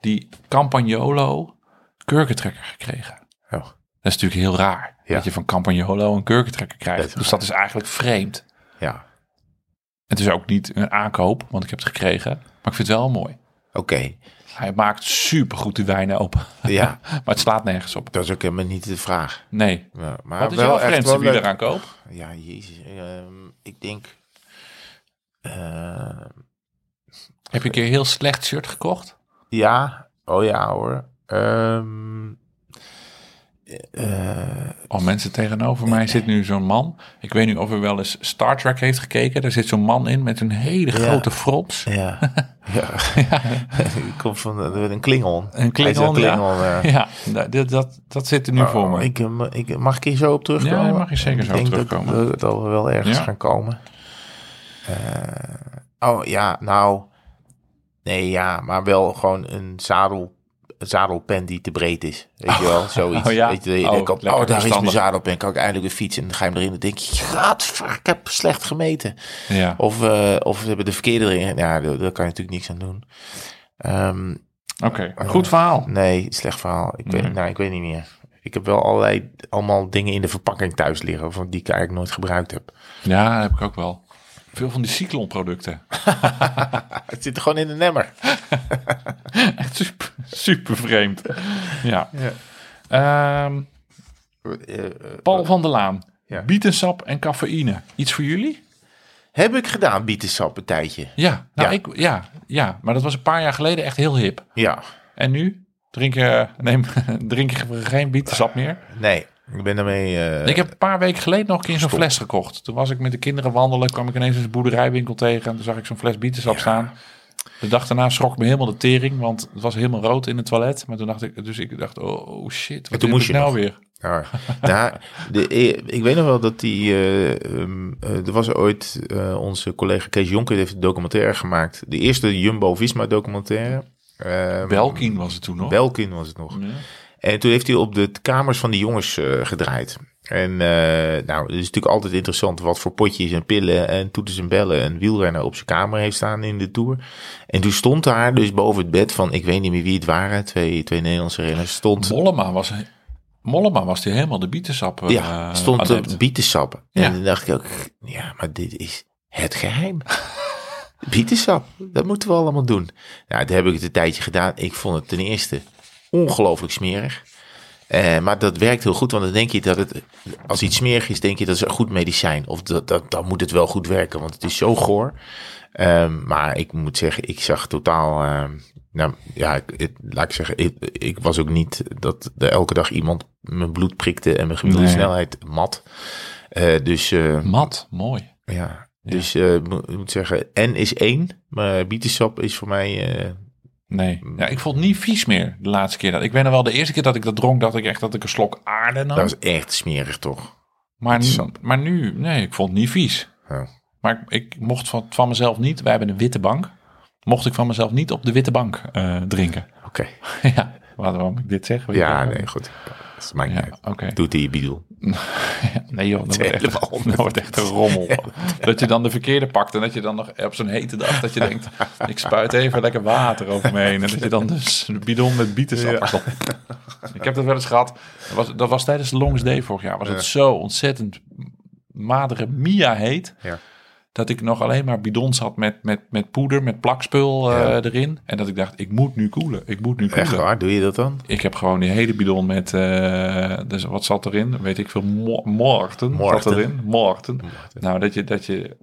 [SPEAKER 2] die Campagnolo kurkentrekker gekregen.
[SPEAKER 1] oh,
[SPEAKER 2] Dat is natuurlijk heel raar.
[SPEAKER 1] Ja.
[SPEAKER 2] Dat je van Campagnolo een kurkentrekker krijgt.
[SPEAKER 1] Dat is
[SPEAKER 2] dus dat is eigenlijk vreemd.
[SPEAKER 1] ja,
[SPEAKER 2] Het is ook niet een aankoop, want ik heb het gekregen. Maar ik vind het wel mooi.
[SPEAKER 1] oké.
[SPEAKER 2] Hij maakt supergoed die wijnen open.
[SPEAKER 1] Ja,
[SPEAKER 2] maar het slaat nergens op.
[SPEAKER 1] dat is ook helemaal niet de vraag.
[SPEAKER 2] Nee.
[SPEAKER 1] Ja, maar
[SPEAKER 2] Wat is
[SPEAKER 1] wel
[SPEAKER 2] jouw
[SPEAKER 1] echt
[SPEAKER 2] vreemdste
[SPEAKER 1] wel leuk.
[SPEAKER 2] wieleraankoop?
[SPEAKER 1] Ja, jezus. ehm, ik denk... ehm,
[SPEAKER 2] Heb je een keer een heel slecht shirt gekocht?
[SPEAKER 1] ja, oh ja hoor. Ehm, eh,
[SPEAKER 2] Oh, mensen tegenover mij zit nu zo'n man. Ik weet niet of u wel eens Star Trek heeft gekeken. Daar zit zo'n man in met een hele grote frons.
[SPEAKER 1] ja. ja. ik kom van eh, een klingel.
[SPEAKER 2] Een klingon, ja. Ja, dat, dat, dat zit er nu voor me.
[SPEAKER 1] Ik, eh, ik, mag ik hier zo op terugkomen?
[SPEAKER 2] Ja, daar mag je zeker
[SPEAKER 1] ik
[SPEAKER 2] zo
[SPEAKER 1] denk
[SPEAKER 2] op
[SPEAKER 1] dat-
[SPEAKER 2] terugkomen.
[SPEAKER 1] Dat, dat we wel ergens
[SPEAKER 2] Ja.
[SPEAKER 1] gaan komen. Eh, oh ja, nou. Nee, ja, maar wel gewoon een zadel. Een zadelpen die te breed is. Weet je wel, zoiets.
[SPEAKER 2] Oh ja.
[SPEAKER 1] Weet je, dat je
[SPEAKER 2] Oh,
[SPEAKER 1] denkt, oh,
[SPEAKER 2] lekker
[SPEAKER 1] oh, daar is mijn
[SPEAKER 2] verstandig.
[SPEAKER 1] zadelpen. Kan ik eindelijk weer fietsen? En dan ga je hem erin en denk je, gadver, ik heb slecht gemeten.
[SPEAKER 2] ja.
[SPEAKER 1] Of, eh, of ze hebben de verkeerde erin. Ja, daar, daar kan je natuurlijk niks aan doen. Ehm,
[SPEAKER 2] Oké, goed verhaal.
[SPEAKER 1] Nee, slecht verhaal. Ik,
[SPEAKER 2] Nee.
[SPEAKER 1] weet, nou, ik weet niet meer. Ik heb wel allerlei allemaal dingen in de verpakking thuis liggen, van die ik eigenlijk nooit gebruikt heb.
[SPEAKER 2] Ja, dat heb ik ook wel. Veel van die Cyclon-producten.
[SPEAKER 1] Het zit gewoon in de nemmer.
[SPEAKER 2] Echt super, super vreemd. Ja.
[SPEAKER 1] Ja.
[SPEAKER 2] Ehm,
[SPEAKER 1] Eh, eh,
[SPEAKER 2] Paul van der Laan.
[SPEAKER 1] Ja.
[SPEAKER 2] Bietensap en cafeïne. Iets voor jullie?
[SPEAKER 1] heb ik gedaan, bietensap een tijdje.
[SPEAKER 2] Ja, nou,
[SPEAKER 1] Ja.
[SPEAKER 2] Ik, ja, ja, maar dat was een paar jaar geleden echt heel hip.
[SPEAKER 1] Ja,
[SPEAKER 2] En nu? Drink je, neem, drink je geen bietensap meer?
[SPEAKER 1] nee, ik ben daarmee... eh,
[SPEAKER 2] ik heb een paar weken geleden nog een keer zo'n
[SPEAKER 1] stop.
[SPEAKER 2] fles gekocht. Toen was ik met de kinderen wandelen, kwam ik ineens een boerderijwinkel tegen. En toen zag ik zo'n fles bietensap staan. De dag daarna schrok me helemaal de tering, want het was helemaal rood in het toilet. Maar toen dacht ik, dus ik dacht, oh, oh shit, wat
[SPEAKER 1] toen
[SPEAKER 2] doe
[SPEAKER 1] moest
[SPEAKER 2] ik
[SPEAKER 1] je
[SPEAKER 2] nou
[SPEAKER 1] nog.
[SPEAKER 2] weer?
[SPEAKER 1] Ja, nou, de, eh, ik weet nog wel dat die. eh, ehm, eh, er was ooit eh, onze collega Kees Jonker die heeft een documentaire gemaakt. De eerste Jumbo-Visma-documentaire. Ehm,
[SPEAKER 2] Belkin was het toen nog.
[SPEAKER 1] Belkin was het nog.
[SPEAKER 2] Oh. Ja.
[SPEAKER 1] En toen heeft hij op de kamers van die jongens eh, gedraaid. En eh, nou, het is natuurlijk altijd interessant wat voor potjes en pillen en toeters en bellen een wielrenner op zijn kamer heeft staan in de Tour. En toen stond daar dus boven het bed van, ik weet niet meer wie het waren, twee, twee Nederlandse renners, stond
[SPEAKER 2] Mollema was, Mollema was die helemaal de bietensap. eh,
[SPEAKER 1] Ja, stond
[SPEAKER 2] adept.
[SPEAKER 1] op bietensappen.
[SPEAKER 2] Ja.
[SPEAKER 1] En toen dacht ik ook, ja, maar dit is het geheim. Bietensap, dat moeten we allemaal doen. Nou, dat heb ik het een tijdje gedaan. Ik vond het ten eerste ongelooflijk smerig. Eh, maar dat werkt heel goed, want dan denk je dat het, als iets smerig is, denk je dat is een goed medicijn. Of dat, dat, dan moet het wel goed werken, want het is zo goor. Ehm, maar ik moet zeggen, ik zag totaal. ehm, nou ja, ik, ik- laat ik zeggen, ik, ik was ook niet dat er elke dag iemand mijn bloed prikte en mijn gemiddelde
[SPEAKER 2] Nee. Hm.
[SPEAKER 1] snelheid mat. Eh, dus eh,
[SPEAKER 2] Mat, mooi.
[SPEAKER 1] ja, dus eh, ik moet- ik moet zeggen, N is één, maar bietensap is voor mij. eh,
[SPEAKER 2] Nee, ja, ik vond het niet vies meer de laatste keer. Dat. Ik weet nog wel, de eerste keer dat ik dat dronk, dacht ik echt dat ik een slok aarde nam.
[SPEAKER 1] dat was echt smerig, toch?
[SPEAKER 2] maar, nu-
[SPEAKER 1] interessant.
[SPEAKER 2] maar nu, nee, ik vond het niet vies.
[SPEAKER 1] Ja.
[SPEAKER 2] Maar ik, ik mocht van, van mezelf niet, wij hebben een witte bank, mocht ik van mezelf niet op de witte bank eh, drinken.
[SPEAKER 1] Oké.
[SPEAKER 2] ja, waarom ik dit zeg? weet ik
[SPEAKER 1] Ja,
[SPEAKER 2] wel.
[SPEAKER 1] nee, goed. Dat maakt niet
[SPEAKER 2] Ja,
[SPEAKER 1] uit.
[SPEAKER 2] oké.
[SPEAKER 1] Doet die bedoel.
[SPEAKER 2] Nee joh, dat
[SPEAKER 1] Het helemaal
[SPEAKER 2] wordt, echt, dat wordt echt een rommel. Dat je dan de verkeerde pakt en dat je dan nog op zo'n hete dag dat je denkt, ik spuit even lekker water over me heen. En dat je dan dus een bidon met bietensap Ik heb dat wel eens gehad. Dat was, dat was tijdens de Longest Day vorig jaar. Was het zo ontzettend madere Mia heet.
[SPEAKER 1] Ja.
[SPEAKER 2] Dat ik nog alleen maar bidons had met, met, met poeder, met plakspul eh,
[SPEAKER 1] Ja.
[SPEAKER 2] erin. En dat ik dacht, ik moet nu koelen. Ik moet nu koelen.
[SPEAKER 1] Echt waar, doe je dat dan?
[SPEAKER 2] Ik heb gewoon die hele bidon met, eh, dus wat zat erin? Weet ik veel, Mo- Morten,
[SPEAKER 1] Morten.
[SPEAKER 2] zat erin. Morten. Nou, dat je, dat je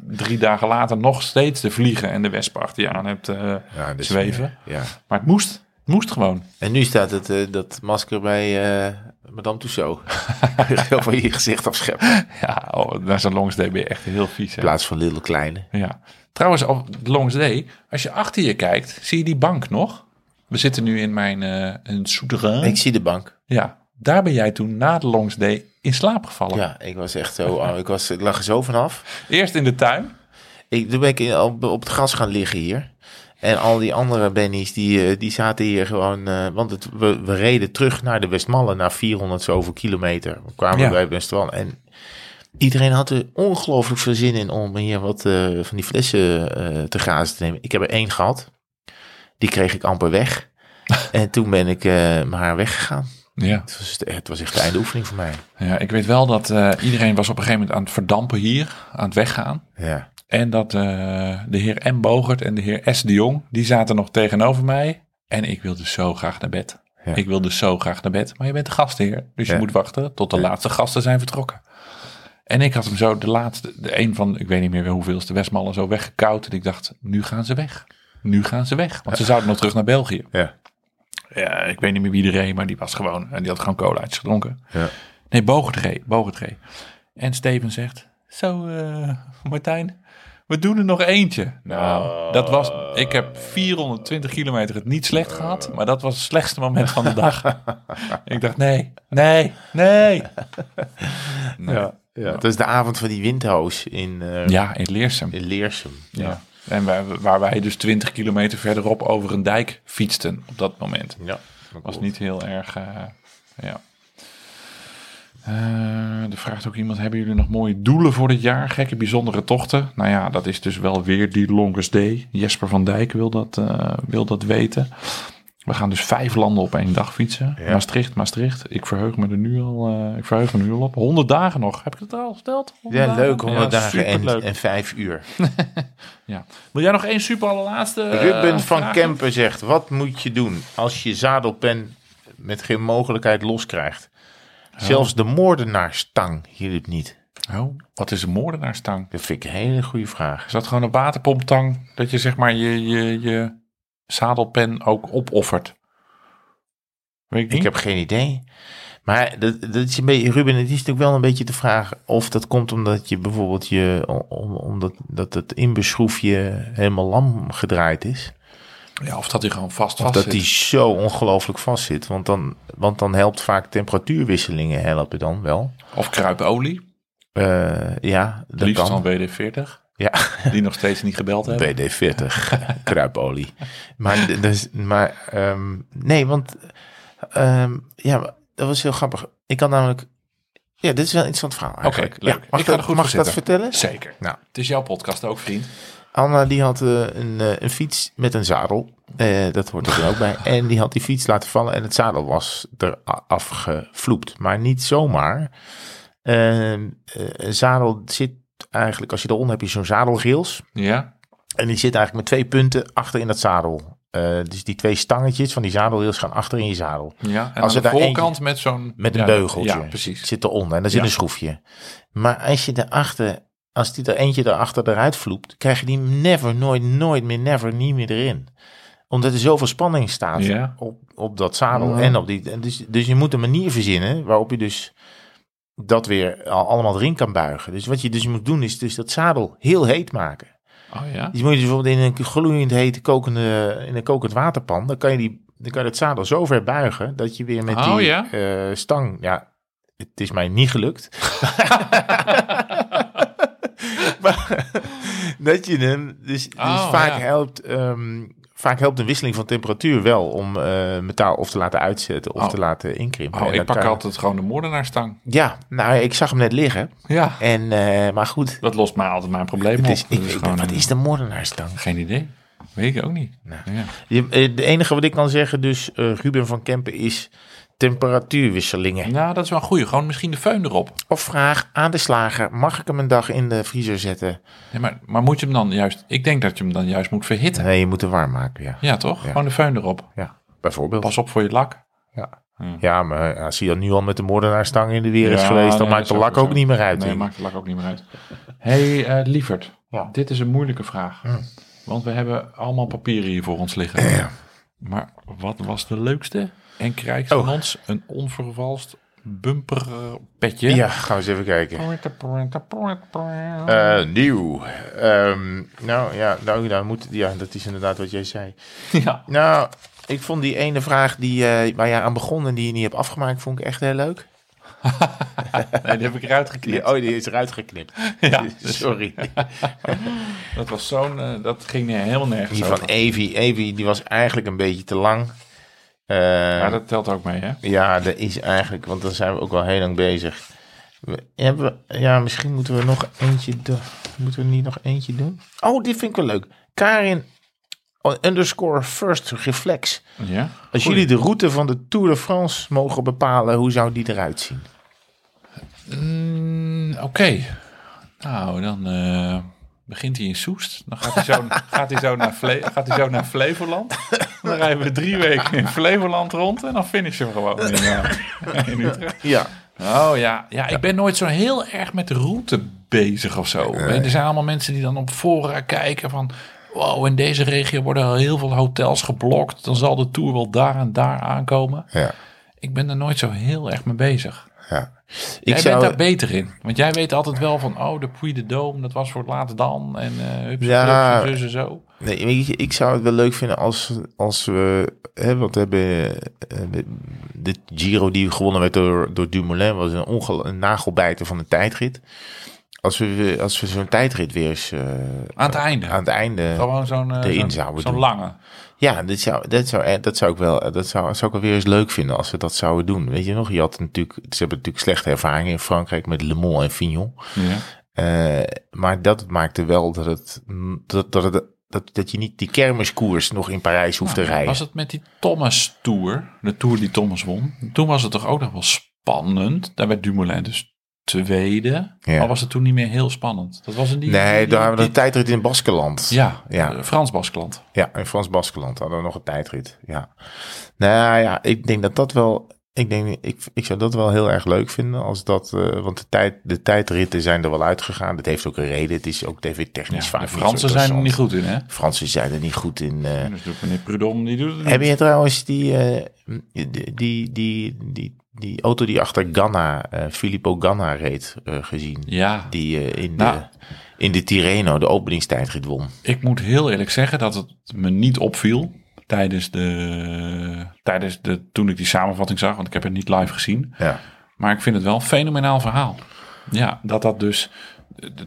[SPEAKER 2] drie dagen later nog steeds de vliegen en de wespen achter je aan hebt eh,
[SPEAKER 1] Ja, dat is-
[SPEAKER 2] zweven.
[SPEAKER 1] Ja.
[SPEAKER 2] Maar het moest, het moest gewoon.
[SPEAKER 1] En nu staat het, eh, dat masker bij eh Madame Tussaud. Zo van je gezicht afscheppen.
[SPEAKER 2] Ja, oh, na zo'n Longs Day ben je echt heel vies. hè.
[SPEAKER 1] In plaats van Little Kleine.
[SPEAKER 2] Ja. Trouwens, op de Longs Day, als je achter je kijkt, zie je die bank nog? We zitten nu in mijn eh een souterrain.
[SPEAKER 1] Ik zie de bank.
[SPEAKER 2] Ja, daar ben jij toen na de Longs Day in slaap gevallen.
[SPEAKER 1] Ja, ik was echt zo. oh, ik, was, ik lag er zo vanaf.
[SPEAKER 2] Eerst in de tuin.
[SPEAKER 1] Ik, toen ben ik in- op, op het gras gaan liggen hier. En al die andere Bennies, die, eh, die zaten hier gewoon. eh, want het, we, we reden terug naar de Westmalle na 400 zoveel kilometer. We kwamen
[SPEAKER 2] Ja.
[SPEAKER 1] bij Westmalle. En iedereen had er ongelooflijk veel zin in om hier wat eh, van die flessen eh, te grazen te nemen. Ik heb er één gehad. Die kreeg ik amper weg. en toen ben ik eh, maar weggegaan.
[SPEAKER 2] Ja.
[SPEAKER 1] Het was, het- het was echt de einde oefening voor mij.
[SPEAKER 2] ja, ik weet wel dat eh, iedereen was op een gegeven moment aan het verdampen hier, aan het weggaan.
[SPEAKER 1] Ja.
[SPEAKER 2] En dat eh, de heer M. Bogert en de heer S. de Jong, die zaten nog tegenover mij. En ik wilde zo graag naar bed.
[SPEAKER 1] Ja.
[SPEAKER 2] Ik wilde zo graag naar bed. Maar je bent de gastheer, dus
[SPEAKER 1] Ja.
[SPEAKER 2] je moet wachten tot de laatste gasten zijn vertrokken. En ik had hem zo de laatste, de een van, ik weet niet meer hoeveelste Westmallen zo weggekauwd. En ik dacht, nu gaan ze weg. Nu gaan ze weg. Want ze zouden nog terug naar België.
[SPEAKER 1] Ja.
[SPEAKER 2] Ja, ik weet niet meer wie er reed, maar die was gewoon, en die had gewoon cola uitgedronken.
[SPEAKER 1] Ja.
[SPEAKER 2] Nee, Bogert reed, Bogert reed. En Steven zegt, zo eh, Martijn, we doen er nog eentje. Nou, dat was, ik heb 420 kilometer het niet slecht gehad, maar dat was het slechtste moment van de dag. ik dacht, nee, nee, nee. Nee.
[SPEAKER 1] Ja, ja. Dat is de avond van die windhoos in, eh,
[SPEAKER 2] Ja, in Leersum.
[SPEAKER 1] in Leersum.
[SPEAKER 2] Ja. En waar, waar wij dus 20 kilometer verderop over een dijk fietsten op dat moment.
[SPEAKER 1] ja.
[SPEAKER 2] Was niet heel erg. eh, ja. Eh, er vraagt ook iemand: hebben jullie nog mooie doelen voor dit jaar? Gekke, bijzondere tochten. Nou ja, dat is dus wel weer die Longest Day. Jesper van Dijk wil dat, eh, wil dat weten. We gaan dus vijf landen op één dag fietsen.
[SPEAKER 1] Ja.
[SPEAKER 2] Maastricht, Maastricht. Ik verheug me er nu al, eh, ik verheug me er nu al op. 100 dagen nog. Heb ik het al verteld? 100
[SPEAKER 1] Ja,
[SPEAKER 2] dagen?
[SPEAKER 1] leuk, 100
[SPEAKER 2] Ja,
[SPEAKER 1] dagen en,
[SPEAKER 2] superleuk.
[SPEAKER 1] en 5 uur.
[SPEAKER 2] Ja. Wil jij nog één super allerlaatste? eh,
[SPEAKER 1] Ruben van
[SPEAKER 2] vraag?
[SPEAKER 1] Kempen zegt, wat moet je doen als je zadelpen met geen mogelijkheid loskrijgt? Zelfs de moordenaarstang hielp niet.
[SPEAKER 2] Oh, wat is een moordenaarstang?
[SPEAKER 1] Dat vind ik een hele goede vraag.
[SPEAKER 2] Is dat gewoon een waterpomptang? Dat je zeg maar je, je, je zadelpen ook opoffert? Weet ik niet.
[SPEAKER 1] Ik heb geen idee. Maar dat, dat is een beetje, Ruben, het is natuurlijk wel een beetje de vraag of dat komt omdat je bijvoorbeeld je, om, omdat dat het inbeschroefje helemaal lam gedraaid is.
[SPEAKER 2] ja, of dat hij gewoon vast
[SPEAKER 1] Of
[SPEAKER 2] vast
[SPEAKER 1] dat
[SPEAKER 2] zit.
[SPEAKER 1] die zo ongelooflijk vast zit. Want dan, want dan helpt vaak temperatuurwisselingen helpen dan wel.
[SPEAKER 2] Of kruipolie.
[SPEAKER 1] Eh, ja, dat
[SPEAKER 2] Liefst
[SPEAKER 1] kan.
[SPEAKER 2] van WD-40.
[SPEAKER 1] Ja,
[SPEAKER 2] Die nog steeds niet gebeld hebben.
[SPEAKER 1] BD40, kruipolie. Maar, d- dus, maar ehm, nee, want ehm, ja, maar dat was heel grappig. Ik had namelijk... Ja, dit is wel een interessant verhaal eigenlijk.
[SPEAKER 2] leuk.
[SPEAKER 1] Ja, mag ik,
[SPEAKER 2] Ik ga er
[SPEAKER 1] dat-
[SPEAKER 2] goed
[SPEAKER 1] mag
[SPEAKER 2] voor
[SPEAKER 1] ik dat
[SPEAKER 2] zitten.
[SPEAKER 1] vertellen?
[SPEAKER 2] Zeker.
[SPEAKER 1] Nou.
[SPEAKER 2] Het is jouw podcast ook, vriend.
[SPEAKER 1] Anna die had eh, een, eh, een fiets met een zadel. Eh, dat hoort er dan ook bij. En die had die fiets laten vallen en het zadel was eraf gevloept. Maar niet zomaar. Ehm, eh, een zadel zit eigenlijk, als je eronder hebt, heb je zo'n zadelrails.
[SPEAKER 2] Ja.
[SPEAKER 1] En die zit eigenlijk met twee punten achter in dat zadel. Eh, dus die twee stangetjes van die zadelrails gaan achter in je zadel.
[SPEAKER 2] ja. En
[SPEAKER 1] Als er
[SPEAKER 2] aan de
[SPEAKER 1] daar
[SPEAKER 2] voorkant met zo'n...
[SPEAKER 1] Met een
[SPEAKER 2] ja,
[SPEAKER 1] beugeltje.
[SPEAKER 2] Ja, precies.
[SPEAKER 1] Zit eronder en daar zit
[SPEAKER 2] Ja.
[SPEAKER 1] een schroefje. Maar als je daarachter, als die er eentje daarachter eruit vloept, krijg je die never, nooit, nooit meer, never, niet meer erin. Omdat er zoveel spanning staat
[SPEAKER 2] Ja.
[SPEAKER 1] op, op dat zadel en op die. en Dus, dus je moet een manier verzinnen waarop je dus dat weer al- allemaal erin kan buigen. Dus wat je dus moet doen is dus dat zadel heel heet maken.
[SPEAKER 2] Oh ja.
[SPEAKER 1] Die moet je dus bijvoorbeeld in een gloeiend hete kokende, in een kokend waterpan. Dan kan je, die, dan kan je het zadel zo ver buigen dat je weer met
[SPEAKER 2] Oh,
[SPEAKER 1] die
[SPEAKER 2] ja?
[SPEAKER 1] eh, stang. Ja, het is mij niet gelukt. maar dat je hem. Dus, dus
[SPEAKER 2] Oh,
[SPEAKER 1] vaak
[SPEAKER 2] ja.
[SPEAKER 1] helpt. ehm, Vaak helpt een wisseling van temperatuur wel om eh, metaal of te laten uitzetten of
[SPEAKER 2] Oh.
[SPEAKER 1] te laten inkrimpen. En
[SPEAKER 2] Oh, ik
[SPEAKER 1] dan
[SPEAKER 2] pak
[SPEAKER 1] kan-
[SPEAKER 2] altijd gewoon de moordenaarstang.
[SPEAKER 1] Ja, nou ik zag hem net liggen.
[SPEAKER 2] Ja.
[SPEAKER 1] En, eh, maar goed,
[SPEAKER 2] Dat lost mij altijd mijn probleem
[SPEAKER 1] het
[SPEAKER 2] op.
[SPEAKER 1] is, ik,
[SPEAKER 2] Dat
[SPEAKER 1] weet-
[SPEAKER 2] gewoon
[SPEAKER 1] wat
[SPEAKER 2] een-
[SPEAKER 1] is de moordenaarstang?
[SPEAKER 2] Geen idee. Weet ik ook niet. Ja.
[SPEAKER 1] Je- eh, De enige wat ik kan zeggen, dus eh, Ruben van Kempen, is temperatuurwisselingen.
[SPEAKER 2] Nou, dat is wel een goeie. Gewoon misschien de föhn erop.
[SPEAKER 1] Of vraag aan de slager: mag ik hem een dag in de vriezer zetten?
[SPEAKER 2] Nee, maar, maar moet je hem dan juist... Ik denk dat je hem dan juist moet verhitten.
[SPEAKER 1] Nee, je moet hem warm maken, ja.
[SPEAKER 2] Ja, toch?
[SPEAKER 1] Ja.
[SPEAKER 2] Gewoon de föhn erop.
[SPEAKER 1] Ja, bijvoorbeeld.
[SPEAKER 2] Pas op voor je lak.
[SPEAKER 1] Ja. ja, maar eh, als hij dan nu al met de moordenaarstang in de weer is
[SPEAKER 2] Ja,
[SPEAKER 1] geweest, dan
[SPEAKER 2] nee,
[SPEAKER 1] maakt de
[SPEAKER 2] dat is
[SPEAKER 1] lak
[SPEAKER 2] ook
[SPEAKER 1] ook
[SPEAKER 2] zo.
[SPEAKER 1] niet meer uit.
[SPEAKER 2] Nee,
[SPEAKER 1] denk ik.
[SPEAKER 2] maakt de lak ook niet meer uit. hey, eh, lieverd.
[SPEAKER 1] Ja.
[SPEAKER 2] Dit is een moeilijke vraag. Want we hebben allemaal papieren hier voor ons liggen. Maar wat was de leukste? En krijgt van
[SPEAKER 1] Oh.
[SPEAKER 2] ons een onvervalst bumperpetje.
[SPEAKER 1] Ja, gaan we eens even kijken. Eh, nieuw. Ehm, nou ja, nou, nou moet, ja, dat is inderdaad wat jij zei.
[SPEAKER 2] ja.
[SPEAKER 1] Nou, Ik vond die ene vraag die, eh, waar jij aan begon en die je niet hebt afgemaakt, vond ik echt heel leuk.
[SPEAKER 2] Nee, die heb ik eruit geknipt.
[SPEAKER 1] Die- oh, die is eruit geknipt.
[SPEAKER 2] Ja, dus
[SPEAKER 1] Sorry.
[SPEAKER 2] dat was zo'n... eh, dat ging heel nergens
[SPEAKER 1] Die
[SPEAKER 2] over.
[SPEAKER 1] van Evi. Evi, die was eigenlijk een beetje te lang. Eh,
[SPEAKER 2] Maar dat telt ook mee, hè?
[SPEAKER 1] Ja, dat is eigenlijk, want dan zijn we ook al heel lang bezig. We hebben, ja, misschien moeten we nog eentje doen. Moeten we niet nog eentje doen? Oh, dit vind ik wel leuk. Karin oh, underscore first reflex.
[SPEAKER 2] Ja.
[SPEAKER 1] Als jullie de route van de Tour de France mogen bepalen, hoe zou die eruit zien?
[SPEAKER 2] Mm, Oké. Nou, dan eh, begint hij in Soest. Dan gaat hij zo, gaat hij zo, naar, Fle- gaat hij zo naar Flevoland. Dan rijden we drie weken in Flevoland rond. En dan finishen we gewoon in, eh, in Utrecht.
[SPEAKER 1] Ja.
[SPEAKER 2] Oh ja. ja, ik ben nooit zo heel erg met de route bezig of zo. Er zijn allemaal mensen die dan op fora kijken van... Wow, in deze regio worden al heel veel hotels geblokt. Dan zal de Tour wel daar en daar aankomen.
[SPEAKER 1] Ja.
[SPEAKER 2] Ik ben er nooit zo heel erg mee bezig.
[SPEAKER 1] ja.
[SPEAKER 2] Jij
[SPEAKER 1] Ik zou,
[SPEAKER 2] bent daar beter in. Want jij weet altijd wel van, oh, de Puy de Dome, dat was voor het later dan. En eh hups,
[SPEAKER 1] Ja.
[SPEAKER 2] hups, en zus en zo.
[SPEAKER 1] nee, weet je, ik zou het wel leuk vinden als, als we. Hè, want we hebben. eh, de Giro die gewonnen werd door, door Dumoulin was een, ongel, een nagelbijter van een tijdrit. Als we, weer- als we zo'n tijdrit weer eens eh,
[SPEAKER 2] Aan het einde.
[SPEAKER 1] aan het einde.
[SPEAKER 2] Gewoon zo'n eh,
[SPEAKER 1] erin
[SPEAKER 2] zo'n-
[SPEAKER 1] zouden
[SPEAKER 2] zo'n
[SPEAKER 1] doen.
[SPEAKER 2] lange.
[SPEAKER 1] Ja, dit zou, dat, zou, eh, dat zou ik wel. eh, Dat zou, zou ik wel weer eens leuk vinden als we dat zouden doen. Weet je nog? Je had natuurlijk, ze hebben natuurlijk slechte ervaringen in Frankrijk met Le Mans en Fignon.
[SPEAKER 2] Ja.
[SPEAKER 1] Eh, maar dat maakte wel dat, het, dat, dat, het- dat, dat je niet die kermiskoers nog in Parijs hoeft te rijden.
[SPEAKER 2] Was het met die Thomas Tour, de Tour die Thomas won. Toen was het toch ook nog wel spannend. Daar werd Dumoulin dus tweede.
[SPEAKER 1] Ja.
[SPEAKER 2] Al was het toen niet meer heel spannend. Dat was een die,
[SPEAKER 1] nee,
[SPEAKER 2] die-
[SPEAKER 1] daar hebben we een
[SPEAKER 2] die-
[SPEAKER 1] tijdrit in Baskeland.
[SPEAKER 2] Ja,
[SPEAKER 1] Ja.
[SPEAKER 2] ja. Frans Baskeland.
[SPEAKER 1] Ja, in Frans Baskeland hadden we nog een tijdrit. Ja. Nou ja, ik denk dat dat wel. Ik, denk, ik, ik zou dat wel heel erg leuk vinden als dat. eh, want de, tijd, de tijdritten zijn er wel uitgegaan. Dat heeft ook een reden. Het is ook
[SPEAKER 2] Ja,
[SPEAKER 1] tv-technisch vaak.
[SPEAKER 2] de
[SPEAKER 1] niet zo
[SPEAKER 2] Fransen zijn er
[SPEAKER 1] interessant.
[SPEAKER 2] niet goed in, hè?
[SPEAKER 1] Fransen zijn er niet goed in. eh,
[SPEAKER 2] Dus doet meneer Prudhomme, die doet het
[SPEAKER 1] Heb
[SPEAKER 2] niet.
[SPEAKER 1] je trouwens die, eh, die, die, die, die, die auto die achter Ganna, eh, Filippo Ganna reed, eh, gezien?
[SPEAKER 2] Ja.
[SPEAKER 1] Die eh, in,
[SPEAKER 2] Nou.
[SPEAKER 1] de, in de Tirreno de openingstijdrit won.
[SPEAKER 2] Ik moet heel eerlijk zeggen dat het me niet opviel tijdens de, tijdens de, toen ik die samenvatting zag, want ik heb het niet live gezien.
[SPEAKER 1] Ja.
[SPEAKER 2] Maar ik vind het wel een fenomenaal verhaal. Ja, dat dat dus,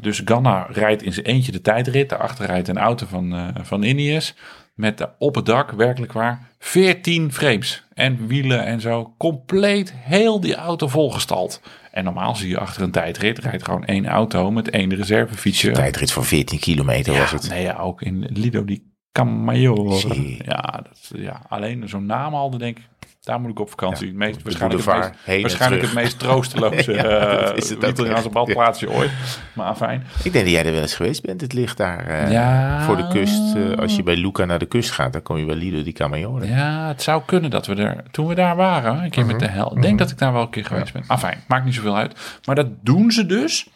[SPEAKER 2] dus Ganna rijdt in zijn eentje de tijdrit, daarachter rijdt een auto van, eh van Ineos met eh, op het dak werkelijk waar 14 frames en wielen en zo, compleet heel die auto volgestald. En normaal zie je achter een tijdrit rijdt gewoon één auto met één reservefietsje.
[SPEAKER 1] Tijdrit van 14 kilometer was
[SPEAKER 2] Ja,
[SPEAKER 1] het.
[SPEAKER 2] Nee, ja, ook in Lido di Camaiore.
[SPEAKER 1] Zie.
[SPEAKER 2] Ja, dat, is- ja, alleen zo'n naam al, dan denk ik, daar moet ik op vakantie. het meest, waarschijnlijk het
[SPEAKER 1] boulevard,
[SPEAKER 2] meest,
[SPEAKER 1] heen en
[SPEAKER 2] waarschijnlijk het
[SPEAKER 1] terug.
[SPEAKER 2] meest troosteloze
[SPEAKER 1] Ja,
[SPEAKER 2] eh
[SPEAKER 1] dat is het ook
[SPEAKER 2] Italiaanse
[SPEAKER 1] echt.
[SPEAKER 2] badplaatsje ooit. Maar fijn.
[SPEAKER 1] Ik denk dat jij er wel eens geweest bent. Het ligt daar eh,
[SPEAKER 2] Ja.
[SPEAKER 1] voor de kust. eh, als je bij Luca naar de kust gaat, dan kom je bij Lido di Camaiore.
[SPEAKER 2] Ja, het zou kunnen dat we er, toen we daar waren, een keer met de hel. Ik denk dat ik daar wel een keer geweest ben. Afijn, maakt niet zoveel uit. Maar dat doen ze dus,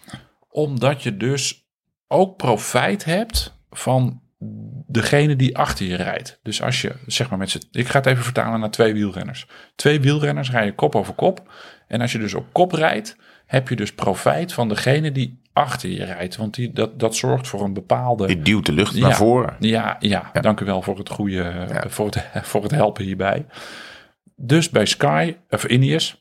[SPEAKER 2] omdat je dus ook profijt hebt van degene die achter je rijdt. Dus als je, zeg maar met z'n, ik ga het even vertalen naar twee wielrenners. Twee wielrenners rijden kop over kop. En als je dus op kop rijdt, heb je dus profijt van degene die achter je rijdt. Want die, dat, dat zorgt voor een bepaalde...
[SPEAKER 1] Je duwt de lucht naar voren.
[SPEAKER 2] Ja, ja, dank u wel voor het goede, voor, het, voor het helpen hierbij. Dus bij Sky, of Ineos,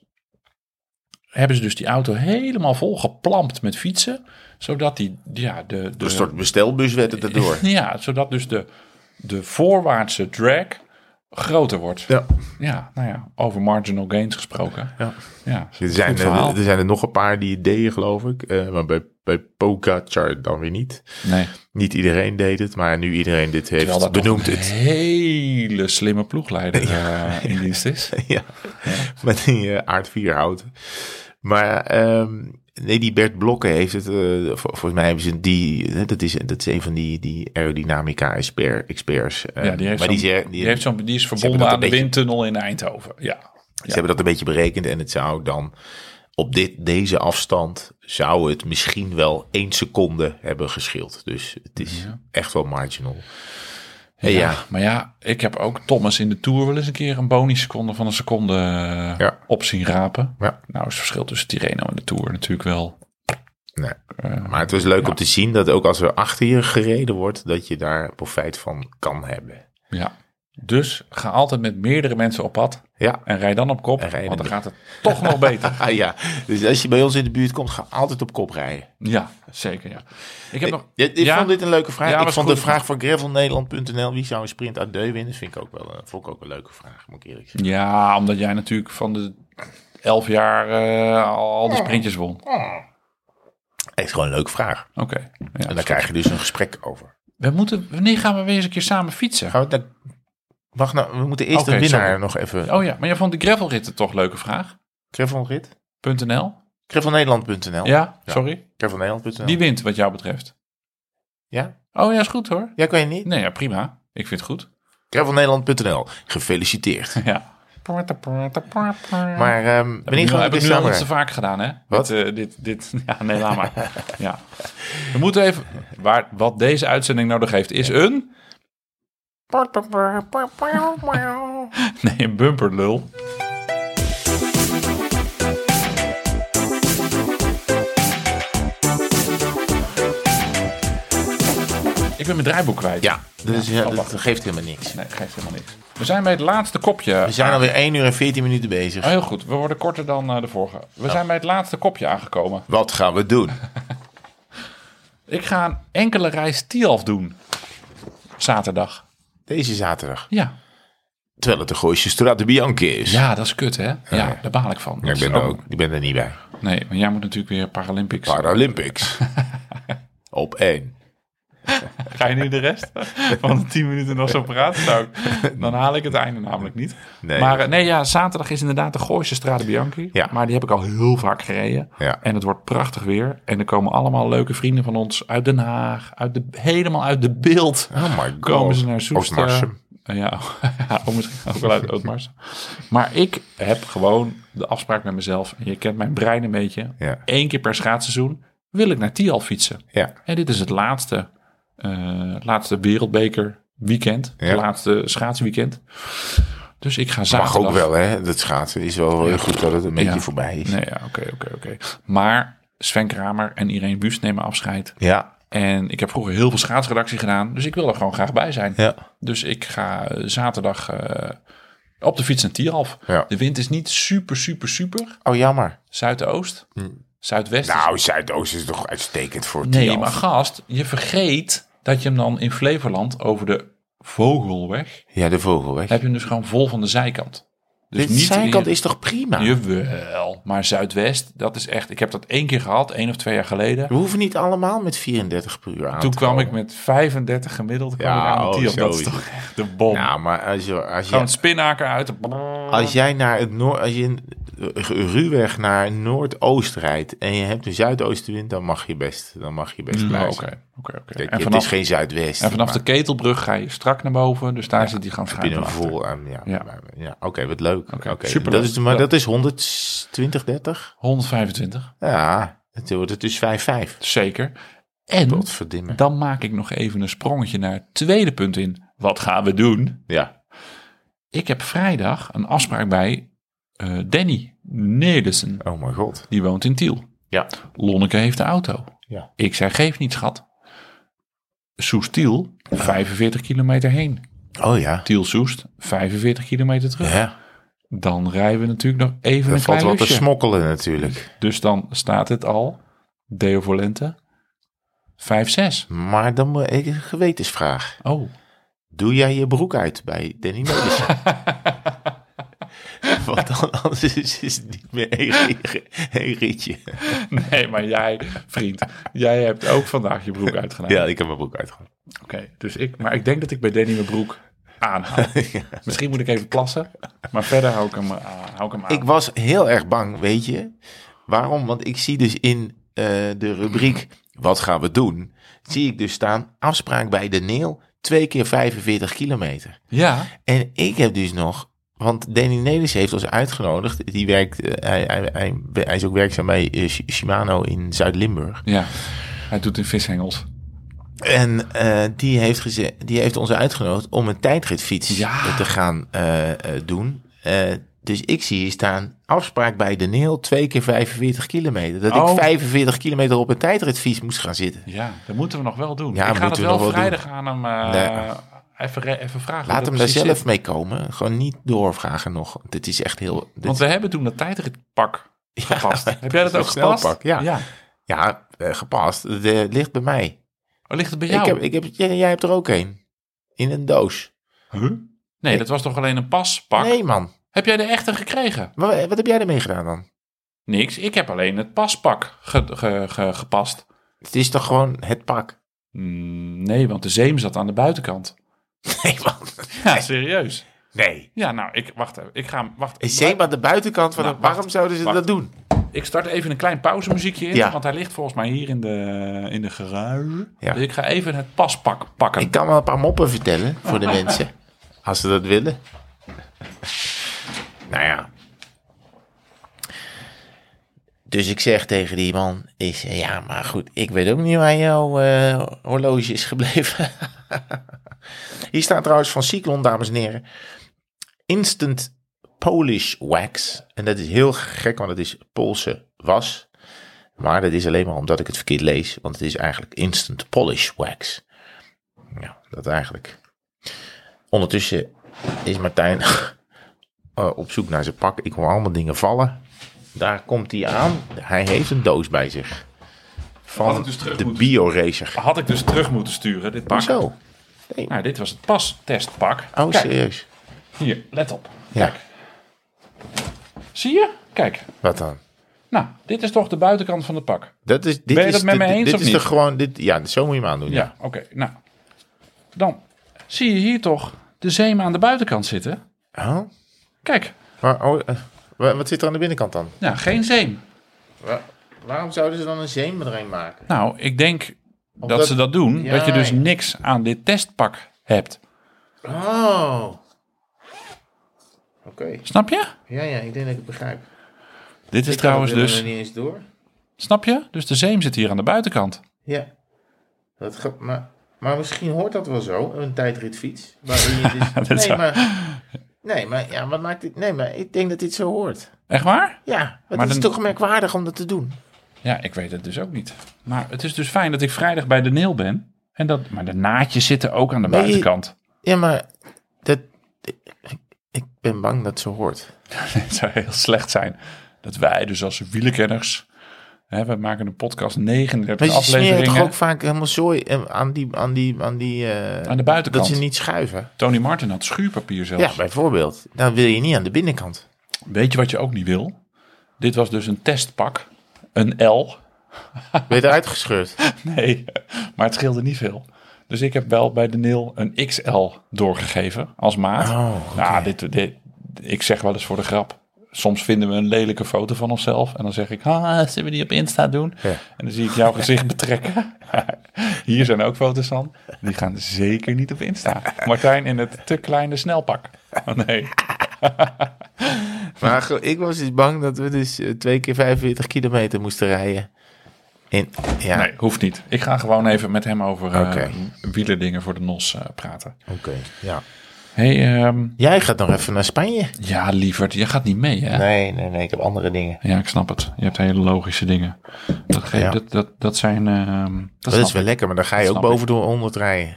[SPEAKER 2] hebben ze dus die auto helemaal vol geplampt met fietsen. Zodat die, ja, de... de
[SPEAKER 1] Een soort bestelbus werd het erdoor.
[SPEAKER 2] ja, zodat dus de, de voorwaartse drag groter wordt.
[SPEAKER 1] Ja.
[SPEAKER 2] Ja, nou ja, over marginal gains gesproken.
[SPEAKER 1] Ja.
[SPEAKER 2] ja
[SPEAKER 1] Er zijn, eh, er,
[SPEAKER 2] goed verhaal.
[SPEAKER 1] er zijn er nog een paar die het deden, geloof ik. Eh, maar bij, bij Pogacar dan weer niet.
[SPEAKER 2] nee.
[SPEAKER 1] Niet iedereen deed het, maar nu iedereen dit heeft,
[SPEAKER 2] Terwijl dat
[SPEAKER 1] benoemt
[SPEAKER 2] toch
[SPEAKER 1] het.
[SPEAKER 2] een hele slimme ploegleider eh, in dienst is.
[SPEAKER 1] ja. Met die eh aard vierhout. Maar ehm, nee, die Bert Blokke heeft het. eh, vol- volgens mij hebben ze die. hè, Dat is, dat is een van die, die aerodynamica exper- experts. eh,
[SPEAKER 2] Ja, die heeft,
[SPEAKER 1] maar
[SPEAKER 2] zo'n-
[SPEAKER 1] die, ze-
[SPEAKER 2] die,
[SPEAKER 1] die-
[SPEAKER 2] heeft zo'n, die is
[SPEAKER 1] hebben
[SPEAKER 2] verbonden
[SPEAKER 1] dat
[SPEAKER 2] aan de
[SPEAKER 1] een beetje-
[SPEAKER 2] windtunnel in Eindhoven. Ja.
[SPEAKER 1] Ze hebben dat een beetje berekend en het zou dan op dit, deze afstand zou het misschien wel één seconde hebben geschild. Dus het is echt wel marginal. Ja, ja.
[SPEAKER 2] Maar ja, ik heb ook Thomas in de Tour wel eens een keer een bonusseconde van een seconde eh,
[SPEAKER 1] Ja.
[SPEAKER 2] op zien rapen.
[SPEAKER 1] Ja.
[SPEAKER 2] Nou is het verschil tussen Tirreno en de Tour natuurlijk wel.
[SPEAKER 1] Nee.
[SPEAKER 2] Eh,
[SPEAKER 1] maar het was leuk om te zien dat ook als er achter je gereden wordt, dat je daar profijt van kan hebben.
[SPEAKER 2] Ja. Dus ga altijd met meerdere mensen op pad
[SPEAKER 1] Ja.
[SPEAKER 2] en rij dan op kop,
[SPEAKER 1] En rij
[SPEAKER 2] want dan
[SPEAKER 1] dan-
[SPEAKER 2] gaat het toch nog beter.
[SPEAKER 1] Ah ja, dus als je bij ons in de buurt komt, ga altijd op kop rijden.
[SPEAKER 2] Ja, zeker ja. Ik heb nog...
[SPEAKER 1] Eh, Ja, ik
[SPEAKER 2] Ja?
[SPEAKER 1] vond dit een leuke vraag.
[SPEAKER 2] Ja,
[SPEAKER 1] ik
[SPEAKER 2] was
[SPEAKER 1] vond
[SPEAKER 2] goed.
[SPEAKER 1] de vraag van gravelnederland.nl, wie zou een sprint uit Deu winnen, vind ik ook wel, eh, vond ik ook een leuke vraag, moet ik eerlijk zeggen.
[SPEAKER 2] Ja, omdat jij natuurlijk van de elf jaar eh, al de sprintjes won. Oké.
[SPEAKER 1] Het is gewoon een leuke vraag.
[SPEAKER 2] ja.
[SPEAKER 1] En daar krijg je dus een gesprek over.
[SPEAKER 2] We moeten, wanneer gaan we weer eens een keer samen fietsen?
[SPEAKER 1] Gaan we, het nou- wacht nou, we moeten eerst
[SPEAKER 2] Oké,
[SPEAKER 1] de winnaar
[SPEAKER 2] sorry.
[SPEAKER 1] nog even.
[SPEAKER 2] Oh ja, maar jij vond de gravelritten toch leuke vraag?
[SPEAKER 1] Gravelrit?
[SPEAKER 2] .nl?
[SPEAKER 1] Gravelnederland.nl.
[SPEAKER 2] Ja,
[SPEAKER 1] Oh, Ja.
[SPEAKER 2] sorry.
[SPEAKER 1] Gravelnederland.nl.
[SPEAKER 2] Die wint wat jou betreft.
[SPEAKER 1] Ja?
[SPEAKER 2] Oh ja, is goed hoor.
[SPEAKER 1] Ja, kan je niet?
[SPEAKER 2] Nee, ja, prima. Ik vind het goed.
[SPEAKER 1] Gravelnederland.nl. Gefeliciteerd.
[SPEAKER 2] Ja.
[SPEAKER 1] Maar ehm, wanneer gaan we
[SPEAKER 2] heb
[SPEAKER 1] dit
[SPEAKER 2] ik Oh, nu
[SPEAKER 1] samen
[SPEAKER 2] al iets te
[SPEAKER 1] rijden?
[SPEAKER 2] vaak gedaan, hè?
[SPEAKER 1] Wat?
[SPEAKER 2] Dit, eh, dit, dit, ja, nee, laat maar. ja. We moeten even... Waar, wat deze uitzending nodig heeft, is een... Nee, een bumperlul. Ik ben mijn draaiboek kwijt.
[SPEAKER 1] Ja, dus, ja,
[SPEAKER 2] grappig.
[SPEAKER 1] dat geeft helemaal niks.
[SPEAKER 2] Nee, geeft helemaal niks. We zijn bij het laatste kopje.
[SPEAKER 1] We zijn alweer 1 uur en 14 minuten bezig.
[SPEAKER 2] Oh, heel goed. We worden korter dan eh, de vorige. We zijn bij het laatste kopje aangekomen.
[SPEAKER 1] Wat gaan we doen?
[SPEAKER 2] Ik ga een enkele reis Tialf doen. Zaterdag.
[SPEAKER 1] Deze zaterdag.
[SPEAKER 2] Ja.
[SPEAKER 1] Terwijl het de Gooise Strade Bianche is.
[SPEAKER 2] Ja, dat is kut, hè? Ja, daar baal ik van.
[SPEAKER 1] Ja, ik, ben
[SPEAKER 2] Dat
[SPEAKER 1] er
[SPEAKER 2] is
[SPEAKER 1] ook, ik ben er niet bij.
[SPEAKER 2] ook- Nee, maar jij moet natuurlijk weer Paralympics.
[SPEAKER 1] Paralympics. Op één.
[SPEAKER 2] Ga je nu de rest van de 10 minuten nog zo praten? Nou, dan haal ik het einde namelijk niet.
[SPEAKER 1] Nee.
[SPEAKER 2] Maar eh, nee, ja, zaterdag is inderdaad de Gooise Strade Bianchi.
[SPEAKER 1] Ja.
[SPEAKER 2] Maar die heb ik al heel vaak gereden.
[SPEAKER 1] Ja.
[SPEAKER 2] En het wordt prachtig weer. En er komen allemaal leuke vrienden van ons uit Den Haag. Uit de, helemaal uit de beeld.
[SPEAKER 1] Oh my god.
[SPEAKER 2] Komen ze naar Soest.
[SPEAKER 1] Oostmarsum.
[SPEAKER 2] eh, ja, of misschien ook wel uit Ootmars. Maar ik heb gewoon de afspraak met mezelf. En je kent mijn brein een beetje.
[SPEAKER 1] Ja.
[SPEAKER 2] Eén keer per schaatsseizoen wil ik naar Tial fietsen.
[SPEAKER 1] Ja.
[SPEAKER 2] En dit is het laatste, eh, laatste wereldbeker weekend.
[SPEAKER 1] Ja.
[SPEAKER 2] Het laatste schaatsweekend. Dus ik ga
[SPEAKER 1] Mag
[SPEAKER 2] zaterdag...
[SPEAKER 1] ook wel, hè? Dat schaatsen is wel heel goed dat het een beetje
[SPEAKER 2] Ja.
[SPEAKER 1] voorbij is.
[SPEAKER 2] Nee, ja, oké, oké, oké. Maar Sven Kramer en Irene Buust nemen afscheid.
[SPEAKER 1] Ja.
[SPEAKER 2] En ik heb vroeger heel veel schaatsredactie gedaan. Dus ik wil er gewoon graag bij zijn.
[SPEAKER 1] Ja.
[SPEAKER 2] Dus ik ga eh, zaterdag eh, op de fiets naar Tierhalf.
[SPEAKER 1] Ja.
[SPEAKER 2] De wind is niet super, super, super.
[SPEAKER 1] Oh, jammer.
[SPEAKER 2] Zuidoost, zuidwest. is-
[SPEAKER 1] Hm. Nou, Zuidoost is toch uitstekend voor
[SPEAKER 2] nee,
[SPEAKER 1] Tialf.
[SPEAKER 2] maar gast, je vergeet dat je hem dan in Flevoland over de Vogelweg...
[SPEAKER 1] Ja, de vogelweg.
[SPEAKER 2] heb je hem dus gewoon vol van de zijkant. Dus
[SPEAKER 1] De zijkant is toch prima?
[SPEAKER 2] Jawel, maar Zuidwest, dat is echt... Ik heb dat één keer gehad, één of twee jaar geleden.
[SPEAKER 1] We hoeven niet allemaal met 34 per uur aan
[SPEAKER 2] Toen
[SPEAKER 1] te
[SPEAKER 2] kwam
[SPEAKER 1] komen.
[SPEAKER 2] ik met 35 gemiddeld kwam
[SPEAKER 1] Ja,
[SPEAKER 2] ik aan de
[SPEAKER 1] oh,
[SPEAKER 2] Tialf. Dat is
[SPEAKER 1] zoiets.
[SPEAKER 2] toch echt de bom.
[SPEAKER 1] Nou, Mm, maar als, je, als,
[SPEAKER 2] gewoon
[SPEAKER 1] je,
[SPEAKER 2] spinnaker uit. de- Oh,
[SPEAKER 1] als jij naar het noord... Als je in- eh, ruwweg naar Noordoost rijdt en je hebt een Zuidoostenwind, dan mag je best, dan mag je best
[SPEAKER 2] Oh,
[SPEAKER 1] blijven.
[SPEAKER 2] Oké, oké, oké.
[SPEAKER 1] Kijk,
[SPEAKER 2] En
[SPEAKER 1] het is
[SPEAKER 2] vanaf,
[SPEAKER 1] geen Zuidwest.
[SPEAKER 2] en vanaf
[SPEAKER 1] maar
[SPEAKER 2] de ketelbrug ga je strak naar boven. Dus daar zit die gaan
[SPEAKER 1] binnen
[SPEAKER 2] schuiven. achter.
[SPEAKER 1] vol aan. Ja,
[SPEAKER 2] Ja.
[SPEAKER 1] maar- ja. Oké, wat leuk.
[SPEAKER 2] Oké,
[SPEAKER 1] Oké,
[SPEAKER 2] superleuk.
[SPEAKER 1] dat is, maar
[SPEAKER 2] Ja.
[SPEAKER 1] dat is 120, 30?
[SPEAKER 2] 125,
[SPEAKER 1] Ja, het wordt het dus 5-5.
[SPEAKER 2] zeker. En
[SPEAKER 1] Wat verdimmen.
[SPEAKER 2] dan maak ik nog even een sprongetje naar het tweede punt in. Wat gaan we doen?
[SPEAKER 1] Ja.
[SPEAKER 2] Ik heb vrijdag een afspraak bij eh, Danny Nelissen.
[SPEAKER 1] Oh mijn god.
[SPEAKER 2] Die woont in Tiel.
[SPEAKER 1] Ja.
[SPEAKER 2] Lonneke heeft de auto.
[SPEAKER 1] Ja.
[SPEAKER 2] Ik zei, geef niet, schat. Soest-Tiel, 45 kilometer heen.
[SPEAKER 1] Oh ja.
[SPEAKER 2] Tiel-Soest, 45 kilometer terug.
[SPEAKER 1] Ja,
[SPEAKER 2] Dan rijden we natuurlijk nog even
[SPEAKER 1] dat
[SPEAKER 2] een klein
[SPEAKER 1] valt wel te
[SPEAKER 2] lusje.
[SPEAKER 1] smokkelen natuurlijk.
[SPEAKER 2] Dus dan staat het al, Deo Volente, 5-6.
[SPEAKER 1] Maar dan moet ik een gewetensvraag.
[SPEAKER 2] Oh,
[SPEAKER 1] Doe jij je broek uit bij Danny Nelissen? Want dan- anders is is het niet meer één ri- één ritje.
[SPEAKER 2] nee, maar jij, vriend, jij hebt ook vandaag je broek uitgedaan.
[SPEAKER 1] Ja, ik heb mijn broek uitgehad.
[SPEAKER 2] Oké, dus ik, maar ik denk dat ik bij Danny mijn broek aanhaal. Misschien moet ik even plassen, maar verder hou ik hem, eh, hou ik hem aan.
[SPEAKER 1] Ik was heel erg bang, weet je. Waarom? Want ik zie dus in eh, de rubriek Wat gaan we doen? Zie ik dus staan afspraak bij de Neel, twee keer 45 kilometer.
[SPEAKER 2] Ja,
[SPEAKER 1] En ik heb dus nog, want Danny Nelis heeft ons uitgenodigd. Die werkt, eh, hij, hij, hij, hij is ook werkzaam bij eh, Shi- Shimano in Zuid-Limburg.
[SPEAKER 2] ja. Hij doet in vishengels.
[SPEAKER 1] En eh, die, heeft geze- die heeft ons uitgenodigd om een tijdritfiets
[SPEAKER 2] Ja.
[SPEAKER 1] te gaan eh, eh, doen. Eh, dus ik zie hier staan afspraak bij de Neel, twee keer 45 kilometer. Dat
[SPEAKER 2] Oh.
[SPEAKER 1] ik 45 kilometer op een tijdritfiets moest gaan zitten.
[SPEAKER 2] Ja, dat moeten we nog wel doen.
[SPEAKER 1] Ja,
[SPEAKER 2] ik ga dat
[SPEAKER 1] moeten we
[SPEAKER 2] wel
[SPEAKER 1] nog wel
[SPEAKER 2] vrijdag aan hem... eh,
[SPEAKER 1] Nee.
[SPEAKER 2] even, re- even vragen.
[SPEAKER 1] Laat
[SPEAKER 2] hoe dat
[SPEAKER 1] hem daar
[SPEAKER 2] precies
[SPEAKER 1] zelf
[SPEAKER 2] zit.
[SPEAKER 1] mee komen. Gewoon niet doorvragen nog. Dit is echt heel... Dit
[SPEAKER 2] Want we hebben toen dat tijdritpak gepast. Heb jij dat
[SPEAKER 1] dat
[SPEAKER 2] ook gepast?
[SPEAKER 1] snelpak, ja.
[SPEAKER 2] ja.
[SPEAKER 1] Ja, eh, gepast. Het eh, ligt bij mij.
[SPEAKER 2] Oh, ligt het bij jou?
[SPEAKER 1] Ik heb, ik heb, jij, jij hebt er ook een. In een doos.
[SPEAKER 2] Huh? Nee, dat was toch alleen een paspak?
[SPEAKER 1] Nee, man.
[SPEAKER 2] Heb jij de echte gekregen?
[SPEAKER 1] Wat, wat heb jij ermee gedaan dan?
[SPEAKER 2] Niks. Ik heb alleen het paspak ge- ge- ge- gepast.
[SPEAKER 1] Het is toch gewoon het pak?
[SPEAKER 2] Mm, nee, want de zeem zat aan de buitenkant.
[SPEAKER 1] Nee, man.
[SPEAKER 2] Ja, serieus.
[SPEAKER 1] Nee.
[SPEAKER 2] Ja, nou, ik, wacht even. Ik ga hem, wacht.
[SPEAKER 1] Is zeep aan de buitenkant van
[SPEAKER 2] Nou,
[SPEAKER 1] een- Waarom
[SPEAKER 2] wacht,
[SPEAKER 1] zouden ze
[SPEAKER 2] wacht.
[SPEAKER 1] dat doen?
[SPEAKER 2] Ik start even een klein pauzemuziekje in,
[SPEAKER 1] Ja.
[SPEAKER 2] want hij ligt volgens mij hier in de, in de garage.
[SPEAKER 1] Ja.
[SPEAKER 2] Dus ik ga even het paspak pakken.
[SPEAKER 1] Ik kan wel een paar moppen vertellen voor de mensen. Oh. Als ze dat willen. Nou ja. Dus ik zeg tegen die man, ik zeg, ja, maar goed, ik weet ook niet waar jouw eh, horloge is gebleven. Hier staat trouwens van Cyclon, dames en heren. Instant Polish wax. En dat is heel gek, want het is Poolse was. Maar dat is alleen maar omdat ik het verkeerd lees, want het is eigenlijk instant Polish wax. Ja, dat eigenlijk. Ondertussen is Martijn eh, op zoek naar zijn pak. Ik hoor allemaal dingen vallen. Daar komt hij aan. Hij heeft een doos bij zich.
[SPEAKER 2] Had
[SPEAKER 1] Van
[SPEAKER 2] het dus terug Ah,
[SPEAKER 1] de
[SPEAKER 2] moeten-
[SPEAKER 1] Bioracer.
[SPEAKER 2] Had ik dus terug moeten sturen, dit pak.
[SPEAKER 1] Zo.
[SPEAKER 2] Nou, dit was het pastestpak.
[SPEAKER 1] Oh,
[SPEAKER 2] Kijk,
[SPEAKER 1] serieus.
[SPEAKER 2] hier, let op.
[SPEAKER 1] Ja.
[SPEAKER 2] Kijk. Zie je? Kijk.
[SPEAKER 1] Wat dan?
[SPEAKER 2] Nou, dit is toch de buitenkant van het pak.
[SPEAKER 1] Dat is, dit
[SPEAKER 2] Ben je
[SPEAKER 1] is
[SPEAKER 2] dat met
[SPEAKER 1] de-
[SPEAKER 2] me eens
[SPEAKER 1] dit
[SPEAKER 2] of
[SPEAKER 1] is
[SPEAKER 2] niet?
[SPEAKER 1] toch gewoon, dit, ja, zo moet je hem aandoen.
[SPEAKER 2] Ja,
[SPEAKER 1] Ja.
[SPEAKER 2] oké. Nou, dan zie je hier toch de zeem aan de buitenkant zitten.
[SPEAKER 1] Oh?
[SPEAKER 2] Kijk,
[SPEAKER 1] Maar, oh, eh, wa- wat zit er aan de binnenkant dan?
[SPEAKER 2] nou, geen zeem.
[SPEAKER 1] waarom zouden ze dan een zeem erin maken?
[SPEAKER 2] Nou, ik denk dat
[SPEAKER 1] dat-
[SPEAKER 2] ze dat doen,
[SPEAKER 1] Ja,
[SPEAKER 2] dat je dus
[SPEAKER 1] ja.
[SPEAKER 2] niks aan dit testpak hebt.
[SPEAKER 1] Oh. Oké.
[SPEAKER 2] Snap je?
[SPEAKER 1] Ja, ja, ik denk dat ik het begrijp.
[SPEAKER 2] Dit is trouwens dus,
[SPEAKER 1] niet eens door.
[SPEAKER 2] snap je? Dus de zeem zit hier aan de buitenkant.
[SPEAKER 1] Ja. Dat ge- maar, maar misschien hoort dat wel zo, een tijdritfiets. Waarin je dus,
[SPEAKER 2] Dat is
[SPEAKER 1] nee,
[SPEAKER 2] waar.
[SPEAKER 1] maar, nee, maar, ja, wat maakt dit, nee, maar ik denk dat dit zo hoort.
[SPEAKER 2] Echt waar?
[SPEAKER 1] Ja, maar
[SPEAKER 2] Maar
[SPEAKER 1] het is
[SPEAKER 2] dan-
[SPEAKER 1] toch merkwaardig om dat te doen.
[SPEAKER 2] Ja, ik weet het dus ook niet. Maar het is dus fijn dat ik vrijdag bij de Neel ben. En dat, maar de naadjes zitten ook aan de
[SPEAKER 1] Nee.
[SPEAKER 2] buitenkant.
[SPEAKER 1] Ja, maar dat, ik, ik ben bang dat ze hoort.
[SPEAKER 2] Het zou heel slecht zijn dat wij dus als wielerkenners... Hè, we maken een podcast 39
[SPEAKER 1] Maar ze smeren toch
[SPEAKER 2] afleveringen.
[SPEAKER 1] ook vaak helemaal zooi eh, aan die... Aan, die, aan, die, eh,
[SPEAKER 2] Aan de buitenkant.
[SPEAKER 1] Dat ze niet schuiven.
[SPEAKER 2] Tony Martin had schuurpapier zelfs.
[SPEAKER 1] Ja, bijvoorbeeld. Dan wil je niet aan de binnenkant.
[SPEAKER 2] Weet je wat je ook niet wil? Dit was dus een testpak. Een L.
[SPEAKER 1] Weet je uitgescheurd.
[SPEAKER 2] Nee, maar het scheelde niet veel. Dus ik heb wel bij de Nil een XL doorgegeven als maat.
[SPEAKER 1] Oh,
[SPEAKER 2] Nou, dit, dit, ik zeg wel eens voor de grap. Soms vinden we een lelijke foto van onszelf. En dan zeg ik, ah, zullen we die op Insta doen?
[SPEAKER 1] Ja.
[SPEAKER 2] En dan zie ik jouw gezicht betrekken. Hier zijn ook foto's van. Die gaan zeker niet op Insta. Martijn in het te kleine snelpak. Oh, nee.
[SPEAKER 1] Maar go- ik was dus bang dat we dus eh, twee keer 45 kilometer moesten rijden. In, ja,
[SPEAKER 2] nee, hoeft niet. Ik ga gewoon even met hem over eh,
[SPEAKER 1] Oké.
[SPEAKER 2] wielerdingen voor de NOS eh, praten.
[SPEAKER 1] oké. ja.
[SPEAKER 2] hey, ehm,
[SPEAKER 1] Jij gaat nog even naar Spanje.
[SPEAKER 2] ja lieverd, je gaat niet mee hè?
[SPEAKER 1] Nee, nee, nee, ik heb andere dingen.
[SPEAKER 2] Ja, ik snap het. Je hebt hele logische dingen. Dat, ge-
[SPEAKER 1] Ja.
[SPEAKER 2] dat, dat, dat zijn. ehm, dat
[SPEAKER 1] Dat, is
[SPEAKER 2] snap
[SPEAKER 1] wel
[SPEAKER 2] ik.
[SPEAKER 1] lekker, maar dan ga je
[SPEAKER 2] Dat
[SPEAKER 1] ook
[SPEAKER 2] snap ik.
[SPEAKER 1] boven door 100 rijden.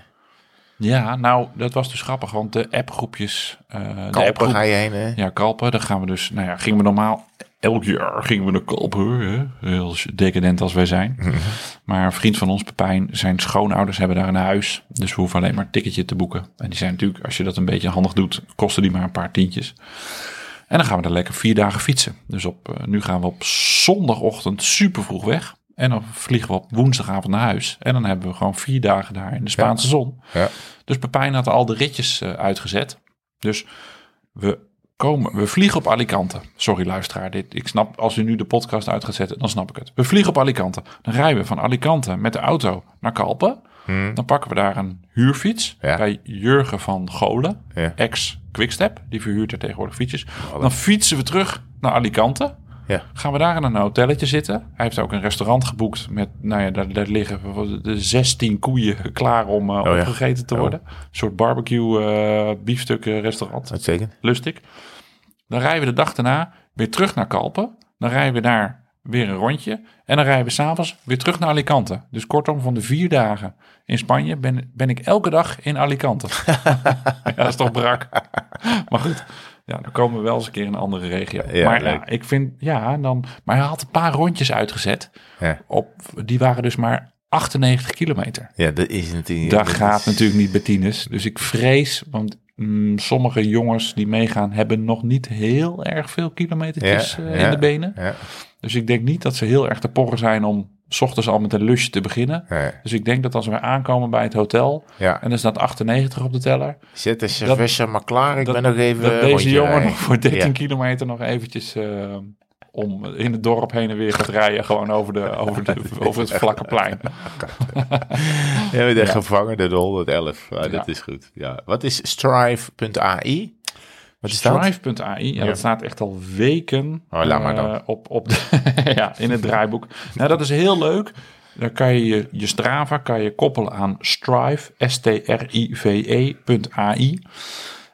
[SPEAKER 2] Ja, nou, dat was dus grappig, want de appgroepjes. eh de
[SPEAKER 1] Kalpen
[SPEAKER 2] appgroep,
[SPEAKER 1] ga je heen, hè?
[SPEAKER 2] ja, Kalpen, daar gaan we dus. Nou ja, gingen we normaal. Elk jaar gingen we naar Kalpen. Hè? Heel decadent als wij zijn.
[SPEAKER 1] Mhm.
[SPEAKER 2] Maar een vriend van ons, Pepijn, zijn schoonouders hebben daar een huis. Dus we hoeven alleen maar een ticketje te boeken. En die zijn natuurlijk, als je dat een beetje handig doet, kosten die maar een paar tientjes. En dan gaan we daar lekker vier dagen fietsen. Dus op, eh, nu gaan we op zondagochtend super vroeg weg. En dan vliegen we op woensdagavond naar huis. En dan hebben we gewoon vier dagen daar in de Spaanse zon.
[SPEAKER 1] Ja.
[SPEAKER 2] Dus Pepijn had al de ritjes eh, uitgezet. Dus we komen, we vliegen op Alicante. Sorry luisteraar, dit, ik snap, als u nu de podcast uit gaat zetten, dan snap ik het. We vliegen op Alicante. Dan rijden we van Alicante met de auto naar Kalpen. Dan pakken we daar een huurfiets
[SPEAKER 1] Hmm. Ja.
[SPEAKER 2] bij Jurgen van Golen,
[SPEAKER 1] Ja.
[SPEAKER 2] ex Quickstep. Die verhuurt er tegenwoordig fietsjes. Dan fietsen we terug naar Alicante.
[SPEAKER 1] Ja.
[SPEAKER 2] Gaan we daar in een hotelletje zitten. Hij heeft ook een restaurant geboekt met, nou ja, daar, daar liggen de 16 koeien klaar om eh,
[SPEAKER 1] ja.
[SPEAKER 2] opgegeten te
[SPEAKER 1] Oh.
[SPEAKER 2] worden. Een soort barbecue eh biefstukken restaurant.
[SPEAKER 1] Uitstekend.
[SPEAKER 2] Lustig. Dan rijden we de dag daarna weer terug naar Kalpen. Dan rijden we daar weer een rondje. En dan rijden we s'avonds weer terug naar Alicante. Dus kortom, van de vier dagen in Spanje ben, ben ik elke dag in Alicante. ja, dat is toch brak. maar goed, ja, dan komen we wel eens een keer in een andere regio.
[SPEAKER 1] Ja,
[SPEAKER 2] maar
[SPEAKER 1] leuk.
[SPEAKER 2] ja, ik vind, ja, en dan, maar hij had een paar rondjes uitgezet.
[SPEAKER 1] Ja.
[SPEAKER 2] Op, die waren dus maar 98 kilometer.
[SPEAKER 1] Ja, dat is natuurlijk...
[SPEAKER 2] Dat gaat natuurlijk niet bij tieners. Dus ik vrees, want mm, sommige jongens die meegaan hebben nog niet heel erg veel kilometertjes eh, in de benen.
[SPEAKER 1] Ja,
[SPEAKER 2] Dus ik denk niet dat ze heel erg te porren zijn om 's ochtends al met een lusje te beginnen.
[SPEAKER 1] ja,
[SPEAKER 2] Dus ik denk dat als we aankomen bij het hotel
[SPEAKER 1] ja.
[SPEAKER 2] en er staat 98 op de teller,
[SPEAKER 1] Zet de servetje maar klaar. Ik
[SPEAKER 2] dat-
[SPEAKER 1] ben nog even
[SPEAKER 2] dat
[SPEAKER 1] een
[SPEAKER 2] deze
[SPEAKER 1] rondje
[SPEAKER 2] jongen
[SPEAKER 1] rijden.
[SPEAKER 2] nog voor 13
[SPEAKER 1] Ja.
[SPEAKER 2] kilometer nog eventjes eh, om in het dorp heen en weer gaat rijden, gewoon over, de, over, de, over het vlakke plein.
[SPEAKER 1] Ja, we zijn gevangen door de 111. Ah, Dat
[SPEAKER 2] Ja.
[SPEAKER 1] is goed. Ja. Wat is strive.ai? Wat is dat?
[SPEAKER 2] Strive.ai, ja,
[SPEAKER 1] Ja.
[SPEAKER 2] dat staat echt al weken
[SPEAKER 1] Oh, laat maar
[SPEAKER 2] eh,
[SPEAKER 1] dan.
[SPEAKER 2] op, op de- ja, in het draaiboek. Nou, dat is heel leuk. Dan kan je je, je Strava kan je koppelen aan Strive, E S-T-R-I-V-E.ai.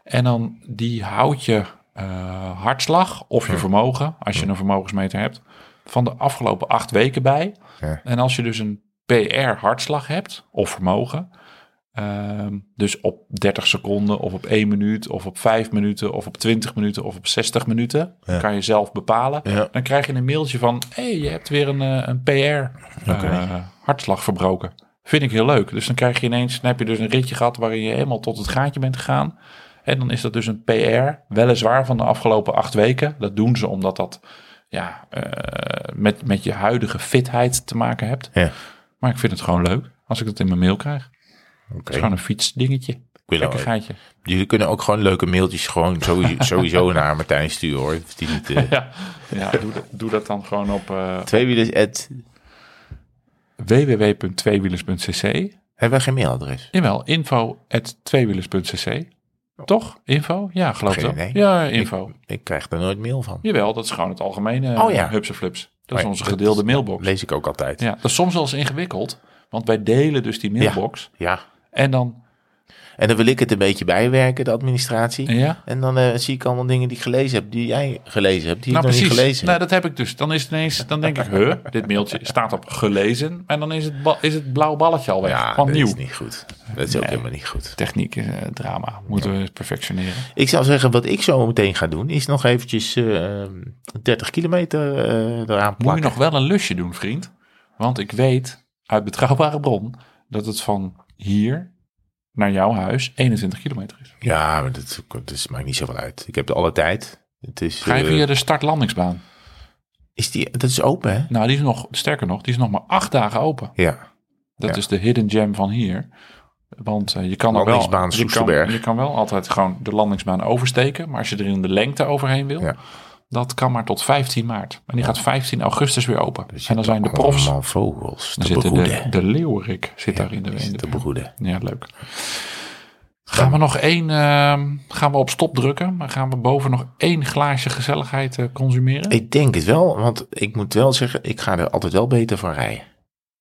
[SPEAKER 2] En dan die houdt je eh, hartslag of
[SPEAKER 1] Hm.
[SPEAKER 2] je vermogen, als je een vermogensmeter hebt, van de afgelopen acht weken bij.
[SPEAKER 1] Ja.
[SPEAKER 2] En als je dus een PR-hartslag hebt of vermogen, Ehm, dus op 30 seconden of op 1 minuut of op 5 minuten of op 20 minuten of op 60 minuten.
[SPEAKER 1] Ja.
[SPEAKER 2] Kan je zelf bepalen.
[SPEAKER 1] Ja.
[SPEAKER 2] Dan krijg je een mailtje van, hé, hey, je hebt weer een, eh, een PR eh, hartslag verbroken. Vind ik heel leuk. Dus dan krijg je ineens, dan heb je dus een ritje gehad waarin je helemaal tot het gaatje bent gegaan. En dan is dat dus een PR, weliswaar van de afgelopen acht weken. Dat doen ze omdat dat ja, eh, met, met je huidige fitheid te maken hebt.
[SPEAKER 1] Ja.
[SPEAKER 2] Maar ik vind het gewoon leuk als ik dat in mijn mail krijg.
[SPEAKER 1] Oké.
[SPEAKER 2] Het is gewoon een fietsdingetje.
[SPEAKER 1] wil
[SPEAKER 2] Lekker
[SPEAKER 1] ook-
[SPEAKER 2] gaatje.
[SPEAKER 1] Jullie kunnen ook gewoon leuke mailtjes gewoon sowieso, sowieso naar Martijn sturen hoor. Hoeft die niet, eh
[SPEAKER 2] Ja, ja doe, dat, doe dat dan gewoon op eh
[SPEAKER 1] Tweewielers at...
[SPEAKER 2] www.tweewielers.cc. Eh,
[SPEAKER 1] Hebben wij geen mailadres?
[SPEAKER 2] Jawel, info.tweewielers.cc. Toch? Info? Ja, geloof ik
[SPEAKER 1] Geen
[SPEAKER 2] wel.
[SPEAKER 1] idee.
[SPEAKER 2] Ja, info.
[SPEAKER 1] Ik krijg daar nooit mail van.
[SPEAKER 2] Jawel, dat is gewoon het algemene
[SPEAKER 1] Oh
[SPEAKER 2] oh,
[SPEAKER 1] ja.
[SPEAKER 2] hups en flips. Dat
[SPEAKER 1] Oh
[SPEAKER 2] is
[SPEAKER 1] ja,
[SPEAKER 2] onze
[SPEAKER 1] dat
[SPEAKER 2] gedeelde
[SPEAKER 1] is-
[SPEAKER 2] mailbox.
[SPEAKER 1] Lees ik ook altijd.
[SPEAKER 2] Ja, dat is soms wel eens ingewikkeld, want wij delen dus die mailbox.
[SPEAKER 1] Ja.
[SPEAKER 2] En dan,
[SPEAKER 1] En dan wil ik het een beetje bijwerken, de administratie.
[SPEAKER 2] ja,
[SPEAKER 1] En dan eh, zie ik allemaal dingen die ik gelezen heb, die jij gelezen hebt, die
[SPEAKER 2] nou
[SPEAKER 1] ik nog
[SPEAKER 2] precies.
[SPEAKER 1] niet gelezen
[SPEAKER 2] nou,
[SPEAKER 1] heb.
[SPEAKER 2] dat heb ik dus. Dan is het ineens, dan denk ik, huh, dit mailtje staat op gelezen. En dan is het, ba- is het blauw balletje al weg.
[SPEAKER 1] ja,
[SPEAKER 2] van
[SPEAKER 1] dat
[SPEAKER 2] nieuw.
[SPEAKER 1] is niet goed. Dat is ook helemaal niet goed.
[SPEAKER 2] techniek eh, drama. Moeten we perfectioneren.
[SPEAKER 1] Ik zou zeggen, wat ik zo meteen ga doen, is nog eventjes eh, 30 kilometer eh, eraan
[SPEAKER 2] Moet je
[SPEAKER 1] plakken.
[SPEAKER 2] nog wel een lusje doen, vriend? Want ik weet uit betrouwbare bron dat het van hier naar jouw huis 21 kilometer is.
[SPEAKER 1] Ja, maar dat, is ook- dat is- maakt niet zoveel uit. Ik heb de alle tijd. Het is,
[SPEAKER 2] Ga je
[SPEAKER 1] eh,
[SPEAKER 2] via de start-landingsbaan?
[SPEAKER 1] is die, dat is open, hè?
[SPEAKER 2] Nou, die is nog, sterker nog, die is nog maar acht dagen open.
[SPEAKER 1] Ja.
[SPEAKER 2] Dat
[SPEAKER 1] Ja.
[SPEAKER 2] is de hidden gem van hier. Want eh, je kan ook wel,
[SPEAKER 1] Landingsbaan
[SPEAKER 2] je kan,
[SPEAKER 1] Soesterberg.
[SPEAKER 2] je kan wel altijd gewoon de landingsbaan oversteken. Maar als je er in de lengte overheen wil,
[SPEAKER 1] Ja.
[SPEAKER 2] dat kan maar tot 15 maart. En die gaat 15 augustus weer open.
[SPEAKER 1] Dus
[SPEAKER 2] en dan zijn de profs.
[SPEAKER 1] Allemaal vogels
[SPEAKER 2] Dan
[SPEAKER 1] te
[SPEAKER 2] zitten
[SPEAKER 1] beroeden.
[SPEAKER 2] de, de leeuwerik zit daar in de,
[SPEAKER 1] Die
[SPEAKER 2] in
[SPEAKER 1] zitten
[SPEAKER 2] de
[SPEAKER 1] te beroeden.
[SPEAKER 2] Ja, leuk. Gaan we nog één, ehm, gaan we op stop drukken? Maar gaan we boven nog één glaasje gezelligheid eh, consumeren?
[SPEAKER 1] Ik denk het wel, want ik moet wel zeggen, ik ga er altijd wel beter van rijden.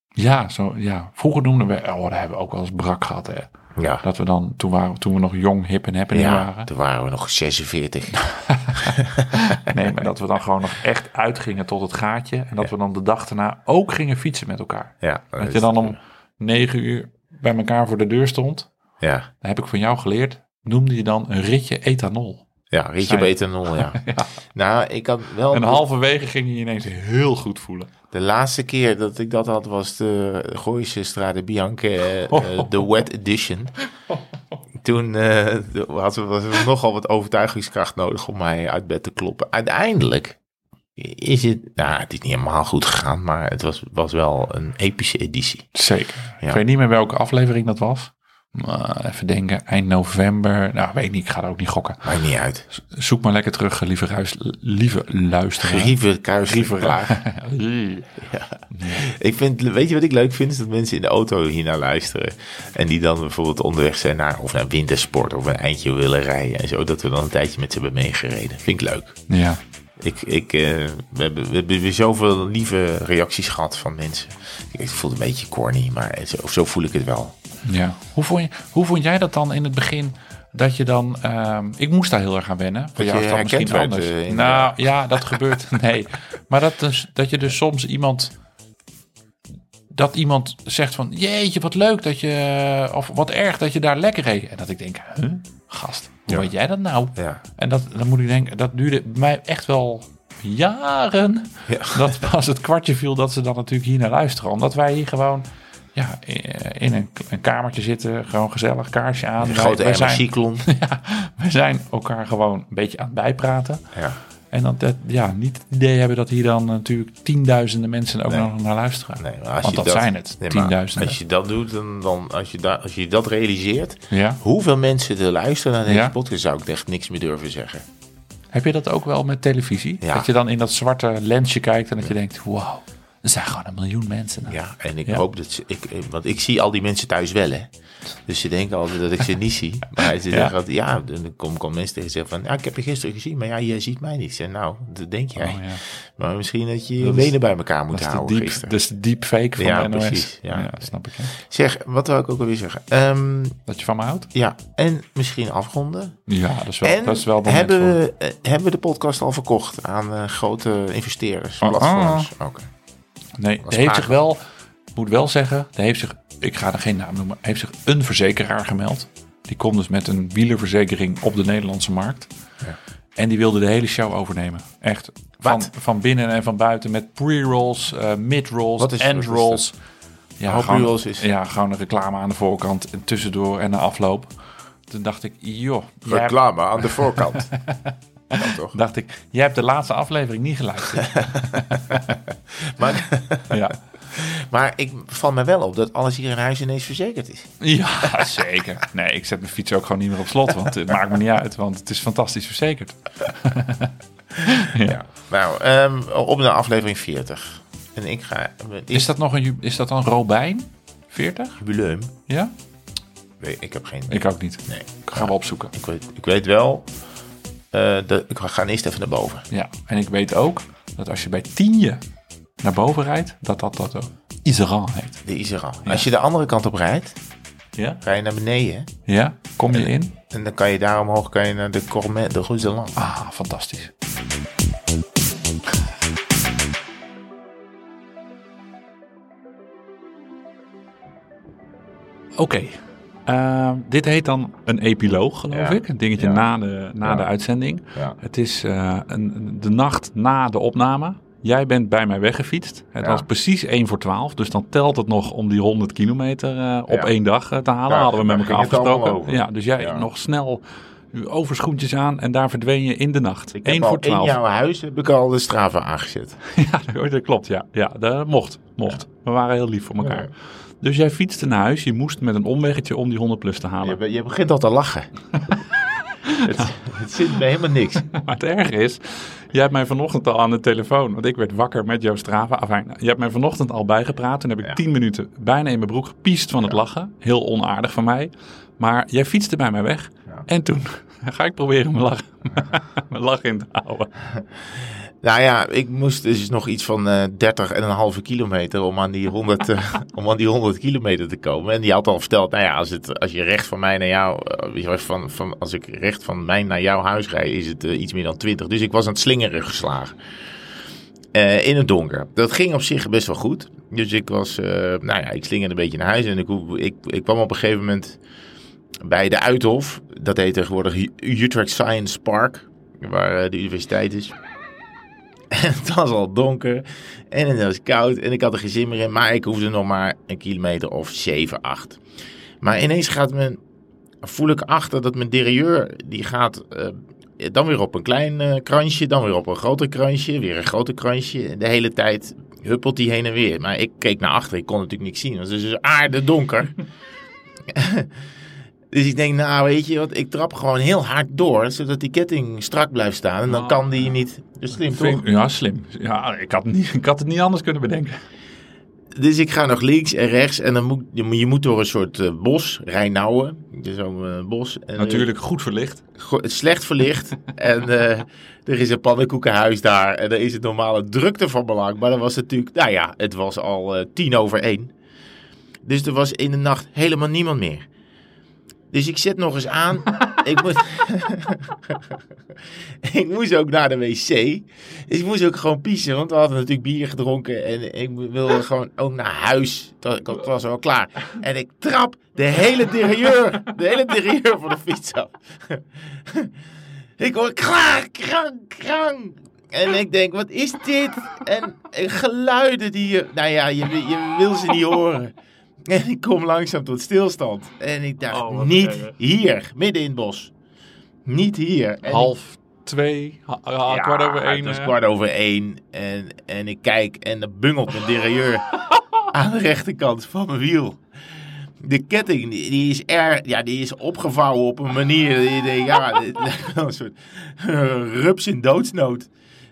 [SPEAKER 2] Ja, zo, ja, vroeger noemden we, oh, daar hebben we ook wel eens brak gehad. Hè.
[SPEAKER 1] Ja,
[SPEAKER 2] Dat we dan, toen, waren, toen we nog jong, hip en happy
[SPEAKER 1] ja
[SPEAKER 2] waren.
[SPEAKER 1] toen waren we nog
[SPEAKER 2] Nou,
[SPEAKER 1] 46.
[SPEAKER 2] Nee, maar dat we dan gewoon nog echt uitgingen tot het gaatje. En dat we dan de dag daarna ook gingen fietsen met elkaar.
[SPEAKER 1] Ja,
[SPEAKER 2] Dat je dan om negen uur bij elkaar voor de deur stond.
[SPEAKER 1] Ja,
[SPEAKER 2] Dat heb ik van jou geleerd. Noemde je dan een ritje ethanol.
[SPEAKER 1] ja rietje
[SPEAKER 2] Zijn-
[SPEAKER 1] beter dan nul, ja. Nou, ik had wel...
[SPEAKER 2] En halverwege ging je je ineens heel goed voelen.
[SPEAKER 1] De laatste keer dat ik dat had was de Gooise Strade Bianche, eh, eh, de Wet Edition. Toen eh, had we, was er nogal wat overtuigingskracht nodig om mij uit bed te kloppen. Uiteindelijk is het, nou het is niet helemaal goed gegaan, maar het was, was wel een epische editie.
[SPEAKER 2] Zeker.
[SPEAKER 1] Ja.
[SPEAKER 2] Ik weet niet meer welke aflevering dat was. Maar even denken, eind november. Nou, weet ik niet, ik ga er ook niet gokken.
[SPEAKER 1] Maakt niet uit.
[SPEAKER 2] Zoek maar lekker terug, lieve, ruis, lieve luisteraar.
[SPEAKER 1] Grieven, kruis, klaar. Ik vind, weet je wat ik leuk vind? Is dat mensen in de auto hiernaar luisteren. En die dan bijvoorbeeld onderweg zijn naar, of naar wintersport of een eindje willen rijden. En zo, dat we dan een tijdje met ze hebben meegereden. Vind ik leuk.
[SPEAKER 2] ja,
[SPEAKER 1] Ik, ik, eh, we, hebben, we hebben weer zoveel lieve reacties gehad van mensen. Ik voel het een beetje corny, maar zo, zo voel ik het wel.
[SPEAKER 2] ja. Hoe, vond je, hoe vond jij dat dan in het begin dat je dan... ehm, ik moest daar heel erg aan wennen. Voor
[SPEAKER 1] je
[SPEAKER 2] jou is dat
[SPEAKER 1] herkend
[SPEAKER 2] misschien
[SPEAKER 1] werd,
[SPEAKER 2] anders.
[SPEAKER 1] eh, in de-
[SPEAKER 2] nou ja, dat gebeurt. Nee. Maar dat, dus- dat je dus soms iemand... Dat iemand zegt van, jeetje, wat leuk dat je... Of wat erg dat je daar lekker reed. En dat ik denk, huh? gast, hoe
[SPEAKER 1] Ja.
[SPEAKER 2] weet jij dat nou?
[SPEAKER 1] Ja.
[SPEAKER 2] En dat, dan moet ik denken, dat duurde bij mij echt wel jaren.
[SPEAKER 1] Ja.
[SPEAKER 2] Dat pas het kwartje viel dat ze dan natuurlijk hier naar luisteren. Omdat wij hier gewoon ja, in een, een kamertje zitten, gewoon gezellig, kaarsje aan.
[SPEAKER 1] Een
[SPEAKER 2] Wij-
[SPEAKER 1] grote
[SPEAKER 2] wij, zijn,
[SPEAKER 1] cyclon.
[SPEAKER 2] ja, wij zijn elkaar gewoon een beetje aan het bijpraten.
[SPEAKER 1] Ja.
[SPEAKER 2] En dan dat, ja, niet het idee hebben dat hier dan natuurlijk tienduizenden mensen ook
[SPEAKER 1] Nee.
[SPEAKER 2] nog naar luisteren.
[SPEAKER 1] Nee, maar als
[SPEAKER 2] Want
[SPEAKER 1] je
[SPEAKER 2] dat, zijn het,
[SPEAKER 1] Nee, maar
[SPEAKER 2] tienduizenden.
[SPEAKER 1] Als je dat doet, dan, dan als, je da- als je dat realiseert,
[SPEAKER 2] Ja.
[SPEAKER 1] hoeveel mensen er luisteren naar deze
[SPEAKER 2] Ja.
[SPEAKER 1] podcast, zou ik echt niks meer durven zeggen.
[SPEAKER 2] Heb je dat ook wel met televisie?
[SPEAKER 1] Ja.
[SPEAKER 2] Dat je dan in dat zwarte lensje kijkt en dat je denkt, wauw, er zijn gewoon een miljoen mensen. nou." naar.
[SPEAKER 1] Ja, en ik
[SPEAKER 2] Ja.
[SPEAKER 1] hoop dat ze, ik, eh, want ik zie al die mensen thuis wel, hè. Dus ze denken altijd dat ik ze niet zie. Maar ze
[SPEAKER 2] Ja.
[SPEAKER 1] zeggen altijd, ja, dan komen kom mensen tegen zeggen van, ja, ik heb je gisteren gezien, maar ja, je ziet mij niet. Ik zeg, nou, dat denk jij.
[SPEAKER 2] Oh, ja.
[SPEAKER 1] Maar misschien dat je je
[SPEAKER 2] Dat is-
[SPEAKER 1] benen bij elkaar moet
[SPEAKER 2] Dat is, de
[SPEAKER 1] houden
[SPEAKER 2] deep,
[SPEAKER 1] gisteren.
[SPEAKER 2] dat is de deepfake van
[SPEAKER 1] Ja,
[SPEAKER 2] de NOS.
[SPEAKER 1] precies. Ja.
[SPEAKER 2] snap ik. hè.
[SPEAKER 1] Zeg, wat wil ik ook alweer zeggen? Ehm,
[SPEAKER 2] Dat je van me houdt?
[SPEAKER 1] ja, en misschien afronden.
[SPEAKER 2] Ja, dat is wel,
[SPEAKER 1] En
[SPEAKER 2] dat is wel het moment
[SPEAKER 1] hebben,
[SPEAKER 2] voor.
[SPEAKER 1] we, eh, hebben we de podcast al verkocht aan eh, grote investeerders,
[SPEAKER 2] Oh,
[SPEAKER 1] platforms? Oké.
[SPEAKER 2] Nee,
[SPEAKER 1] was
[SPEAKER 2] er heeft
[SPEAKER 1] vaker.
[SPEAKER 2] zich wel, ik moet wel zeggen, er heeft zich, ik ga er geen naam noemen, er heeft zich een verzekeraar gemeld. Die komt dus met een wielerverzekering op de Nederlandse markt. En die wilde de hele show overnemen. Echt. Van,
[SPEAKER 1] Wat?
[SPEAKER 2] van binnen en van buiten met pre-rolls, eh,
[SPEAKER 1] Wat
[SPEAKER 2] mid-rolls,
[SPEAKER 1] is- wat is
[SPEAKER 2] end-rolls. Ja,
[SPEAKER 1] Oh,
[SPEAKER 2] gewoon-
[SPEAKER 1] pre-rolls is-
[SPEAKER 2] Ja, gewoon een reclame aan de voorkant en tussendoor en na afloop. Toen dacht ik, joh, jij hebt-
[SPEAKER 1] Reclame aan de voorkant. kan toch?
[SPEAKER 2] dacht ik, jij hebt de laatste aflevering niet geluisterd.
[SPEAKER 1] Maar,
[SPEAKER 2] ja.
[SPEAKER 1] maar ik val mij wel op dat alles hier in huis ineens verzekerd is.
[SPEAKER 2] ja, zeker. Nee, ik zet mijn fiets ook gewoon niet meer op slot, want het maakt me niet uit, want het is fantastisch verzekerd. ja.
[SPEAKER 1] Nou, ehm, op naar aflevering 40. En ik ga...
[SPEAKER 2] Is dat nog een, ju- is dat dan Robijn? 40?
[SPEAKER 1] jubileum?
[SPEAKER 2] Ja?
[SPEAKER 1] Nee, Ik heb geen...
[SPEAKER 2] Ik ook niet.
[SPEAKER 1] Nee.
[SPEAKER 2] Ik ga wel opzoeken.
[SPEAKER 1] Ik weet, ik weet wel... eh, dat, ik ga eerst even naar boven.
[SPEAKER 2] Ja, en ik weet ook dat als je bij tienje naar boven rijdt, dat dat dat ook Iseran heet.
[SPEAKER 1] De Iseran. Als je de andere kant op rijdt,
[SPEAKER 2] Ja? Eh,
[SPEAKER 1] ga je naar beneden. hè?
[SPEAKER 2] Ja? Kom je in?
[SPEAKER 1] En dan kan je daar omhoog kan je naar de Cormet, de Roezeland.
[SPEAKER 2] Ah, fantastisch. Oké. Ehm, dit heet dan een epiloog, geloof
[SPEAKER 1] Ja.
[SPEAKER 2] ik. Een dingetje
[SPEAKER 1] Ja.
[SPEAKER 2] na, de, na
[SPEAKER 1] Ja.
[SPEAKER 2] de uitzending.
[SPEAKER 1] Ja.
[SPEAKER 2] Het is eh, een, een- de nacht na de opname. Jij bent bij mij weggefietst. Het
[SPEAKER 1] Ja.
[SPEAKER 2] was precies 1 voor 12. Dus dan telt het nog om die 100 kilometer eh, op
[SPEAKER 1] Ja.
[SPEAKER 2] één dag eh, te halen.
[SPEAKER 1] Daar-
[SPEAKER 2] hadden we met
[SPEAKER 1] daar
[SPEAKER 2] elkaar
[SPEAKER 1] ging het allemaal
[SPEAKER 2] afgesproken.
[SPEAKER 1] over.
[SPEAKER 2] Ja, dus jij
[SPEAKER 1] Ja.
[SPEAKER 2] nog snel je overschoentjes aan en daar verdween je in de nacht.
[SPEAKER 1] Ik
[SPEAKER 2] 1
[SPEAKER 1] heb al
[SPEAKER 2] voor 12.
[SPEAKER 1] in jouw huis heb ik al de Strava aangezet.
[SPEAKER 2] Ja, dat klopt. Ja, ja dat mocht. mocht. We waren heel lief voor elkaar. Dus jij fietste naar huis. Je moest met een omweggetje om die 100 plus te halen.
[SPEAKER 1] Je, be- je begint al te lachen. het, het zit me helemaal niks.
[SPEAKER 2] Maar het erg is, jij hebt mij vanochtend al aan de telefoon, want ik werd wakker met jouw Strava. Enfin, je hebt mij vanochtend al bijgepraat. Toen heb ik
[SPEAKER 1] Ja.
[SPEAKER 2] tien minuten bijna in mijn broek gepiest van het lachen. Heel onaardig van mij. Maar jij fietste bij mij weg.
[SPEAKER 1] Ja.
[SPEAKER 2] En toen ga ik proberen mijn lach, mijn lach in te houden.
[SPEAKER 1] Nou ja, ik moest dus nog iets van eh 30 en een halve kilometer om aan, die 100, eh, om aan die 100 kilometer te komen. En die had al verteld, nou ja, als, het, als je recht van mij naar jou, eh, weet je wel, van, van, als ik recht van mijn naar jouw huis rijd, is het eh, iets meer dan 20. Dus ik was aan het slingeren geslagen. Eh, in het donker. Dat ging op zich best wel goed. Dus ik was, eh, nou ja, ik slingerde een beetje naar huis. En ik, hoe- ik, ik kwam op een gegeven moment bij de Uithof. Dat heet tegenwoordig U- Utrecht Science Park. Waar eh, de universiteit is. En het was al donker. En het was koud. En ik had er geen zin meer in. Maar ik hoefde nog maar een kilometer of 7, 8. Maar ineens gaat men, voel ik achter dat mijn derailleur... die gaat eh, dan weer op een klein eh, kransje. Dan weer op een groter kransje. Weer een groter kransje. De hele tijd huppelt die heen en weer. Maar ik keek naar achter. Ik kon natuurlijk niks zien. Want het is dus aarde donker. Dus ik denk, nou weet je wat, ik trap gewoon heel hard door, zodat die ketting strak blijft staan. En dan
[SPEAKER 2] Oh.
[SPEAKER 1] kan die niet. Dus slim toch?
[SPEAKER 2] Vind ik- ja, slim. Ja, ik had, niet, ik had het niet anders kunnen bedenken.
[SPEAKER 1] Dus ik ga nog links en rechts. En dan moet, je, moet- je moet door een soort eh, bos, Rijnauwen. Zo'n eh, bos. En, eh,
[SPEAKER 2] Natuurlijk goed verlicht.
[SPEAKER 1] go- slecht verlicht. en eh, er is een pannenkoekenhuis daar. En er is het normale drukte van belang. Maar dat was natuurlijk, nou ja, het was al eh, tien over één. Dus er was in de nacht helemaal niemand meer. Dus ik zet nog eens aan. ik, moest... ik moest ook naar de wc. Dus ik moest ook gewoon pissen, want we hadden natuurlijk bier gedronken. En ik wilde gewoon ook naar huis. Het was- Het was al klaar. En ik trap de hele derieur, de hele derieur van de fiets af. ik hoor klaar, krang, krang. En ik denk, wat is dit? En en geluiden die je... Nou ja, je, je wil ze niet horen. En ik kom langzaam tot stilstand. En ik dacht,
[SPEAKER 4] Oh, wat
[SPEAKER 1] niet
[SPEAKER 4] erg.
[SPEAKER 1] hier, midden in het bos. Niet hier. En
[SPEAKER 2] Half twee, ha- ha-
[SPEAKER 1] ja,
[SPEAKER 2] kwart over één.
[SPEAKER 1] Het was
[SPEAKER 2] eh,
[SPEAKER 1] kwart over één. En, en ik kijk en er bungelt mijn derailleur aan de rechterkant van mijn wiel. De ketting, die, die is er, ja, die is opgevouwen op een manier. Die, je denkt, ja, dit lijkt wel een soort rups in doodsnood.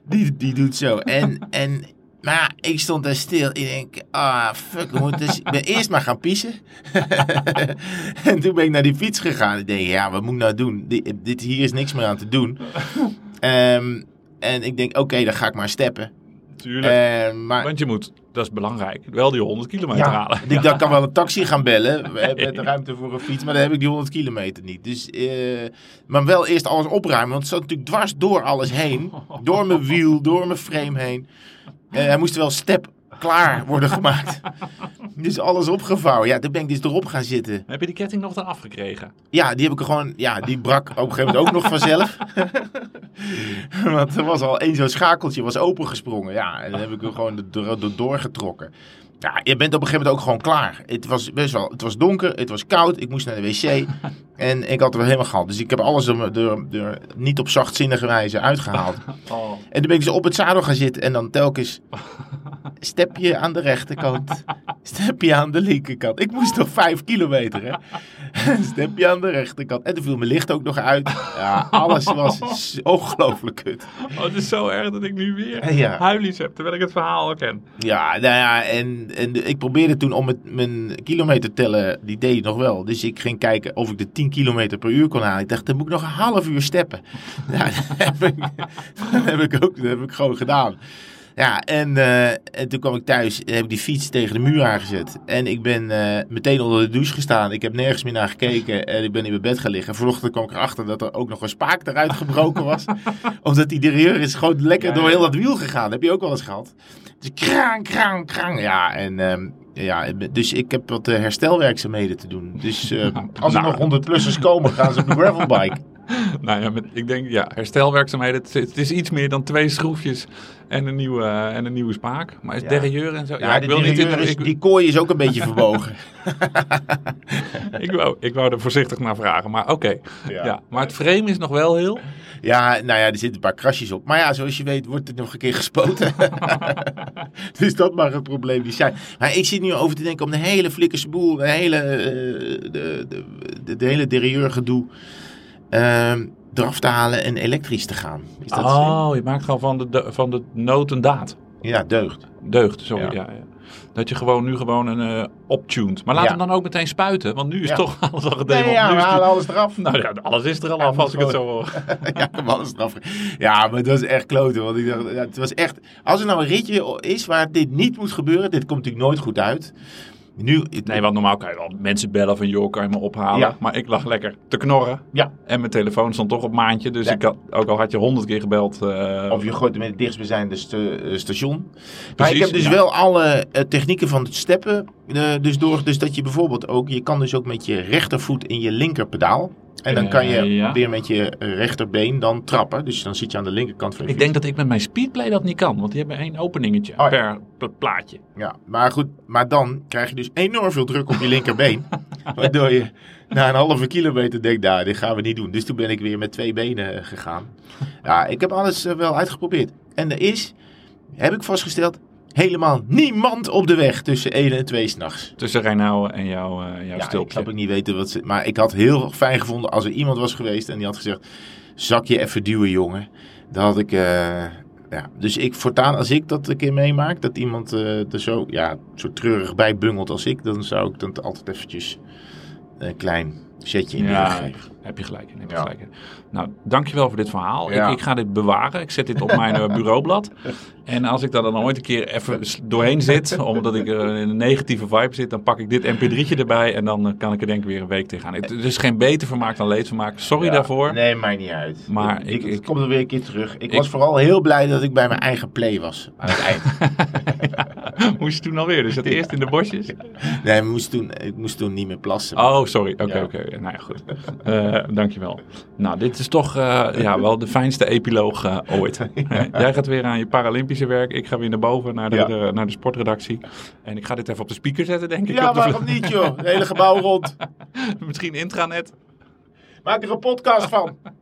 [SPEAKER 1] Die, die doet zo. En, en, maar ja, ik stond daar stil. Ik denk, ah, fuck, ik, moet dus, ik ben eerst maar gaan pissen. en toen ben ik naar die fiets gegaan. Ik denk, ja, wat moet ik nou doen? Dit, dit, hier is niks meer aan te doen. Ehm, en ik denk, oké, dan ga ik maar steppen.
[SPEAKER 2] Tuurlijk.
[SPEAKER 1] Ehm, maar
[SPEAKER 2] Want je moet, dat is belangrijk, wel die 100 kilometer halen.
[SPEAKER 1] ik denk, dan kan wel een taxi gaan bellen. We hebben de ruimte voor een fiets, maar dan heb ik die 100 kilometer niet. Dus, eh, maar wel eerst alles opruimen, want het zat natuurlijk dwars door alles heen. Door mijn wiel, door mijn frame heen. Eh, hij moest wel step klaar worden gemaakt. Dus alles opgevouwen. Ja, toen ben ik dus erop gaan zitten.
[SPEAKER 2] Heb je die ketting nog eraf gekregen?
[SPEAKER 1] Ja, die heb ik er gewoon. Ja, die brak op een gegeven moment ook nog vanzelf. Want er was al één zo'n schakeltje was opengesprongen. Ja, en dan heb ik er gewoon er- er- er doorgetrokken. Ja, je bent op een gegeven moment ook gewoon klaar. Het was best wel. Het was donker, het was koud. Ik moest naar de wc. En ik had het wel helemaal gehad. Dus ik heb alles er, er- er niet op zachtzinnige wijze uitgehaald.
[SPEAKER 2] Oh.
[SPEAKER 1] En toen ben ik dus op het zadel gaan zitten en dan telkens stepje aan de rechterkant, stepje aan de linkerkant. Ik moest nog vijf kilometer, hè. Stepje aan de rechterkant. En toen viel mijn licht ook nog uit. Ja, alles was zo ongelooflijk kut.
[SPEAKER 2] Oh, het is zo erg dat ik nu weer
[SPEAKER 1] Ja.
[SPEAKER 2] huilies heb, terwijl ik het verhaal al ken.
[SPEAKER 1] Ja, nou ja, en, en ik probeerde toen om het, mijn kilometer tellen, die deed ik nog wel. Dus ik ging kijken of ik de 10 kilometer per uur kon halen. Ik dacht, dan moet ik nog een half uur steppen. Nou, dat heb ik, dat heb ik ook, dat heb ik gewoon gedaan. Ja, en, eh, en toen kwam ik thuis en heb ik die fiets tegen de muur aangezet. En ik ben eh, meteen onder de douche gestaan. Ik heb nergens meer naar gekeken en ik ben in mijn bed gaan liggen. Vanochtend kwam ik erachter dat er ook nog een spaak eruit gebroken was. Omdat die derieur is gewoon lekker
[SPEAKER 2] Ja,
[SPEAKER 1] door
[SPEAKER 2] ja.
[SPEAKER 1] heel dat wiel gegaan. Dat heb je ook wel eens gehad. Dus kraan, kraan, kraan. Ja, en ehm, ja, ik ben- dus ik heb wat eh, herstelwerkzaamheden te doen. Dus eh, als er
[SPEAKER 2] Nou.
[SPEAKER 1] nog 100 plussers komen, gaan ze op de gravelbike.
[SPEAKER 2] Nou ja, met- ik denk, ja, herstelwerkzaamheden, het, is- het is iets meer dan twee schroefjes en een nieuwe, eh, en een nieuwe spaak. Maar is
[SPEAKER 1] Ja.
[SPEAKER 2] derieur en zo? Ja,
[SPEAKER 1] Ja,
[SPEAKER 2] ik
[SPEAKER 1] de
[SPEAKER 2] wil niet in
[SPEAKER 1] derieur
[SPEAKER 2] de...
[SPEAKER 1] is-
[SPEAKER 2] Ik,
[SPEAKER 1] die kooi is ook een beetje verbogen.
[SPEAKER 2] ik, wou, ik wou er voorzichtig naar vragen, maar oké. Ja. maar het frame is nog wel heel.
[SPEAKER 1] Ja, nou ja, er zitten een paar krasjes op. Maar ja, zoals je weet wordt er nog een keer gespoten. dus dat mag het probleem niet zijn. Maar ik zit nu over te denken om de hele flikkerse boel, de hele, eh, de, de, de, de hele derieur gedoe ehm, eraf te halen en elektrisch te gaan. Is dat
[SPEAKER 2] Oh, je maakt gewoon van de, de- van de nood een daad.
[SPEAKER 1] Ja, deugd.
[SPEAKER 2] Deugd, sorry. Ja.
[SPEAKER 1] Ja.
[SPEAKER 2] Ja, Dat je gewoon nu gewoon een eh optuned. Maar laat
[SPEAKER 1] Ja.
[SPEAKER 2] hem dan ook meteen spuiten, want nu is
[SPEAKER 1] Ja.
[SPEAKER 2] toch alles al gedemond.
[SPEAKER 1] Nee, ja,
[SPEAKER 2] Nu
[SPEAKER 1] we
[SPEAKER 2] is die-
[SPEAKER 1] halen alles eraf.
[SPEAKER 2] Nou ja, alles is er al af
[SPEAKER 1] moet
[SPEAKER 2] als ik het zo hoor.
[SPEAKER 1] ja, ik heb alles eraf. Ja, maar dat is echt kloten. Want ik dacht, ja, het was echt. Als er nou een ritje is waar dit niet moet gebeuren, dit komt natuurlijk nooit goed uit. Nu,
[SPEAKER 2] Nee, want normaal kan je wel mensen bellen van joh, kan je me ophalen.
[SPEAKER 1] Ja.
[SPEAKER 2] Maar ik lag lekker te knorren.
[SPEAKER 1] Ja.
[SPEAKER 2] En mijn telefoon stond toch op maandje. Dus
[SPEAKER 1] Ja.
[SPEAKER 2] ik had, ook al had je honderd keer gebeld. eh,
[SPEAKER 1] Of je gooit hem in het dichtstbijzijnde st- eh, station. Maar
[SPEAKER 2] Precies,
[SPEAKER 1] ik heb dus
[SPEAKER 2] ja.
[SPEAKER 1] wel alle eh, technieken van het steppen. eh, dus door, dus dat je bijvoorbeeld ook, je kan dus ook met je rechtervoet in je linkerpedaal. En dan kan je
[SPEAKER 2] Eh, ja.
[SPEAKER 1] weer met je rechterbeen dan trappen. Dus dan zit je aan de linkerkant van je
[SPEAKER 2] Ik denk dat ik met mijn speedplay dat niet kan. Want die hebben één openingetje
[SPEAKER 1] ja.
[SPEAKER 2] per, per plaatje.
[SPEAKER 1] Ja, maar goed, maar dan krijg je dus enorm veel druk op je linkerbeen. waardoor je na een halve kilometer denkt, nou, dit gaan we niet doen. Dus toen ben ik weer met twee benen eh, gegaan. Ja, ik heb alles eh, wel uitgeprobeerd. En er is, heb ik vastgesteld, helemaal niemand op de weg tussen 1 en 2 s'nachts.
[SPEAKER 2] Tussen Reinouwen en jouw, eh jouw
[SPEAKER 1] Ja, ik
[SPEAKER 2] stulpje.
[SPEAKER 1] snap ook niet weten wat ze... Maar ik had heel fijn gevonden als er iemand was geweest en die had gezegd... Zak je even duwen, jongen. Dan had ik... eh, ja. Dus ik voortaan, als ik dat een keer meemaak... dat iemand eh, er zo, ja, zo treurig bij bungelt als ik... dan zou ik dan altijd eventjes een eh, klein zetje in die rug
[SPEAKER 2] Ja,
[SPEAKER 1] geven.
[SPEAKER 2] Heb je gelijk in. Heb je
[SPEAKER 1] Ja.
[SPEAKER 2] gelijk in. Nou, dankjewel voor dit verhaal.
[SPEAKER 1] Ja.
[SPEAKER 2] Ik, ik ga dit bewaren. Ik zet dit op mijn eh, bureaublad. En als ik daar dan ooit een keer even s- doorheen zit, omdat ik eh, in een negatieve vibe zit, dan pak ik dit mp3'tje erbij en dan eh, kan ik er denk ik weer een week tegenaan. Het, het is geen beter vermaak dan leedvermaak. Sorry
[SPEAKER 1] Ja,
[SPEAKER 2] daarvoor.
[SPEAKER 1] Nee, maakt niet uit.
[SPEAKER 2] Maar
[SPEAKER 1] ik,
[SPEAKER 2] ik-
[SPEAKER 1] het
[SPEAKER 2] ik-
[SPEAKER 1] komt er weer een keer terug. Ik, was vooral heel blij dat ik bij mijn eigen play was. Aan het eind.
[SPEAKER 2] Moest je toen alweer? Dus het eerst in de bosjes?
[SPEAKER 1] nee, ik moest, toen, ik moest toen niet meer plassen.
[SPEAKER 2] Oh, sorry. Oké,
[SPEAKER 1] Ja.
[SPEAKER 2] oké. Nou ja, goed. Eh, dankjewel. Nou, dit is toch eh, ja, wel de fijnste epiloog eh, ooit. Eh, Jij gaat weer aan je Paralympische werk. Ik ga weer naar boven, naar de,
[SPEAKER 1] Ja.
[SPEAKER 2] de- naar de sportredactie. En ik ga dit even op de speaker zetten, denk ik.
[SPEAKER 1] ja,
[SPEAKER 2] op de
[SPEAKER 1] waarom niet joh? Het hele gebouw rond.
[SPEAKER 2] vlo- Misschien intranet.
[SPEAKER 1] Maak er een podcast van.